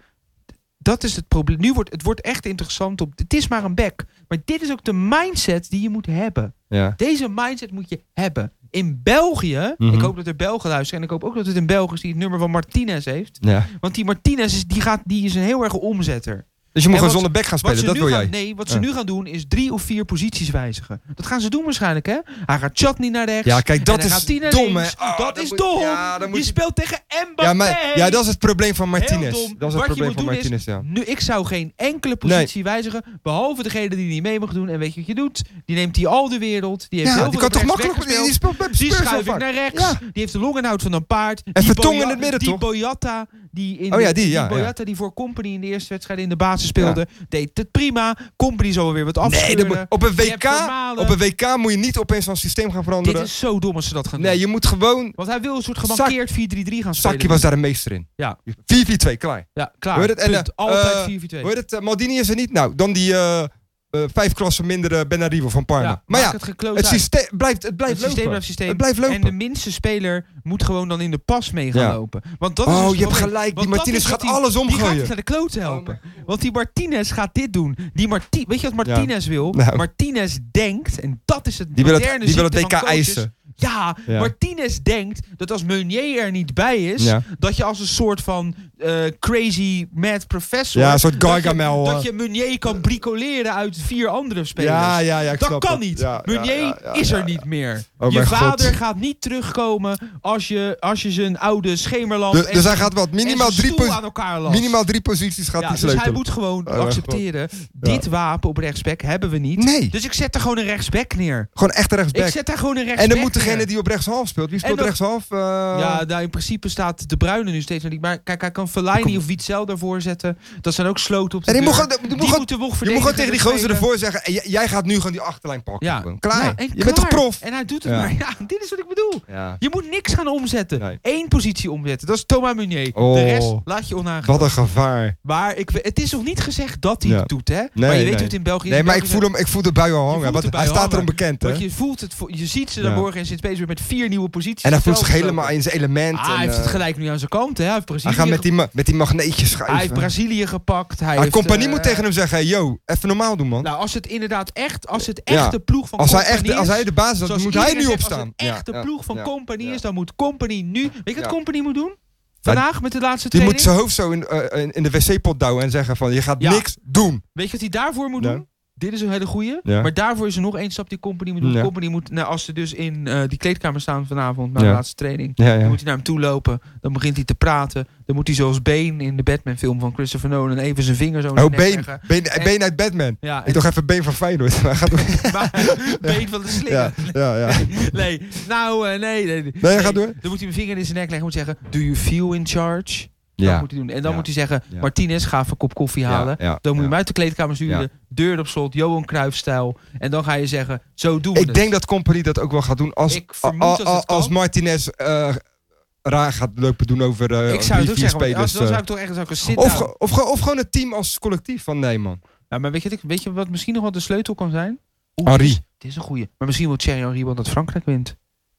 Speaker 1: Dat is het probleem. Nu wordt het wordt echt interessant. Op, het is maar een back. Maar dit is ook de mindset die je moet hebben.
Speaker 2: Ja.
Speaker 1: Deze mindset moet je hebben. In België...
Speaker 2: Mhm.
Speaker 1: Ik hoop dat er Belgen luisteren. En ik hoop ook dat het in België is die het nummer van Martinez heeft.
Speaker 2: Ja.
Speaker 1: Want die Martinez is, die gaat, die is een heel erg omzetter.
Speaker 2: Dus je moet
Speaker 1: En
Speaker 2: gewoon
Speaker 1: wat-
Speaker 2: zonder back gaan
Speaker 1: Wat
Speaker 2: spelen.
Speaker 1: ze
Speaker 2: Dat
Speaker 1: nu
Speaker 2: wil
Speaker 1: gaan,
Speaker 2: jij.
Speaker 1: Nee, wat ze
Speaker 2: Ja.
Speaker 1: nu gaan doen is drie of vier posities wijzigen. Dat gaan ze doen waarschijnlijk, hè? Hij gaat Chutney naar rechts.
Speaker 2: Ja, kijk, dat
Speaker 1: en hij
Speaker 2: is
Speaker 1: gaat tien naar
Speaker 2: dom, hè?
Speaker 1: links.
Speaker 2: Ah,
Speaker 1: dat
Speaker 2: dan
Speaker 1: is
Speaker 2: moet-
Speaker 1: dom.
Speaker 2: Ja, dan moet
Speaker 1: je
Speaker 2: je-
Speaker 1: speelt tegen Mbappé.
Speaker 2: Ja, maar, ja, dat is het probleem van
Speaker 1: Heel
Speaker 2: Martinez.
Speaker 1: dom.
Speaker 2: Dat is het
Speaker 1: Wat je
Speaker 2: probleem
Speaker 1: moet
Speaker 2: van
Speaker 1: doen is-
Speaker 2: Martinez, ja.
Speaker 1: Nu, ik zou geen enkele positie wijzigen, behalve degene die niet mee mag doen. En weet je wat je doet? Die neemt die al de wereld. Die heeft
Speaker 2: Ja,
Speaker 1: heel
Speaker 2: die
Speaker 1: veel
Speaker 2: kan toch
Speaker 1: op rechts
Speaker 2: makkelijk... Die die
Speaker 1: weggespeeld.
Speaker 2: speelt bij
Speaker 1: Die
Speaker 2: Spurs heel
Speaker 1: schuif ik
Speaker 2: vaak.
Speaker 1: naar rechts.
Speaker 2: Ja.
Speaker 1: Die heeft de longenhoud van een paard. En
Speaker 2: Vertonghen in het midden,
Speaker 1: die
Speaker 2: toch?
Speaker 1: Boyata, die in
Speaker 2: Oh ja,
Speaker 1: de-
Speaker 2: die, ja, ja.
Speaker 1: Boyata die voor Company in de eerste wedstrijd in de basis speelde, deed het prima. Company zal weer wat afscheuren.
Speaker 2: Nee, dat moet- op een
Speaker 1: Je hebt
Speaker 2: WK...
Speaker 1: Vermalen.
Speaker 2: Op een WK moet je niet opeens van systeem gaan
Speaker 1: Dit
Speaker 2: veranderen.
Speaker 1: is zo dom als ze dat gaan doen.
Speaker 2: Nee, je moet gewoon...
Speaker 1: Want hij wil een soort
Speaker 2: Sak-
Speaker 1: gemankeerd 4-3-3 gaan spelen.
Speaker 2: Sakje was daar een meester in.
Speaker 1: Ja.
Speaker 2: 4-4-2, klaar.
Speaker 1: Ja, klaar.
Speaker 2: Hoor je dat? En,
Speaker 1: Punt.
Speaker 2: eh, eh,
Speaker 1: Altijd
Speaker 2: Hoor
Speaker 1: 4-4-2.
Speaker 2: je dat? eh, Maldini is er niet. Nou, dan die eh, eh, vijf klassen mindere Benarivo van Parma. maar
Speaker 1: maak
Speaker 2: ja,
Speaker 1: het, gekloot
Speaker 2: het
Speaker 1: uit.
Speaker 2: systeem blijft, het blijft
Speaker 1: Het systeem
Speaker 2: lopen.
Speaker 1: blijft systeem.
Speaker 2: Het blijft
Speaker 1: En de
Speaker 2: lopen.
Speaker 1: minste speler moet gewoon dan in de pas mee gaan
Speaker 2: Ja.
Speaker 1: lopen. Want dat is
Speaker 2: Oh,
Speaker 1: dus
Speaker 2: je hebt
Speaker 1: probleem.
Speaker 2: gelijk. Die
Speaker 1: Want dat
Speaker 2: Martinez
Speaker 1: is wat
Speaker 2: gaat
Speaker 1: die-
Speaker 2: alles
Speaker 1: Die gaat
Speaker 2: omgooien.
Speaker 1: het naar de kloot helpen. Want die Martinez gaat dit doen. Die Marti Weet je wat
Speaker 2: Ja.
Speaker 1: Martinez wil?
Speaker 2: Nou.
Speaker 1: Martinez denkt, en dat is het
Speaker 2: Die wil het,
Speaker 1: moderne
Speaker 2: die wil het WK
Speaker 1: ziekte van coaches.
Speaker 2: eisen.
Speaker 1: Ja,
Speaker 2: Ja.
Speaker 1: Martinez denkt dat als Meunier er niet bij is,
Speaker 2: Ja.
Speaker 1: dat je als een soort van eh, crazy mad professor...
Speaker 2: Ja, een soort
Speaker 1: dat je-
Speaker 2: Gargamel,
Speaker 1: Dat je,
Speaker 2: eh.
Speaker 1: Meunier kan bricoleren uit vier andere spelers.
Speaker 2: Ja, ja, ja, ik
Speaker 1: Dat
Speaker 2: snap
Speaker 1: kan
Speaker 2: het.
Speaker 1: niet.
Speaker 2: Ja, ja,
Speaker 1: Meunier
Speaker 2: ja, ja,
Speaker 1: is er
Speaker 2: ja,
Speaker 1: niet meer.
Speaker 2: Oh,
Speaker 1: je
Speaker 2: mijn
Speaker 1: vader
Speaker 2: God.
Speaker 1: gaat niet terugkomen als je, als je zijn oude schemerlamp
Speaker 2: Dus,
Speaker 1: en,
Speaker 2: dus hij
Speaker 1: zijn-
Speaker 2: gaat wat
Speaker 1: en zijn
Speaker 2: minimaal drie,
Speaker 1: stoel
Speaker 2: posi-
Speaker 1: aan elkaar lapt.
Speaker 2: minimaal drie posities gaat
Speaker 1: ja,
Speaker 2: hij
Speaker 1: dus
Speaker 2: sleutelen.
Speaker 1: hij moet gewoon
Speaker 2: Oh, mijn
Speaker 1: accepteren, dit wapen op rechtsback hebben we niet.
Speaker 2: Nee,
Speaker 1: Dus ik zet er gewoon een rechtsback neer.
Speaker 2: gewoon echt een
Speaker 1: Ik
Speaker 2: rechtsback.
Speaker 1: zet daar gewoon een rechtsback
Speaker 2: En dan moet degene
Speaker 1: neer.
Speaker 2: die op rechtshalf speelt. Wie speelt
Speaker 1: dan-
Speaker 2: rechtshalf? Eh,
Speaker 1: Ja, nou, in principe staat De Bruyne nu steeds nog niet. Maar kijk, hij kan Fellaini
Speaker 2: Kom.
Speaker 1: of Witzel daarvoor zetten. Dat zijn ook sloten op de
Speaker 2: en die moet
Speaker 1: deur.
Speaker 2: gewoon, die moet
Speaker 1: die
Speaker 2: gewoon-
Speaker 1: moeten we
Speaker 2: je moet gewoon tegen die gozer ervoor zeggen... "Hey, jij- jij gaat nu gewoon die achterlijn pakken.
Speaker 1: Ja.
Speaker 2: Gewoon.
Speaker 1: Ja,
Speaker 2: Klaar.
Speaker 1: en
Speaker 2: je bent toch
Speaker 1: klaar.
Speaker 2: prof?
Speaker 1: En hij doet het
Speaker 2: Ja.
Speaker 1: maar. Ja, dit is wat ik bedoel.
Speaker 2: Ja.
Speaker 1: Je moet niks gaan omzetten.
Speaker 2: Nee.
Speaker 1: Eén positie omzetten. Dat is Thomas Meunier. De
Speaker 2: Oh.
Speaker 1: rest laat je onaangekomen.
Speaker 2: Wat een gevaar.
Speaker 1: Maar ik, we- het is nog niet gezegd dat hij
Speaker 2: Ja.
Speaker 1: het doet, hè? maar je
Speaker 2: Nee,
Speaker 1: weet
Speaker 2: nee.
Speaker 1: hoe het in België is.
Speaker 2: Nee,
Speaker 1: In
Speaker 2: maar ik
Speaker 1: België
Speaker 2: voel,
Speaker 1: zijn-
Speaker 2: hem, ik voel de bui al hangen.
Speaker 1: voelt
Speaker 2: Want
Speaker 1: de bui
Speaker 2: hij staat
Speaker 1: hangen.
Speaker 2: erom bekend, hè?
Speaker 1: Want je, voelt het, vo- je ziet ze
Speaker 2: Ja.
Speaker 1: daarvoor en zit Space weer met vier nieuwe posities.
Speaker 2: En hij
Speaker 1: op
Speaker 2: voelt zich
Speaker 1: veld gestoken.
Speaker 2: helemaal in zijn element.
Speaker 1: Ah,
Speaker 2: en,
Speaker 1: hij heeft het
Speaker 2: eh,
Speaker 1: gelijk nu aan zijn kant, hè? Hij heeft Brazilië,
Speaker 2: Hij gaat met
Speaker 1: ge-
Speaker 2: die, ma- met die magneetjes
Speaker 1: hij heeft
Speaker 2: schuiven.
Speaker 1: Brazilië gepakt. Hij
Speaker 2: Hij
Speaker 1: heeft,
Speaker 2: compagnie
Speaker 1: eh,
Speaker 2: moet tegen hem zeggen: hey, yo, even normaal doen, man.
Speaker 1: Nou, als het inderdaad echt, als het
Speaker 2: Ja.
Speaker 1: echt de ploeg van
Speaker 2: als, hij
Speaker 1: Company
Speaker 2: echt, als
Speaker 1: is,
Speaker 2: hij de basis is, dan
Speaker 1: zoals
Speaker 2: moet hij
Speaker 1: iedereen
Speaker 2: nu
Speaker 1: zegt,
Speaker 2: opstaan.
Speaker 1: Als het echt de
Speaker 2: Ja, ja,
Speaker 1: ploeg van
Speaker 2: ja,
Speaker 1: Company
Speaker 2: ja.
Speaker 1: is, dan moet Company nu... Weet je wat
Speaker 2: Ja.
Speaker 1: Company moet doen? Vandaag met de laatste
Speaker 2: Die
Speaker 1: training?
Speaker 2: moet zijn hoofd zo in, eh, in, in de wc-pot douwen en zeggen: van je gaat
Speaker 1: Ja.
Speaker 2: niks doen.
Speaker 1: Weet je wat hij daarvoor moet
Speaker 2: Ja.
Speaker 1: doen? Dit is een hele goeie.
Speaker 2: Ja.
Speaker 1: Maar daarvoor is er nog één stap die Company moet doen.
Speaker 2: Ja.
Speaker 1: Company moet, nou, als ze dus in eh, die kleedkamer staan vanavond na de
Speaker 2: Ja.
Speaker 1: laatste training.
Speaker 2: Ja,
Speaker 1: Dan
Speaker 2: ja.
Speaker 1: moet hij naar hem toe lopen. Dan begint hij te praten. Dan moet hij zoals Bane in de Batman film van Christopher Nolan even zijn vinger zo naar
Speaker 2: Oh,
Speaker 1: zijn nek
Speaker 2: been,
Speaker 1: leggen.
Speaker 2: been,
Speaker 1: En-
Speaker 2: been uit Batman.
Speaker 1: Ja,
Speaker 2: Ik
Speaker 1: en-
Speaker 2: dacht even been van Feyenoord. Hij gaat door.
Speaker 1: maar Bane van de slinger.
Speaker 2: ja, ja, ja.
Speaker 1: Nee, nou, eh, nee, nee.
Speaker 2: Nee, ga door.
Speaker 1: Dan moet hij mijn vinger in zijn nek leggen en moet zeggen... Do you feel in charge? Dat
Speaker 2: Ja,
Speaker 1: moet hij doen. En dan
Speaker 2: Ja.
Speaker 1: moet hij zeggen...
Speaker 2: Ja.
Speaker 1: Martinez, ga even een kop koffie halen.
Speaker 2: ja, ja,
Speaker 1: Dan moet je
Speaker 2: ja.
Speaker 1: hem uit de kleedkamer sturen. Deur op slot, Johan Cruijff-stijl. En dan ga je zeggen, zo doen dus. we
Speaker 2: Ik
Speaker 1: het.
Speaker 2: denk dat Company dat ook wel gaat doen als,
Speaker 1: Ik vermoed
Speaker 2: a- a-
Speaker 1: dat het kan.
Speaker 2: als Martinez eh, raar gaat lopen doen over eh
Speaker 1: ik zou het
Speaker 2: drie,
Speaker 1: ook
Speaker 2: vier
Speaker 1: zeggen, want
Speaker 2: spelers.
Speaker 1: als, dan
Speaker 2: eh.
Speaker 1: zou ik toch echt zou ik een sit
Speaker 2: of,
Speaker 1: of
Speaker 2: ge- of, ge- of gewoon het team als collectief van nee man.
Speaker 1: ja, Maar weet je, wat ik- weet je wat misschien nog wel de sleutel kan zijn? Oeh,
Speaker 2: Henri.
Speaker 1: dit is- Dit is een goeie. Maar misschien wil Thierry Henry wel dat Frankrijk wint.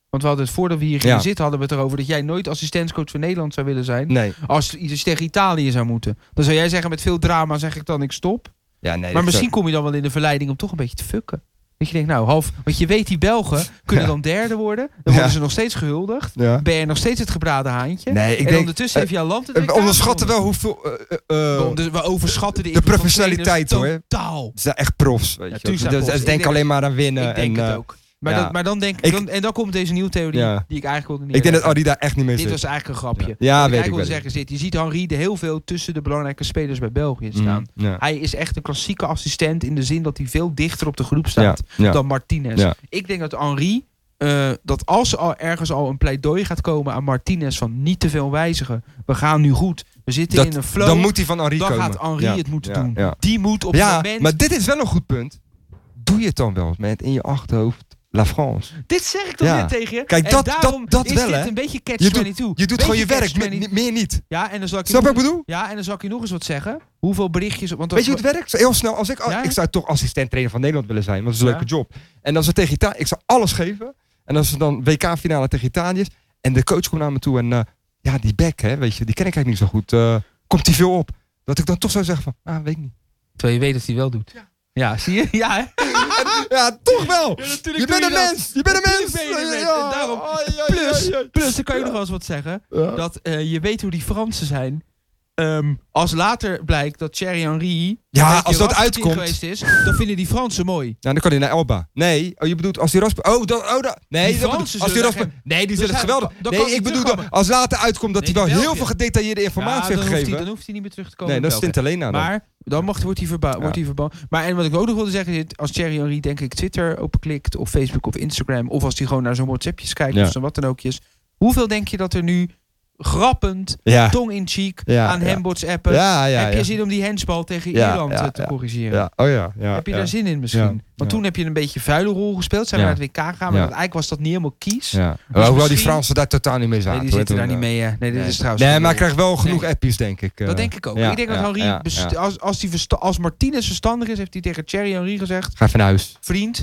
Speaker 1: Want we hadden het voordat we hier gingen
Speaker 2: Ja.
Speaker 1: zitten, hadden we het erover dat jij nooit assistentcoach van Nederland zou willen zijn.
Speaker 2: Nee.
Speaker 1: Als iets tegen Italië zou moeten. Dan zou jij zeggen, met veel drama zeg ik dan, ik stop.
Speaker 2: Ja, nee.
Speaker 1: Maar misschien kom je dan wel in de verleiding om toch een beetje te fucken. Dat je denkt, nou, half. Want je weet, die Belgen kunnen
Speaker 2: Ja.
Speaker 1: dan derde worden. Dan worden
Speaker 2: Ja.
Speaker 1: ze nog steeds gehuldigd.
Speaker 2: Ja.
Speaker 1: Ben je nog steeds het gebraden haantje?
Speaker 2: Nee, ik
Speaker 1: en
Speaker 2: denk.
Speaker 1: ondertussen
Speaker 2: eh,
Speaker 1: heeft jouw land het
Speaker 2: We
Speaker 1: WK
Speaker 2: onderschatten wel
Speaker 1: gewonnen.
Speaker 2: hoeveel. eh, eh, eh,
Speaker 1: We onder- we overschatten de,
Speaker 2: de
Speaker 1: invloed van
Speaker 2: professionaliteit,
Speaker 1: trainers
Speaker 2: hoor.
Speaker 1: Totaal.
Speaker 2: ze zijn echt profs. Weet
Speaker 1: Ja,
Speaker 2: je.
Speaker 1: tuurlijk zijn
Speaker 2: Dus-
Speaker 1: profs.
Speaker 2: Ze denken
Speaker 1: Ik
Speaker 2: alleen maar aan winnen.
Speaker 1: ik denk
Speaker 2: en,
Speaker 1: het
Speaker 2: eh,
Speaker 1: ook. Maar,
Speaker 2: ja.
Speaker 1: dat, maar dan denk
Speaker 2: Ik-
Speaker 1: dan, en dan komt deze nieuwe theorie
Speaker 2: Ja.
Speaker 1: die ik eigenlijk wilde
Speaker 2: Ik denk dat
Speaker 1: neerleggen.
Speaker 2: Adi daar echt niet mee
Speaker 1: Dit was
Speaker 2: zit.
Speaker 1: eigenlijk een grapje. Wat
Speaker 2: Ja,
Speaker 1: ik
Speaker 2: weet ik
Speaker 1: eigenlijk
Speaker 2: wel.
Speaker 1: wilde zeggen is dit. Je ziet Henri er heel veel tussen de belangrijke spelers bij België
Speaker 2: Mhm.
Speaker 1: staan.
Speaker 2: Mm, Ja.
Speaker 1: Hij is echt een klassieke assistent in de zin dat hij veel dichter op de groep staat.
Speaker 2: Ja, ja.
Speaker 1: dan Martinez.
Speaker 2: Ja.
Speaker 1: Ik denk dat Henri, eh, dat als er al ergens al een pleidooi gaat komen aan Martinez van niet te veel wijzigen. We gaan nu goed. We zitten
Speaker 2: Dat-
Speaker 1: in een flow.
Speaker 2: Dan moet hij van Henri
Speaker 1: dan
Speaker 2: komen.
Speaker 1: gaat Henri
Speaker 2: Ja,
Speaker 1: het moeten
Speaker 2: ja,
Speaker 1: doen.
Speaker 2: Ja.
Speaker 1: Die moet op
Speaker 2: ja,
Speaker 1: het moment...
Speaker 2: maar dit is wel een goed punt. Doe je het dan wel met in je achterhoofd. La France.
Speaker 1: Dit zeg ik toch
Speaker 2: Ja.
Speaker 1: net tegen je?
Speaker 2: Kijk,
Speaker 1: En
Speaker 2: dat- dat-
Speaker 1: daarom
Speaker 2: dat
Speaker 1: is
Speaker 2: wel,
Speaker 1: dit
Speaker 2: hè?
Speaker 1: een beetje catch
Speaker 2: Je
Speaker 1: 22.
Speaker 2: doet, je doet gewoon je
Speaker 1: Beetje
Speaker 2: werk,
Speaker 1: catch
Speaker 2: me-
Speaker 1: 22.
Speaker 2: meer niet.
Speaker 1: Ja, en dan zal ik je
Speaker 2: Snap je
Speaker 1: nog-
Speaker 2: wat ik bedoel?
Speaker 1: Ja, en dan zal ik je nog eens wat zeggen. Hoeveel berichtjes... Want
Speaker 2: Weet je hoe het werkt? Heel snel. Als ik, oh,
Speaker 1: Ja?
Speaker 2: ik zou toch assistent trainer van Nederland willen zijn, want dat is een
Speaker 1: Ja.
Speaker 2: leuke job. En als ze tegen Italië, ik zou alles geven. En als ze dan WK-finale tegen Italië is. En de coach komt naar me toe en eh, ja, die back, hè, weet je, die ken ik eigenlijk niet zo goed. eh, komt die veel op? Dat ik dan toch zou zeggen van, ah, weet ik niet.
Speaker 4: Terwijl je weet dat hij wel doet.
Speaker 1: Ja, zie je? Ja, hè?
Speaker 2: Ja, toch wel!
Speaker 1: natuurlijk
Speaker 2: je bent een mens! Je bent een mens!
Speaker 1: Natuurlijk ben je een mens.
Speaker 2: Ja,
Speaker 1: En daarom-
Speaker 2: ja, ja, ja,
Speaker 1: Plus,
Speaker 2: ja.
Speaker 1: plus, dan kan je nog wel eens wat zeggen. Dat eh, je weet hoe die Fransen zijn. Ehm, als later blijkt dat Thierry Henry... een
Speaker 2: Ja,
Speaker 1: beetje
Speaker 2: als dat
Speaker 1: Rasputin
Speaker 2: uitkomt.
Speaker 1: Geweest is, dan vinden die Fransen mooi.
Speaker 2: Nou, dan kan hij naar Elba. Nee, oh, je bedoelt als die Rasper... Oh, dat, oh, dat, nee,
Speaker 1: Die Fransen
Speaker 2: dat bedoel- als die
Speaker 1: zullen
Speaker 2: Rasper...
Speaker 1: zeggen,
Speaker 2: Nee, die
Speaker 1: dus
Speaker 2: zullen het
Speaker 1: hij-
Speaker 2: geweldig...
Speaker 1: dan kan
Speaker 2: nee,
Speaker 1: hij
Speaker 2: ik bedoel,
Speaker 1: terugkomen.
Speaker 2: dat als later uitkomt dat
Speaker 1: Nee,
Speaker 2: hij
Speaker 1: die
Speaker 2: wel heel
Speaker 1: België.
Speaker 2: veel gedetailleerde informatie
Speaker 1: dan
Speaker 2: heeft
Speaker 1: hoeft, hij,
Speaker 2: gegeven.
Speaker 1: dan hoeft hij niet meer terug te komen.
Speaker 2: Nee,
Speaker 1: in
Speaker 2: dat is
Speaker 1: België.
Speaker 2: Tintalena dan.
Speaker 1: Maar dan mag, wordt hij, verba-
Speaker 2: Ja.
Speaker 1: wordt hij verbannen. Maar en wat ik ook nog wilde zeggen, is als Thierry Henry denk ik Twitter openklikt, of Facebook of Instagram, of als hij gewoon naar zo'n WhatsAppjes kijkt,
Speaker 2: Ja.
Speaker 1: of zo'n wat dan ookjes. Hoeveel denk je dat er nu grappend,
Speaker 2: Ja.
Speaker 1: tong in cheek,
Speaker 2: Ja,
Speaker 1: aan
Speaker 2: ja.
Speaker 1: hem WhatsAppen?
Speaker 2: Ja, ja,
Speaker 1: heb je
Speaker 2: ja.
Speaker 1: zin om die handsbal tegen
Speaker 2: Ja,
Speaker 1: Ierland
Speaker 2: ja,
Speaker 1: eh, te
Speaker 2: ja.
Speaker 1: corrigeren?
Speaker 2: Ja, oh ja. ja
Speaker 1: Heb je
Speaker 2: ja.
Speaker 1: daar zin in misschien?
Speaker 2: Ja,
Speaker 1: Want
Speaker 2: ja.
Speaker 1: toen heb je een beetje een vuile rol gespeeld. Zijn
Speaker 2: Ja.
Speaker 1: we naar het WK gaan, maar
Speaker 2: Ja.
Speaker 1: want eigenlijk was dat niet helemaal kies.
Speaker 2: Ja.
Speaker 1: Dus
Speaker 2: Hoewel die
Speaker 1: misschien-
Speaker 2: Fransen daar totaal niet mee
Speaker 1: Nee,
Speaker 2: zaten.
Speaker 1: die
Speaker 2: hoor,
Speaker 1: zitten
Speaker 2: toen,
Speaker 1: daar niet
Speaker 2: eh.
Speaker 1: mee. hè. Nee, dit
Speaker 2: nee.
Speaker 1: is trouwens...
Speaker 2: Nee, maar ik krijg wel genoeg
Speaker 1: Nee.
Speaker 2: appies, denk ik. eh.
Speaker 1: Dat denk ik ook.
Speaker 2: ja,
Speaker 1: ik denk dat
Speaker 2: ja,
Speaker 1: Henri,
Speaker 2: ja,
Speaker 1: best-
Speaker 2: ja.
Speaker 1: Als, als, die versta- als Martinez verstandig is, heeft hij tegen Thierry Henry gezegd...
Speaker 2: Ga even naar huis.
Speaker 1: Vriend,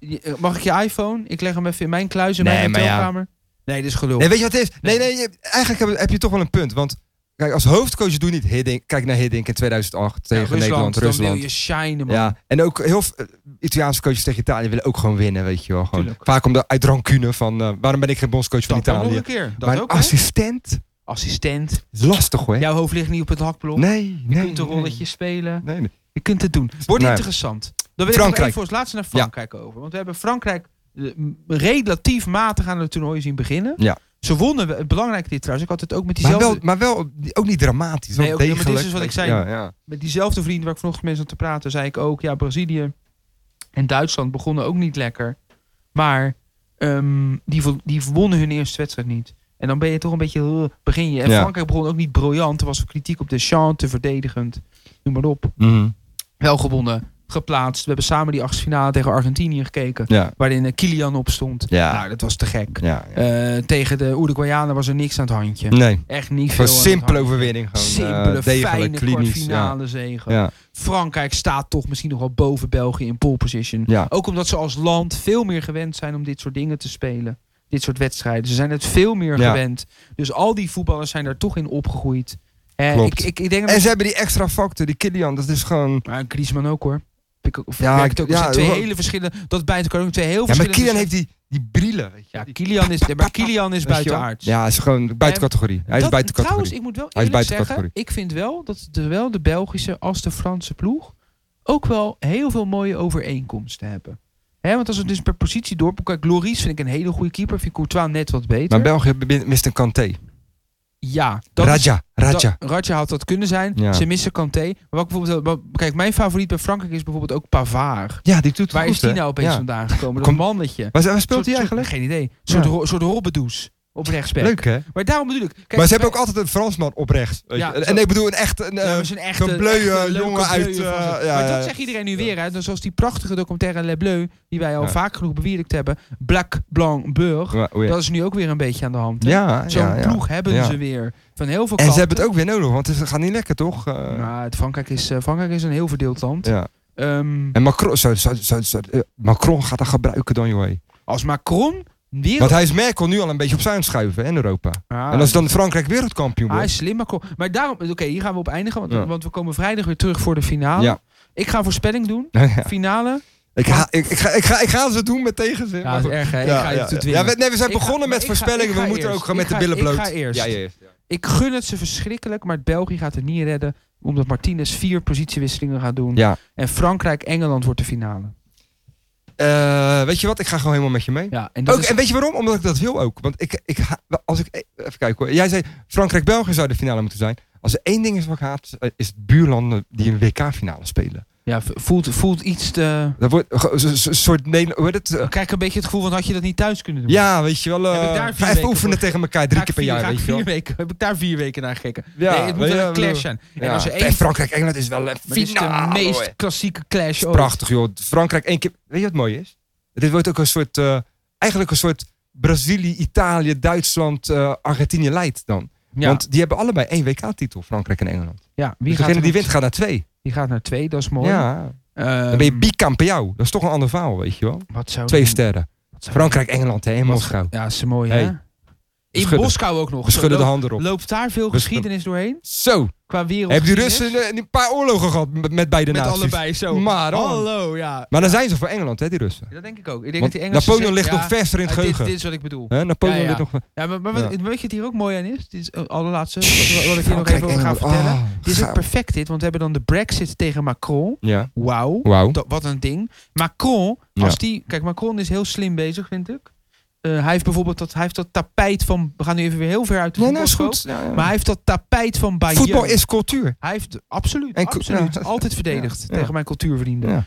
Speaker 1: je- eh, mag ik je iPhone? Ik leg hem even in mijn kluis in
Speaker 2: Nee,
Speaker 1: mijn
Speaker 2: maar ja.
Speaker 1: hotelkamer. Nee, dit is gelul.
Speaker 2: Nee, weet je wat het is? Nee,
Speaker 1: Nee.
Speaker 2: nee, je- eigenlijk heb, heb je toch wel een punt. Want kijk, als hoofdcoach doe je niet Hiddink. Kijk naar Hiddink in 2008
Speaker 1: Ja,
Speaker 2: tegen Nederland, Rusland.
Speaker 1: Dan wil je shinen, man.
Speaker 2: Ja, en ook heel veel eh, Italiaanse coaches tegen Italië willen ook gewoon winnen, weet je wel. Gewoon.
Speaker 1: Tuurlijk.
Speaker 2: Vaak om de uit rancune van eh, waarom ben ik geen bondscoach van
Speaker 1: dat ook nog
Speaker 2: Italië.
Speaker 1: een keer. Dat
Speaker 2: Maar een
Speaker 1: ook, hè?
Speaker 2: assistent
Speaker 1: Assistent.
Speaker 2: is lastig hoor.
Speaker 1: Jouw hoofd ligt niet op het hakblok.
Speaker 2: Nee,
Speaker 1: Je
Speaker 2: nee.
Speaker 1: kunt een
Speaker 2: nee.
Speaker 1: rolletje spelen.
Speaker 2: Nee, nee.
Speaker 1: Je kunt het doen. Wordt
Speaker 2: Nee.
Speaker 1: interessant. Dan wil ik nog
Speaker 2: Frankrijk.
Speaker 1: even voor het laatste naar Frankrijk over. Want we hebben Frankrijk eh, m- relatief matig aan het toernooi zien beginnen.
Speaker 2: Ja.
Speaker 1: Ze wonnen, we- belangrijk dit trouwens, ik had het ook met
Speaker 2: Maar
Speaker 1: diezelfde...
Speaker 2: wel, maar wel die- ook niet dramatisch.
Speaker 1: Nee,
Speaker 2: wel
Speaker 1: ook niet, maar dit is
Speaker 2: degelijk.
Speaker 1: dus wat ik zei.
Speaker 2: Ja, ja.
Speaker 1: met diezelfde vriend waar ik vanochtend mee zat te praten, zei ik ook, ja, Brazilië en Duitsland begonnen ook niet lekker. Maar ehm, die, vo- die wonnen hun eerste wedstrijd niet. En dan ben je toch een beetje, uh, begin je. En
Speaker 2: Ja.
Speaker 1: Frankrijk begon ook niet briljant. Er was kritiek op Deschamps, te verdedigend. Noem maar op.
Speaker 2: Mhm.
Speaker 1: Wel gewonnen, geplaatst. We hebben samen die achtste finale tegen Argentinië gekeken.
Speaker 2: ja.
Speaker 1: Waarin eh, Kilian op stond.
Speaker 2: Ja.
Speaker 1: Nou, dat was te gek.
Speaker 2: ja, ja.
Speaker 1: Eh, tegen de Uruguayanen was er niks aan het handje.
Speaker 2: Nee,
Speaker 1: Echt niet
Speaker 2: gewoon
Speaker 1: veel aan het
Speaker 2: simpele
Speaker 1: handje.
Speaker 2: overwinning. Gewoon, eh,
Speaker 1: Simpele,
Speaker 2: degelijk,
Speaker 1: fijne
Speaker 2: klinisch. Ja.
Speaker 1: kwartfinale Oh, zegen.
Speaker 2: Ja.
Speaker 1: Frankrijk staat toch misschien nog wel boven België in pole position.
Speaker 2: Ja.
Speaker 1: Ook omdat ze als land veel meer gewend zijn om dit soort dingen te spelen. Dit soort wedstrijden. Ze zijn het veel meer
Speaker 2: Ja.
Speaker 1: gewend. Dus al die voetballers zijn daar toch in opgegroeid. Eh,
Speaker 2: Klopt.
Speaker 1: Ik, ik, ik denk dat
Speaker 2: En ze hebben die extra factor, die Kilian, dat is gewoon...
Speaker 1: maar Griezmann ook hoor. Ik, of,
Speaker 2: Ja,
Speaker 1: ja, het
Speaker 2: ik-
Speaker 1: ook. Er
Speaker 2: ja,
Speaker 1: zijn twee
Speaker 2: wel-
Speaker 1: hele verschillende. Dat bij het ook twee heel
Speaker 2: Ja, maar
Speaker 1: verschillende.
Speaker 2: Kilian heeft die, die brillen, weet je.
Speaker 1: Ja,
Speaker 2: Die-
Speaker 1: Kilian is, nee, maar Kilian is
Speaker 2: Weet je wel?
Speaker 1: buitenaards.
Speaker 2: Ja, hij is gewoon buiten categorie. Hij is
Speaker 1: Dat-
Speaker 2: buiten
Speaker 1: Trouwens,
Speaker 2: categorie.
Speaker 1: ik moet wel
Speaker 2: Hij is
Speaker 1: eerlijk
Speaker 2: buiten
Speaker 1: zeggen,
Speaker 2: categorie.
Speaker 1: ik vind wel dat zowel de Belgische als de Franse ploeg ook wel heel veel mooie overeenkomsten hebben. Hè, want als we het dus per positie doorboeken, kijk, Loris vind ik een hele goede keeper, vind ik Courtois net wat beter.
Speaker 2: Maar België be- mist een Kanté.
Speaker 1: ja, dat is-
Speaker 2: Raja, Raja.
Speaker 1: dat- Radja had dat kunnen zijn.
Speaker 2: Ja.
Speaker 1: Ze missen Kanté. Maar wat ik bijvoorbeeld, wat- kijk, mijn favoriet bij Frankrijk is bijvoorbeeld ook Pavard.
Speaker 2: Ja, die doet
Speaker 1: Waar is die nou opeens
Speaker 2: Ja.
Speaker 1: vandaan gekomen? Dat
Speaker 2: Komt-
Speaker 1: mannetje.
Speaker 2: Waar, waar speelt
Speaker 1: Soort-
Speaker 2: hij
Speaker 1: soort-
Speaker 2: eigenlijk?
Speaker 1: Geen idee. Een soort,
Speaker 2: Ja.
Speaker 1: ro- soort robbedoes op rechtsback.
Speaker 2: Leuk, hè?
Speaker 1: Maar daarom bedoel ik... Kijk,
Speaker 2: maar ze
Speaker 1: bij-
Speaker 2: hebben ook altijd een Fransman op rechts. weet je.
Speaker 1: Ja,
Speaker 2: en
Speaker 1: zo-
Speaker 2: en ik bedoel, een echt... Een,
Speaker 1: Ja,
Speaker 2: eh,
Speaker 1: maar zo'n echte,
Speaker 2: zo'n bleu,
Speaker 1: echte
Speaker 2: eh,
Speaker 1: leuke
Speaker 2: jongen uit,
Speaker 1: bleu
Speaker 2: eh,
Speaker 1: van ze.
Speaker 2: ja,
Speaker 1: maar
Speaker 2: ja,
Speaker 1: dat
Speaker 2: ja.
Speaker 1: zegt iedereen nu weer. Hè? Dus zoals die prachtige documentaire Le Bleu, die wij al
Speaker 2: Ja.
Speaker 1: vaak genoeg bewierd hebben. Black, Blanc, Beurg.
Speaker 2: Ja, oh ja.
Speaker 1: Dat is nu ook weer een beetje aan de hand. hè?
Speaker 2: ja,
Speaker 1: Zo'n
Speaker 2: ja, ja.
Speaker 1: ploeg hebben
Speaker 2: Ja.
Speaker 1: ze weer. Van heel veel
Speaker 2: En
Speaker 1: kanten.
Speaker 2: ze hebben het ook weer nodig, want het gaat niet lekker, toch? Eh,
Speaker 1: Nou, het Frankrijk, is, eh, Frankrijk is een heel verdeeld land.
Speaker 2: ja.
Speaker 1: Ehm,
Speaker 2: En Macron, zou- zou- zou- zou- eh, Macron gaat dat gebruiken, dan, joh.
Speaker 1: als Macron weer...
Speaker 2: Want hij is Merkel nu al een beetje opzij aan het schuiven hè, in Europa.
Speaker 1: Ah,
Speaker 2: En als dan Frankrijk wereldkampioen
Speaker 1: hij
Speaker 2: wordt...
Speaker 1: is slim, Macron. Maar daarom... Oké, hier gaan we op eindigen. Want,
Speaker 2: Ja.
Speaker 1: want we komen vrijdag weer terug voor de finale.
Speaker 2: Ja.
Speaker 1: Ik ga een voorspelling doen.
Speaker 2: Ja.
Speaker 1: Finale.
Speaker 2: Ik, ga, ik, ik, ga, ik, ga, ik ga ze doen met tegenzin.
Speaker 1: Ja,
Speaker 2: maar
Speaker 1: dat
Speaker 2: goed.
Speaker 1: is erg, hè? ik ga
Speaker 2: ja.
Speaker 1: je het
Speaker 2: Ja, we, nee, we zijn
Speaker 1: Ik ga-
Speaker 2: begonnen
Speaker 1: maar
Speaker 2: met
Speaker 1: ik ga-
Speaker 2: voorspellingen.
Speaker 1: ik ga
Speaker 2: we moeten
Speaker 1: eerst.
Speaker 2: ook gewoon met
Speaker 1: Ik
Speaker 2: de
Speaker 1: ga-
Speaker 2: billen bloot.
Speaker 1: Ik ga eerst.
Speaker 2: Ja, je eerst. ja.
Speaker 1: Ik gun het ze verschrikkelijk, maar België gaat het niet redden. Omdat Martinez vier positiewisselingen gaat doen.
Speaker 2: Ja.
Speaker 1: En Frankrijk-Engeland wordt de finale.
Speaker 2: Eh, weet je wat? Ik ga gewoon helemaal met je mee.
Speaker 1: Ja, en dat
Speaker 2: ook,
Speaker 1: is-
Speaker 2: En weet je waarom? Omdat ik dat wil ook. Want ik, ik, ha- als ik, eh, even kijken hoor. Jij zei Frankrijk-België zou de finale moeten zijn. Als er één ding is wat ik haat, eh, is het buurlanden die een WK-finale spelen.
Speaker 1: ja, v- voelt, voelt iets te...
Speaker 2: Dat wordt ge- zo- zo- een soort Nederland. Hoe heet het? Eh,
Speaker 1: Dan krijg ik een beetje het gevoel van, had je dat niet thuis kunnen doen?
Speaker 2: Ja, weet je wel. eh,
Speaker 1: Heb ik daar vier
Speaker 2: ga even
Speaker 1: weken
Speaker 2: oefenen
Speaker 1: voor?
Speaker 2: tegen elkaar drie
Speaker 1: Ga ik
Speaker 2: keer per
Speaker 1: vier-
Speaker 2: jaar.
Speaker 1: ga ik
Speaker 2: Weet je wel.
Speaker 1: vier weken, heb ik daar vier weken naar gekeken.
Speaker 2: Ja,
Speaker 1: nee, het moet
Speaker 2: weet je
Speaker 1: wel
Speaker 2: wel,
Speaker 1: een clash
Speaker 2: bedoel-
Speaker 1: zijn. En
Speaker 2: Ja.
Speaker 1: als er
Speaker 2: En
Speaker 1: één...
Speaker 2: Frankrijk-Engeland is wel een
Speaker 1: maar dit is de
Speaker 2: finale. hoor.
Speaker 1: meest klassieke clash ooit.
Speaker 2: Prachtig joh. Frankrijk één keer. Weet je wat mooi is? Dit wordt ook een soort, eh, eigenlijk een soort Brazilië, Italië, Duitsland, eh, Argentinië leidt dan.
Speaker 1: Ja,
Speaker 2: Want die hebben allebei één WK-titel, Frankrijk en Engeland.
Speaker 1: ja,
Speaker 2: Wie
Speaker 1: wie,
Speaker 2: dus
Speaker 1: gaat
Speaker 2: degene
Speaker 1: er-
Speaker 2: die wint gaat naar twee.
Speaker 1: die gaat naar twee, dat is mooi.
Speaker 2: Ja.
Speaker 1: Ehm,
Speaker 2: Dan ben je bikampioen. Dat is toch een ander verhaal, weet je wel.
Speaker 1: wat zou
Speaker 2: Twee
Speaker 1: die-
Speaker 2: sterren.
Speaker 1: wat zou-
Speaker 2: Frankrijk, Engeland hè, en Moskou.
Speaker 1: Ja, dat is mooi, hè?
Speaker 2: Hey.
Speaker 1: In
Speaker 2: schudden.
Speaker 1: Moskou ook nog.
Speaker 2: We schudden de
Speaker 1: Zo,
Speaker 2: handen
Speaker 1: lo-
Speaker 2: op.
Speaker 1: Loopt daar veel
Speaker 2: We
Speaker 1: geschiedenis doorheen?
Speaker 2: Zo.
Speaker 1: Qua wereld.
Speaker 2: Hebben die Russen eh, een paar oorlogen gehad met, met beide
Speaker 1: met
Speaker 2: naties?
Speaker 1: allebei zo.
Speaker 2: Maar dan.
Speaker 1: Hallo, ja.
Speaker 2: Maar dan zijn ze voor Engeland, hè, die Russen.
Speaker 1: Dat denk ik ook. Ik denk dat
Speaker 2: Want
Speaker 1: die Engelsen zeggen-
Speaker 2: Napoleon ligt
Speaker 1: ja,
Speaker 2: nog verser in het
Speaker 1: ja, dit,
Speaker 2: geheugen.
Speaker 1: dit is wat ik bedoel.
Speaker 2: Hè, Napoleon
Speaker 1: Ja, ja.
Speaker 2: ligt nog...
Speaker 1: Ja, maar, maar wat,
Speaker 2: Ja.
Speaker 1: weet je wat hier ook mooi aan is? Dit is een allerlaatste, wat, wat ik hier nog even over ga
Speaker 2: Engeland.
Speaker 1: vertellen.
Speaker 2: Ah,
Speaker 1: Dit is ook
Speaker 2: gaaf.
Speaker 1: perfect dit, want we hebben dan de brexit tegen Macron.
Speaker 2: Ja,
Speaker 1: Wauw.
Speaker 2: wauw.
Speaker 1: Dat- Wat een ding. Macron,
Speaker 2: Ja.
Speaker 1: als die. Kijk, Macron is heel slim bezig, vind ik. Eh, hij heeft bijvoorbeeld dat, hij heeft dat tapijt van. We gaan nu even weer heel ver uit de
Speaker 2: Nee, nou is
Speaker 1: voetbalscope.
Speaker 2: goed. Ja, ja.
Speaker 1: Maar hij heeft dat tapijt van Bayeux.
Speaker 2: Voetbal is cultuur.
Speaker 1: Hij heeft absoluut,
Speaker 2: En co-
Speaker 1: absoluut
Speaker 2: ja.
Speaker 1: altijd verdedigd
Speaker 2: Ja.
Speaker 1: tegen mijn cultuurvrienden.
Speaker 2: Ja.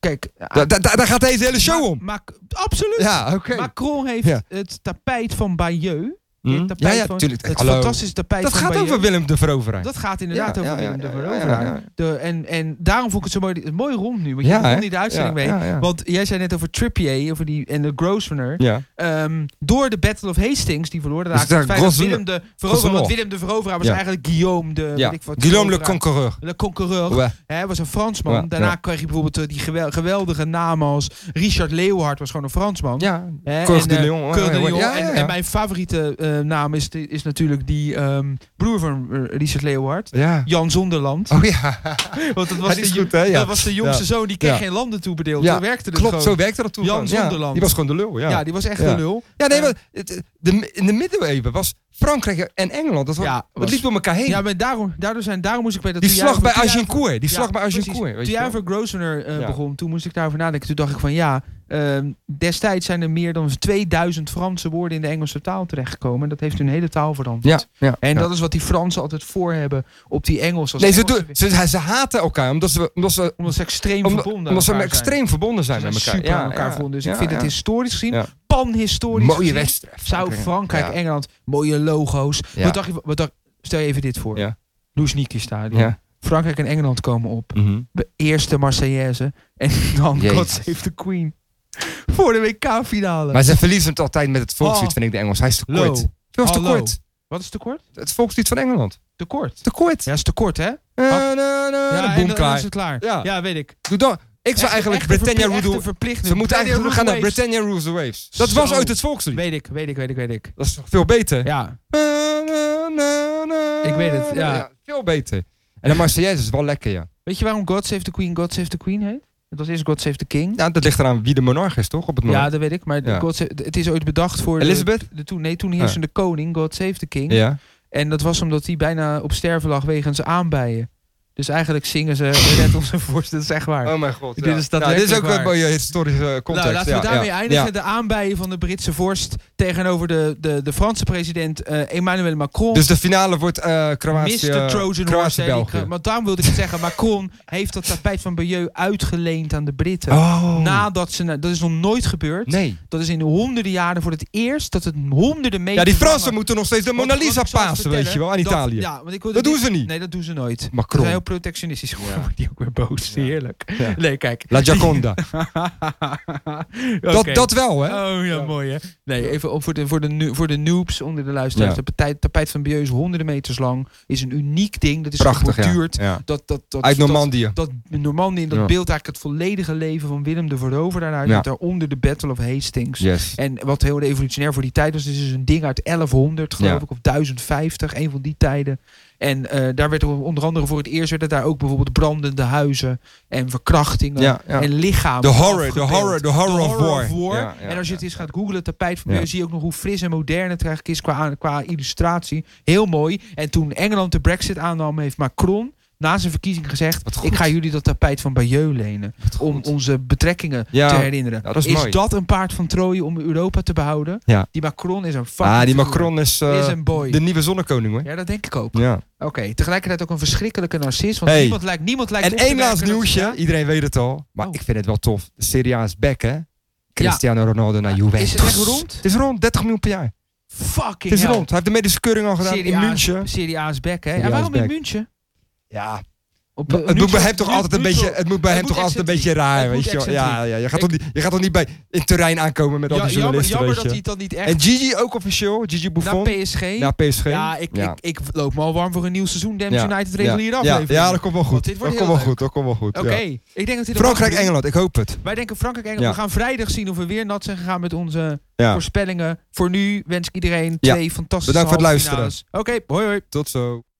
Speaker 1: Kijk,
Speaker 2: Da- da- da- daar gaat deze hele show
Speaker 1: Ma-
Speaker 2: om.
Speaker 1: Ma- absoluut.
Speaker 2: Ja, oké.
Speaker 1: Macron heeft
Speaker 2: Ja.
Speaker 1: het tapijt van Bayeux.
Speaker 2: Hm?
Speaker 1: Het tapijt
Speaker 2: Ja, ja,
Speaker 1: van-
Speaker 2: tuurlijk.
Speaker 1: Het
Speaker 2: Hallo.
Speaker 1: fantastische tapijt
Speaker 2: Dat
Speaker 1: van
Speaker 2: gaat
Speaker 1: Bayeux.
Speaker 2: over Willem de Veroveraar.
Speaker 1: Dat gaat inderdaad
Speaker 2: Ja,
Speaker 1: over
Speaker 2: ja,
Speaker 1: Willem
Speaker 2: ja,
Speaker 1: de
Speaker 2: ja,
Speaker 1: Veroveraar.
Speaker 2: ja, ja.
Speaker 1: De, en, en daarom vond ik het zo mooi, mooi rond nu. Want
Speaker 2: Ja,
Speaker 1: je begon
Speaker 2: hè?
Speaker 1: niet de uitzending mee.
Speaker 2: Ja, ja, ja.
Speaker 1: Want jij zei net over Trippier over die, en de Grosvenor.
Speaker 2: Ja.
Speaker 1: Ehm, door de Battle of Hastings, die verloor.
Speaker 2: Dus
Speaker 1: Dus het
Speaker 2: daar
Speaker 1: feit dat
Speaker 2: Grosvenor-
Speaker 1: Willem de Veroveraar, want
Speaker 2: Grosvenor.
Speaker 1: Willem de Veroveraar was
Speaker 2: Ja.
Speaker 1: eigenlijk Guillaume de...
Speaker 2: Ja.
Speaker 1: weet ik wat,
Speaker 2: Guillaume le
Speaker 1: veroveraar.
Speaker 2: Conquereur.
Speaker 1: Le Conquereur.
Speaker 2: Ja.
Speaker 1: Hij was een Fransman.
Speaker 2: Ja,
Speaker 1: Daarna
Speaker 2: ja.
Speaker 1: kreeg je bijvoorbeeld eh, die gewel- geweldige namen als Richard Leeuwhard was gewoon een Fransman.
Speaker 2: Ja,
Speaker 1: Hè,
Speaker 2: Cor
Speaker 1: en,
Speaker 2: de
Speaker 1: eh,
Speaker 2: Leon.
Speaker 1: Cor de Leon.
Speaker 2: Ja, ja,
Speaker 1: En,
Speaker 2: ja.
Speaker 1: en mijn favoriete eh, naam is, is natuurlijk die ehm, broer van eh, Richard Leeuwhard.
Speaker 2: Ja.
Speaker 1: Jan Zonderland.
Speaker 2: Oh ja.
Speaker 1: Want dat
Speaker 2: Ja,
Speaker 1: was,
Speaker 2: die
Speaker 1: de,
Speaker 2: is
Speaker 1: jo-
Speaker 2: goed, hè? Ja.
Speaker 1: dat was de jongste
Speaker 2: Ja.
Speaker 1: zoon, die kreeg
Speaker 2: Ja.
Speaker 1: geen landen toebedeeld.
Speaker 2: Ja,
Speaker 1: Zo werkte het
Speaker 2: Klopt,
Speaker 1: gewoon.
Speaker 2: zo werkte dat toen.
Speaker 1: Jan
Speaker 2: gewoon. Ja,
Speaker 1: Zonderland.
Speaker 2: die was gewoon de lul, ja.
Speaker 1: ja. die was echt
Speaker 2: Ja.
Speaker 1: een lul.
Speaker 2: Ja, nee,
Speaker 1: Eh.
Speaker 2: maar het- de, in de middeleeuwen was Frankrijk en Engeland, dat was,
Speaker 1: Ja,
Speaker 2: dat
Speaker 1: was-
Speaker 2: liep door elkaar heen.
Speaker 1: Ja, maar daarom, daardoor zijn, daarom moest ik bij dat...
Speaker 2: die
Speaker 1: toen
Speaker 2: slag
Speaker 1: jij-
Speaker 2: bij
Speaker 1: toen jij-
Speaker 2: Agincourt, die
Speaker 1: Ja,
Speaker 2: slag bij
Speaker 1: precies.
Speaker 2: Agincourt. weet
Speaker 1: Toen
Speaker 2: je
Speaker 1: jij
Speaker 2: wel.
Speaker 1: over Grosvenor eh,
Speaker 2: Ja.
Speaker 1: begon, toen moest ik daarover nadenken. Toen dacht ik van ja, ehm, destijds zijn er meer dan 2000 Franse woorden in de Engelse taal terechtgekomen. En dat heeft hun hele taal veranderd.
Speaker 2: Ja, ja.
Speaker 1: En
Speaker 2: ja.
Speaker 1: dat is wat die Fransen altijd voor hebben op die Engels. Als
Speaker 2: Nee, ze,
Speaker 1: Engelsen-
Speaker 2: doen, ze, ze haten elkaar omdat ze, omdat ze,
Speaker 1: Omdat ze extreem
Speaker 2: omdat,
Speaker 1: verbonden
Speaker 2: omdat ze
Speaker 1: aan elkaar zijn.
Speaker 2: extreem verbonden zijn
Speaker 1: Ze
Speaker 2: met elkaar.
Speaker 1: super aan elkaar verbonden. Dus ik
Speaker 2: ja,
Speaker 1: vind het
Speaker 2: ja.
Speaker 1: historisch gezien,
Speaker 2: Ja.
Speaker 1: panhistorisch
Speaker 2: Mooie
Speaker 1: gezien,
Speaker 2: wedstrijd.
Speaker 1: Zou Frankrijk,
Speaker 2: Ja.
Speaker 1: Engeland, mooie logo's.
Speaker 2: Ja.
Speaker 1: Wat dacht je, wat dacht, stel je even dit voor.
Speaker 2: Ja.
Speaker 1: Loesniki stadion.
Speaker 2: Ja.
Speaker 1: Frankrijk en Engeland komen op.
Speaker 2: Mhm.
Speaker 1: De eerste Marseillaise. En dan
Speaker 2: Jezus.
Speaker 1: God Save the Queen. Voor de WK-finale.
Speaker 2: Maar ze verliezen het altijd met het volkslied,
Speaker 1: Oh.
Speaker 2: vind ik, de Engels. Hij is te
Speaker 1: Lo.
Speaker 2: kort. Veel te
Speaker 1: Hallo.
Speaker 2: kort.
Speaker 1: Wat is tekort?
Speaker 2: Het volkslied van Engeland.
Speaker 1: Tekort.
Speaker 2: Te kort.
Speaker 1: Ja, is tekort, hè?
Speaker 2: Na, na, na,
Speaker 1: ja, en
Speaker 2: boom,
Speaker 1: dan- dan
Speaker 2: klaar.
Speaker 1: is het klaar.
Speaker 2: Ja.
Speaker 1: weet ik.
Speaker 2: Doe dan. Ik zou eigenlijk Britannia Rule doen. Ze moeten eigenlijk gaan naar
Speaker 1: Britannia.
Speaker 2: Britannia Rules the Waves. Dat was
Speaker 1: Zo.
Speaker 2: ooit het volkslied.
Speaker 1: Weet ik, weet ik, weet ik, weet ik.
Speaker 2: Dat is toch veel beter?
Speaker 1: Ja,
Speaker 2: Na, na, na, na,
Speaker 1: Ik weet het, ja.
Speaker 2: Veel beter. En de Marseillaise is wel lekker, ja.
Speaker 1: weet je waarom God Save the Queen God Save the Queen heet? Het was eerst God Save the King.
Speaker 2: Nou, dat ligt eraan wie de monarch is, toch? Op het
Speaker 1: Ja,
Speaker 2: moment.
Speaker 1: dat weet ik. Maar
Speaker 2: Ja.
Speaker 1: God Save- het is ooit bedacht voor de-
Speaker 2: Elizabeth?
Speaker 1: De, toen, nee, toen heersende koning, God Save the King.
Speaker 2: Ja.
Speaker 1: En dat was omdat hij bijna op sterven lag wegens aanbijen. Dus eigenlijk zingen ze red onze vorst, dat is echt waar.
Speaker 2: Oh mijn god.
Speaker 1: Dit is
Speaker 2: ja. Ja, dit is
Speaker 1: daadwerkelijk
Speaker 2: ook een
Speaker 1: waar.
Speaker 2: mooie historische eh, context.
Speaker 1: nou, laten
Speaker 2: ja,
Speaker 1: we daarmee
Speaker 2: ja.
Speaker 1: eindigen.
Speaker 2: Ja.
Speaker 1: De aanbijen van de Britse vorst tegenover de, de, de Franse president eh, Emmanuel Macron.
Speaker 2: Dus de finale wordt eh Kroatië,
Speaker 1: Mr. Trojan Horse.
Speaker 2: Kroatië,
Speaker 1: zei die-
Speaker 2: België.
Speaker 1: Want daarom wilde ik het zeggen. Macron heeft dat tapijt van Bayeux uitgeleend aan de Britten.
Speaker 2: Oh.
Speaker 1: Nadat ze... na- dat is nog nooit gebeurd.
Speaker 2: Nee.
Speaker 1: Dat is in honderden jaren voor het eerst dat het honderden meters...
Speaker 2: Ja, die
Speaker 1: lange-
Speaker 2: Fransen moeten nog steeds de
Speaker 1: Want-
Speaker 2: Mona
Speaker 1: want
Speaker 2: Lisa
Speaker 1: ik zal eens
Speaker 2: pasen, weet je
Speaker 1: vertellen
Speaker 2: wel, aan
Speaker 1: dat-
Speaker 2: Italië.
Speaker 1: ja, want ik wilde dit-
Speaker 2: Dat doen ze niet.
Speaker 1: Nee, dat doen ze nooit. Ze zijn heel
Speaker 2: Macron.
Speaker 1: protectionistisch geworden. Wordt Die ook weer boos. Heerlijk.
Speaker 2: Ja.
Speaker 1: Nee, kijk.
Speaker 2: La Gioconda.
Speaker 1: Oké.
Speaker 2: dat, dat wel, hè?
Speaker 1: Oh ja, mooi hè. Nee, even op voor de, voor de, nu- voor de noobs onder de luisteraars.
Speaker 2: Ja.
Speaker 1: Het tapijt, tapijt van Bieu is honderden meters lang. Is een uniek ding. Dat is
Speaker 2: Prachtig, ja.
Speaker 1: geborduurd.
Speaker 2: ja.
Speaker 1: Dat, dat, dat,
Speaker 2: Uit
Speaker 1: dat-
Speaker 2: Normandië.
Speaker 1: Dat, Normandië in dat
Speaker 2: Ja.
Speaker 1: beeld eigenlijk het volledige leven van Willem de Veroveraar. daaruit.
Speaker 2: Ja.
Speaker 1: Met daaronder de Battle of Hastings.
Speaker 2: Yes.
Speaker 1: En wat heel revolutionair voor die tijd was, dit is dus een ding uit 1100, geloof
Speaker 2: Ja.
Speaker 1: ik, of 1050, een van die tijden. En eh, daar werd er onder andere voor het eerst werden daar ook bijvoorbeeld brandende huizen en verkrachtingen
Speaker 2: Ja, ja.
Speaker 1: en lichamen.
Speaker 2: The horror, the
Speaker 1: afgebeeld.
Speaker 2: horror, the horror of war. Ja, ja,
Speaker 1: en als je
Speaker 2: ja.
Speaker 1: het eens gaat googlen, het tapijt van
Speaker 2: Ja.
Speaker 1: Meulen, zie je ook nog hoe fris en modern het eigenlijk is qua, aan- qua illustratie. Heel mooi. En toen Engeland de brexit aannam, heeft Macron na zijn verkiezing
Speaker 2: Wat
Speaker 1: gezegd,
Speaker 2: goed.
Speaker 1: ik ga jullie dat tapijt van Bayeux lenen. Om onze betrekkingen
Speaker 2: Ja.
Speaker 1: te herinneren.
Speaker 2: Ja, dat
Speaker 1: is
Speaker 2: is mooi.
Speaker 1: dat een paard van Troje om Europa te behouden?
Speaker 2: Ja.
Speaker 1: Die Macron is een fucking
Speaker 2: Ah, die
Speaker 1: figuur.
Speaker 2: Macron is, eh,
Speaker 1: is een boy.
Speaker 2: de nieuwe zonnekoning, hoor.
Speaker 1: Ja, dat denk ik ook.
Speaker 2: Ja.
Speaker 1: Oké, tegelijkertijd ook een verschrikkelijke narcist. Want
Speaker 2: Hey.
Speaker 1: niemand lijkt, niemand lijkt
Speaker 2: En
Speaker 1: op te
Speaker 2: één laatst
Speaker 1: merken dat-
Speaker 2: nieuwsje.
Speaker 1: Ja.
Speaker 2: Iedereen weet het al. Maar
Speaker 1: Oh.
Speaker 2: ik vind het wel tof. De Serie A is back, hè? Cristiano Ronaldo naar Juventus.
Speaker 1: Ah, Is het echt rond?
Speaker 2: Het is rond. 30 miljoen per jaar.
Speaker 1: Fucking
Speaker 2: Het is
Speaker 1: hell.
Speaker 2: rond. Hij heeft de medische keuring al gedaan
Speaker 1: Serie
Speaker 2: in
Speaker 1: A is-
Speaker 2: München.
Speaker 1: Serie A is back, hè?
Speaker 2: Serie A
Speaker 1: en
Speaker 2: is
Speaker 1: waarom in
Speaker 2: back.
Speaker 1: München?
Speaker 2: Ja.
Speaker 1: Op,
Speaker 2: Het moet bij hem toch altijd een beetje, het moet bij hem toch altijd een beetje raar,
Speaker 1: Het moet
Speaker 2: weet je wel. Ja,
Speaker 1: excentriek.
Speaker 2: ja, je gaat toch niet, je gaat toch niet bij in terrein aankomen met al die
Speaker 3: jammer,
Speaker 2: journalisten,
Speaker 3: jammer
Speaker 2: weet
Speaker 3: dat
Speaker 2: je.
Speaker 3: hij het dan niet echt
Speaker 2: En Gigi ook officieel, Gigi
Speaker 1: naar
Speaker 2: Buffon,
Speaker 1: PSG.
Speaker 2: naar PSG.
Speaker 1: ja, ik,
Speaker 2: Ja.
Speaker 1: Ik, ik loop me al warm voor een nieuw seizoen. Damn
Speaker 2: Ja.
Speaker 1: United reguliere
Speaker 2: ja.
Speaker 1: aflevering.
Speaker 2: Ja, ja, dat komt wel
Speaker 1: Want
Speaker 2: goed.
Speaker 1: dit
Speaker 2: Dat
Speaker 1: wordt
Speaker 2: komt
Speaker 1: heel leuk.
Speaker 2: wel goed, dat komt wel goed.
Speaker 1: Oké,
Speaker 2: ja.
Speaker 1: ik denk dat dit Frankrijk-Engeland.
Speaker 2: Frankrijk-Engeland, ik hoop het.
Speaker 1: Wij denken Frankrijk-Engeland.
Speaker 2: Ja.
Speaker 1: We gaan vrijdag zien of we weer nat zijn gegaan met onze
Speaker 2: Ja,
Speaker 1: voorspellingen. Voor nu wens ik iedereen
Speaker 2: Ja.
Speaker 1: twee fantastische
Speaker 2: Bedankt voor het
Speaker 1: halve finales. Oké, hoi hoi.
Speaker 2: tot zo.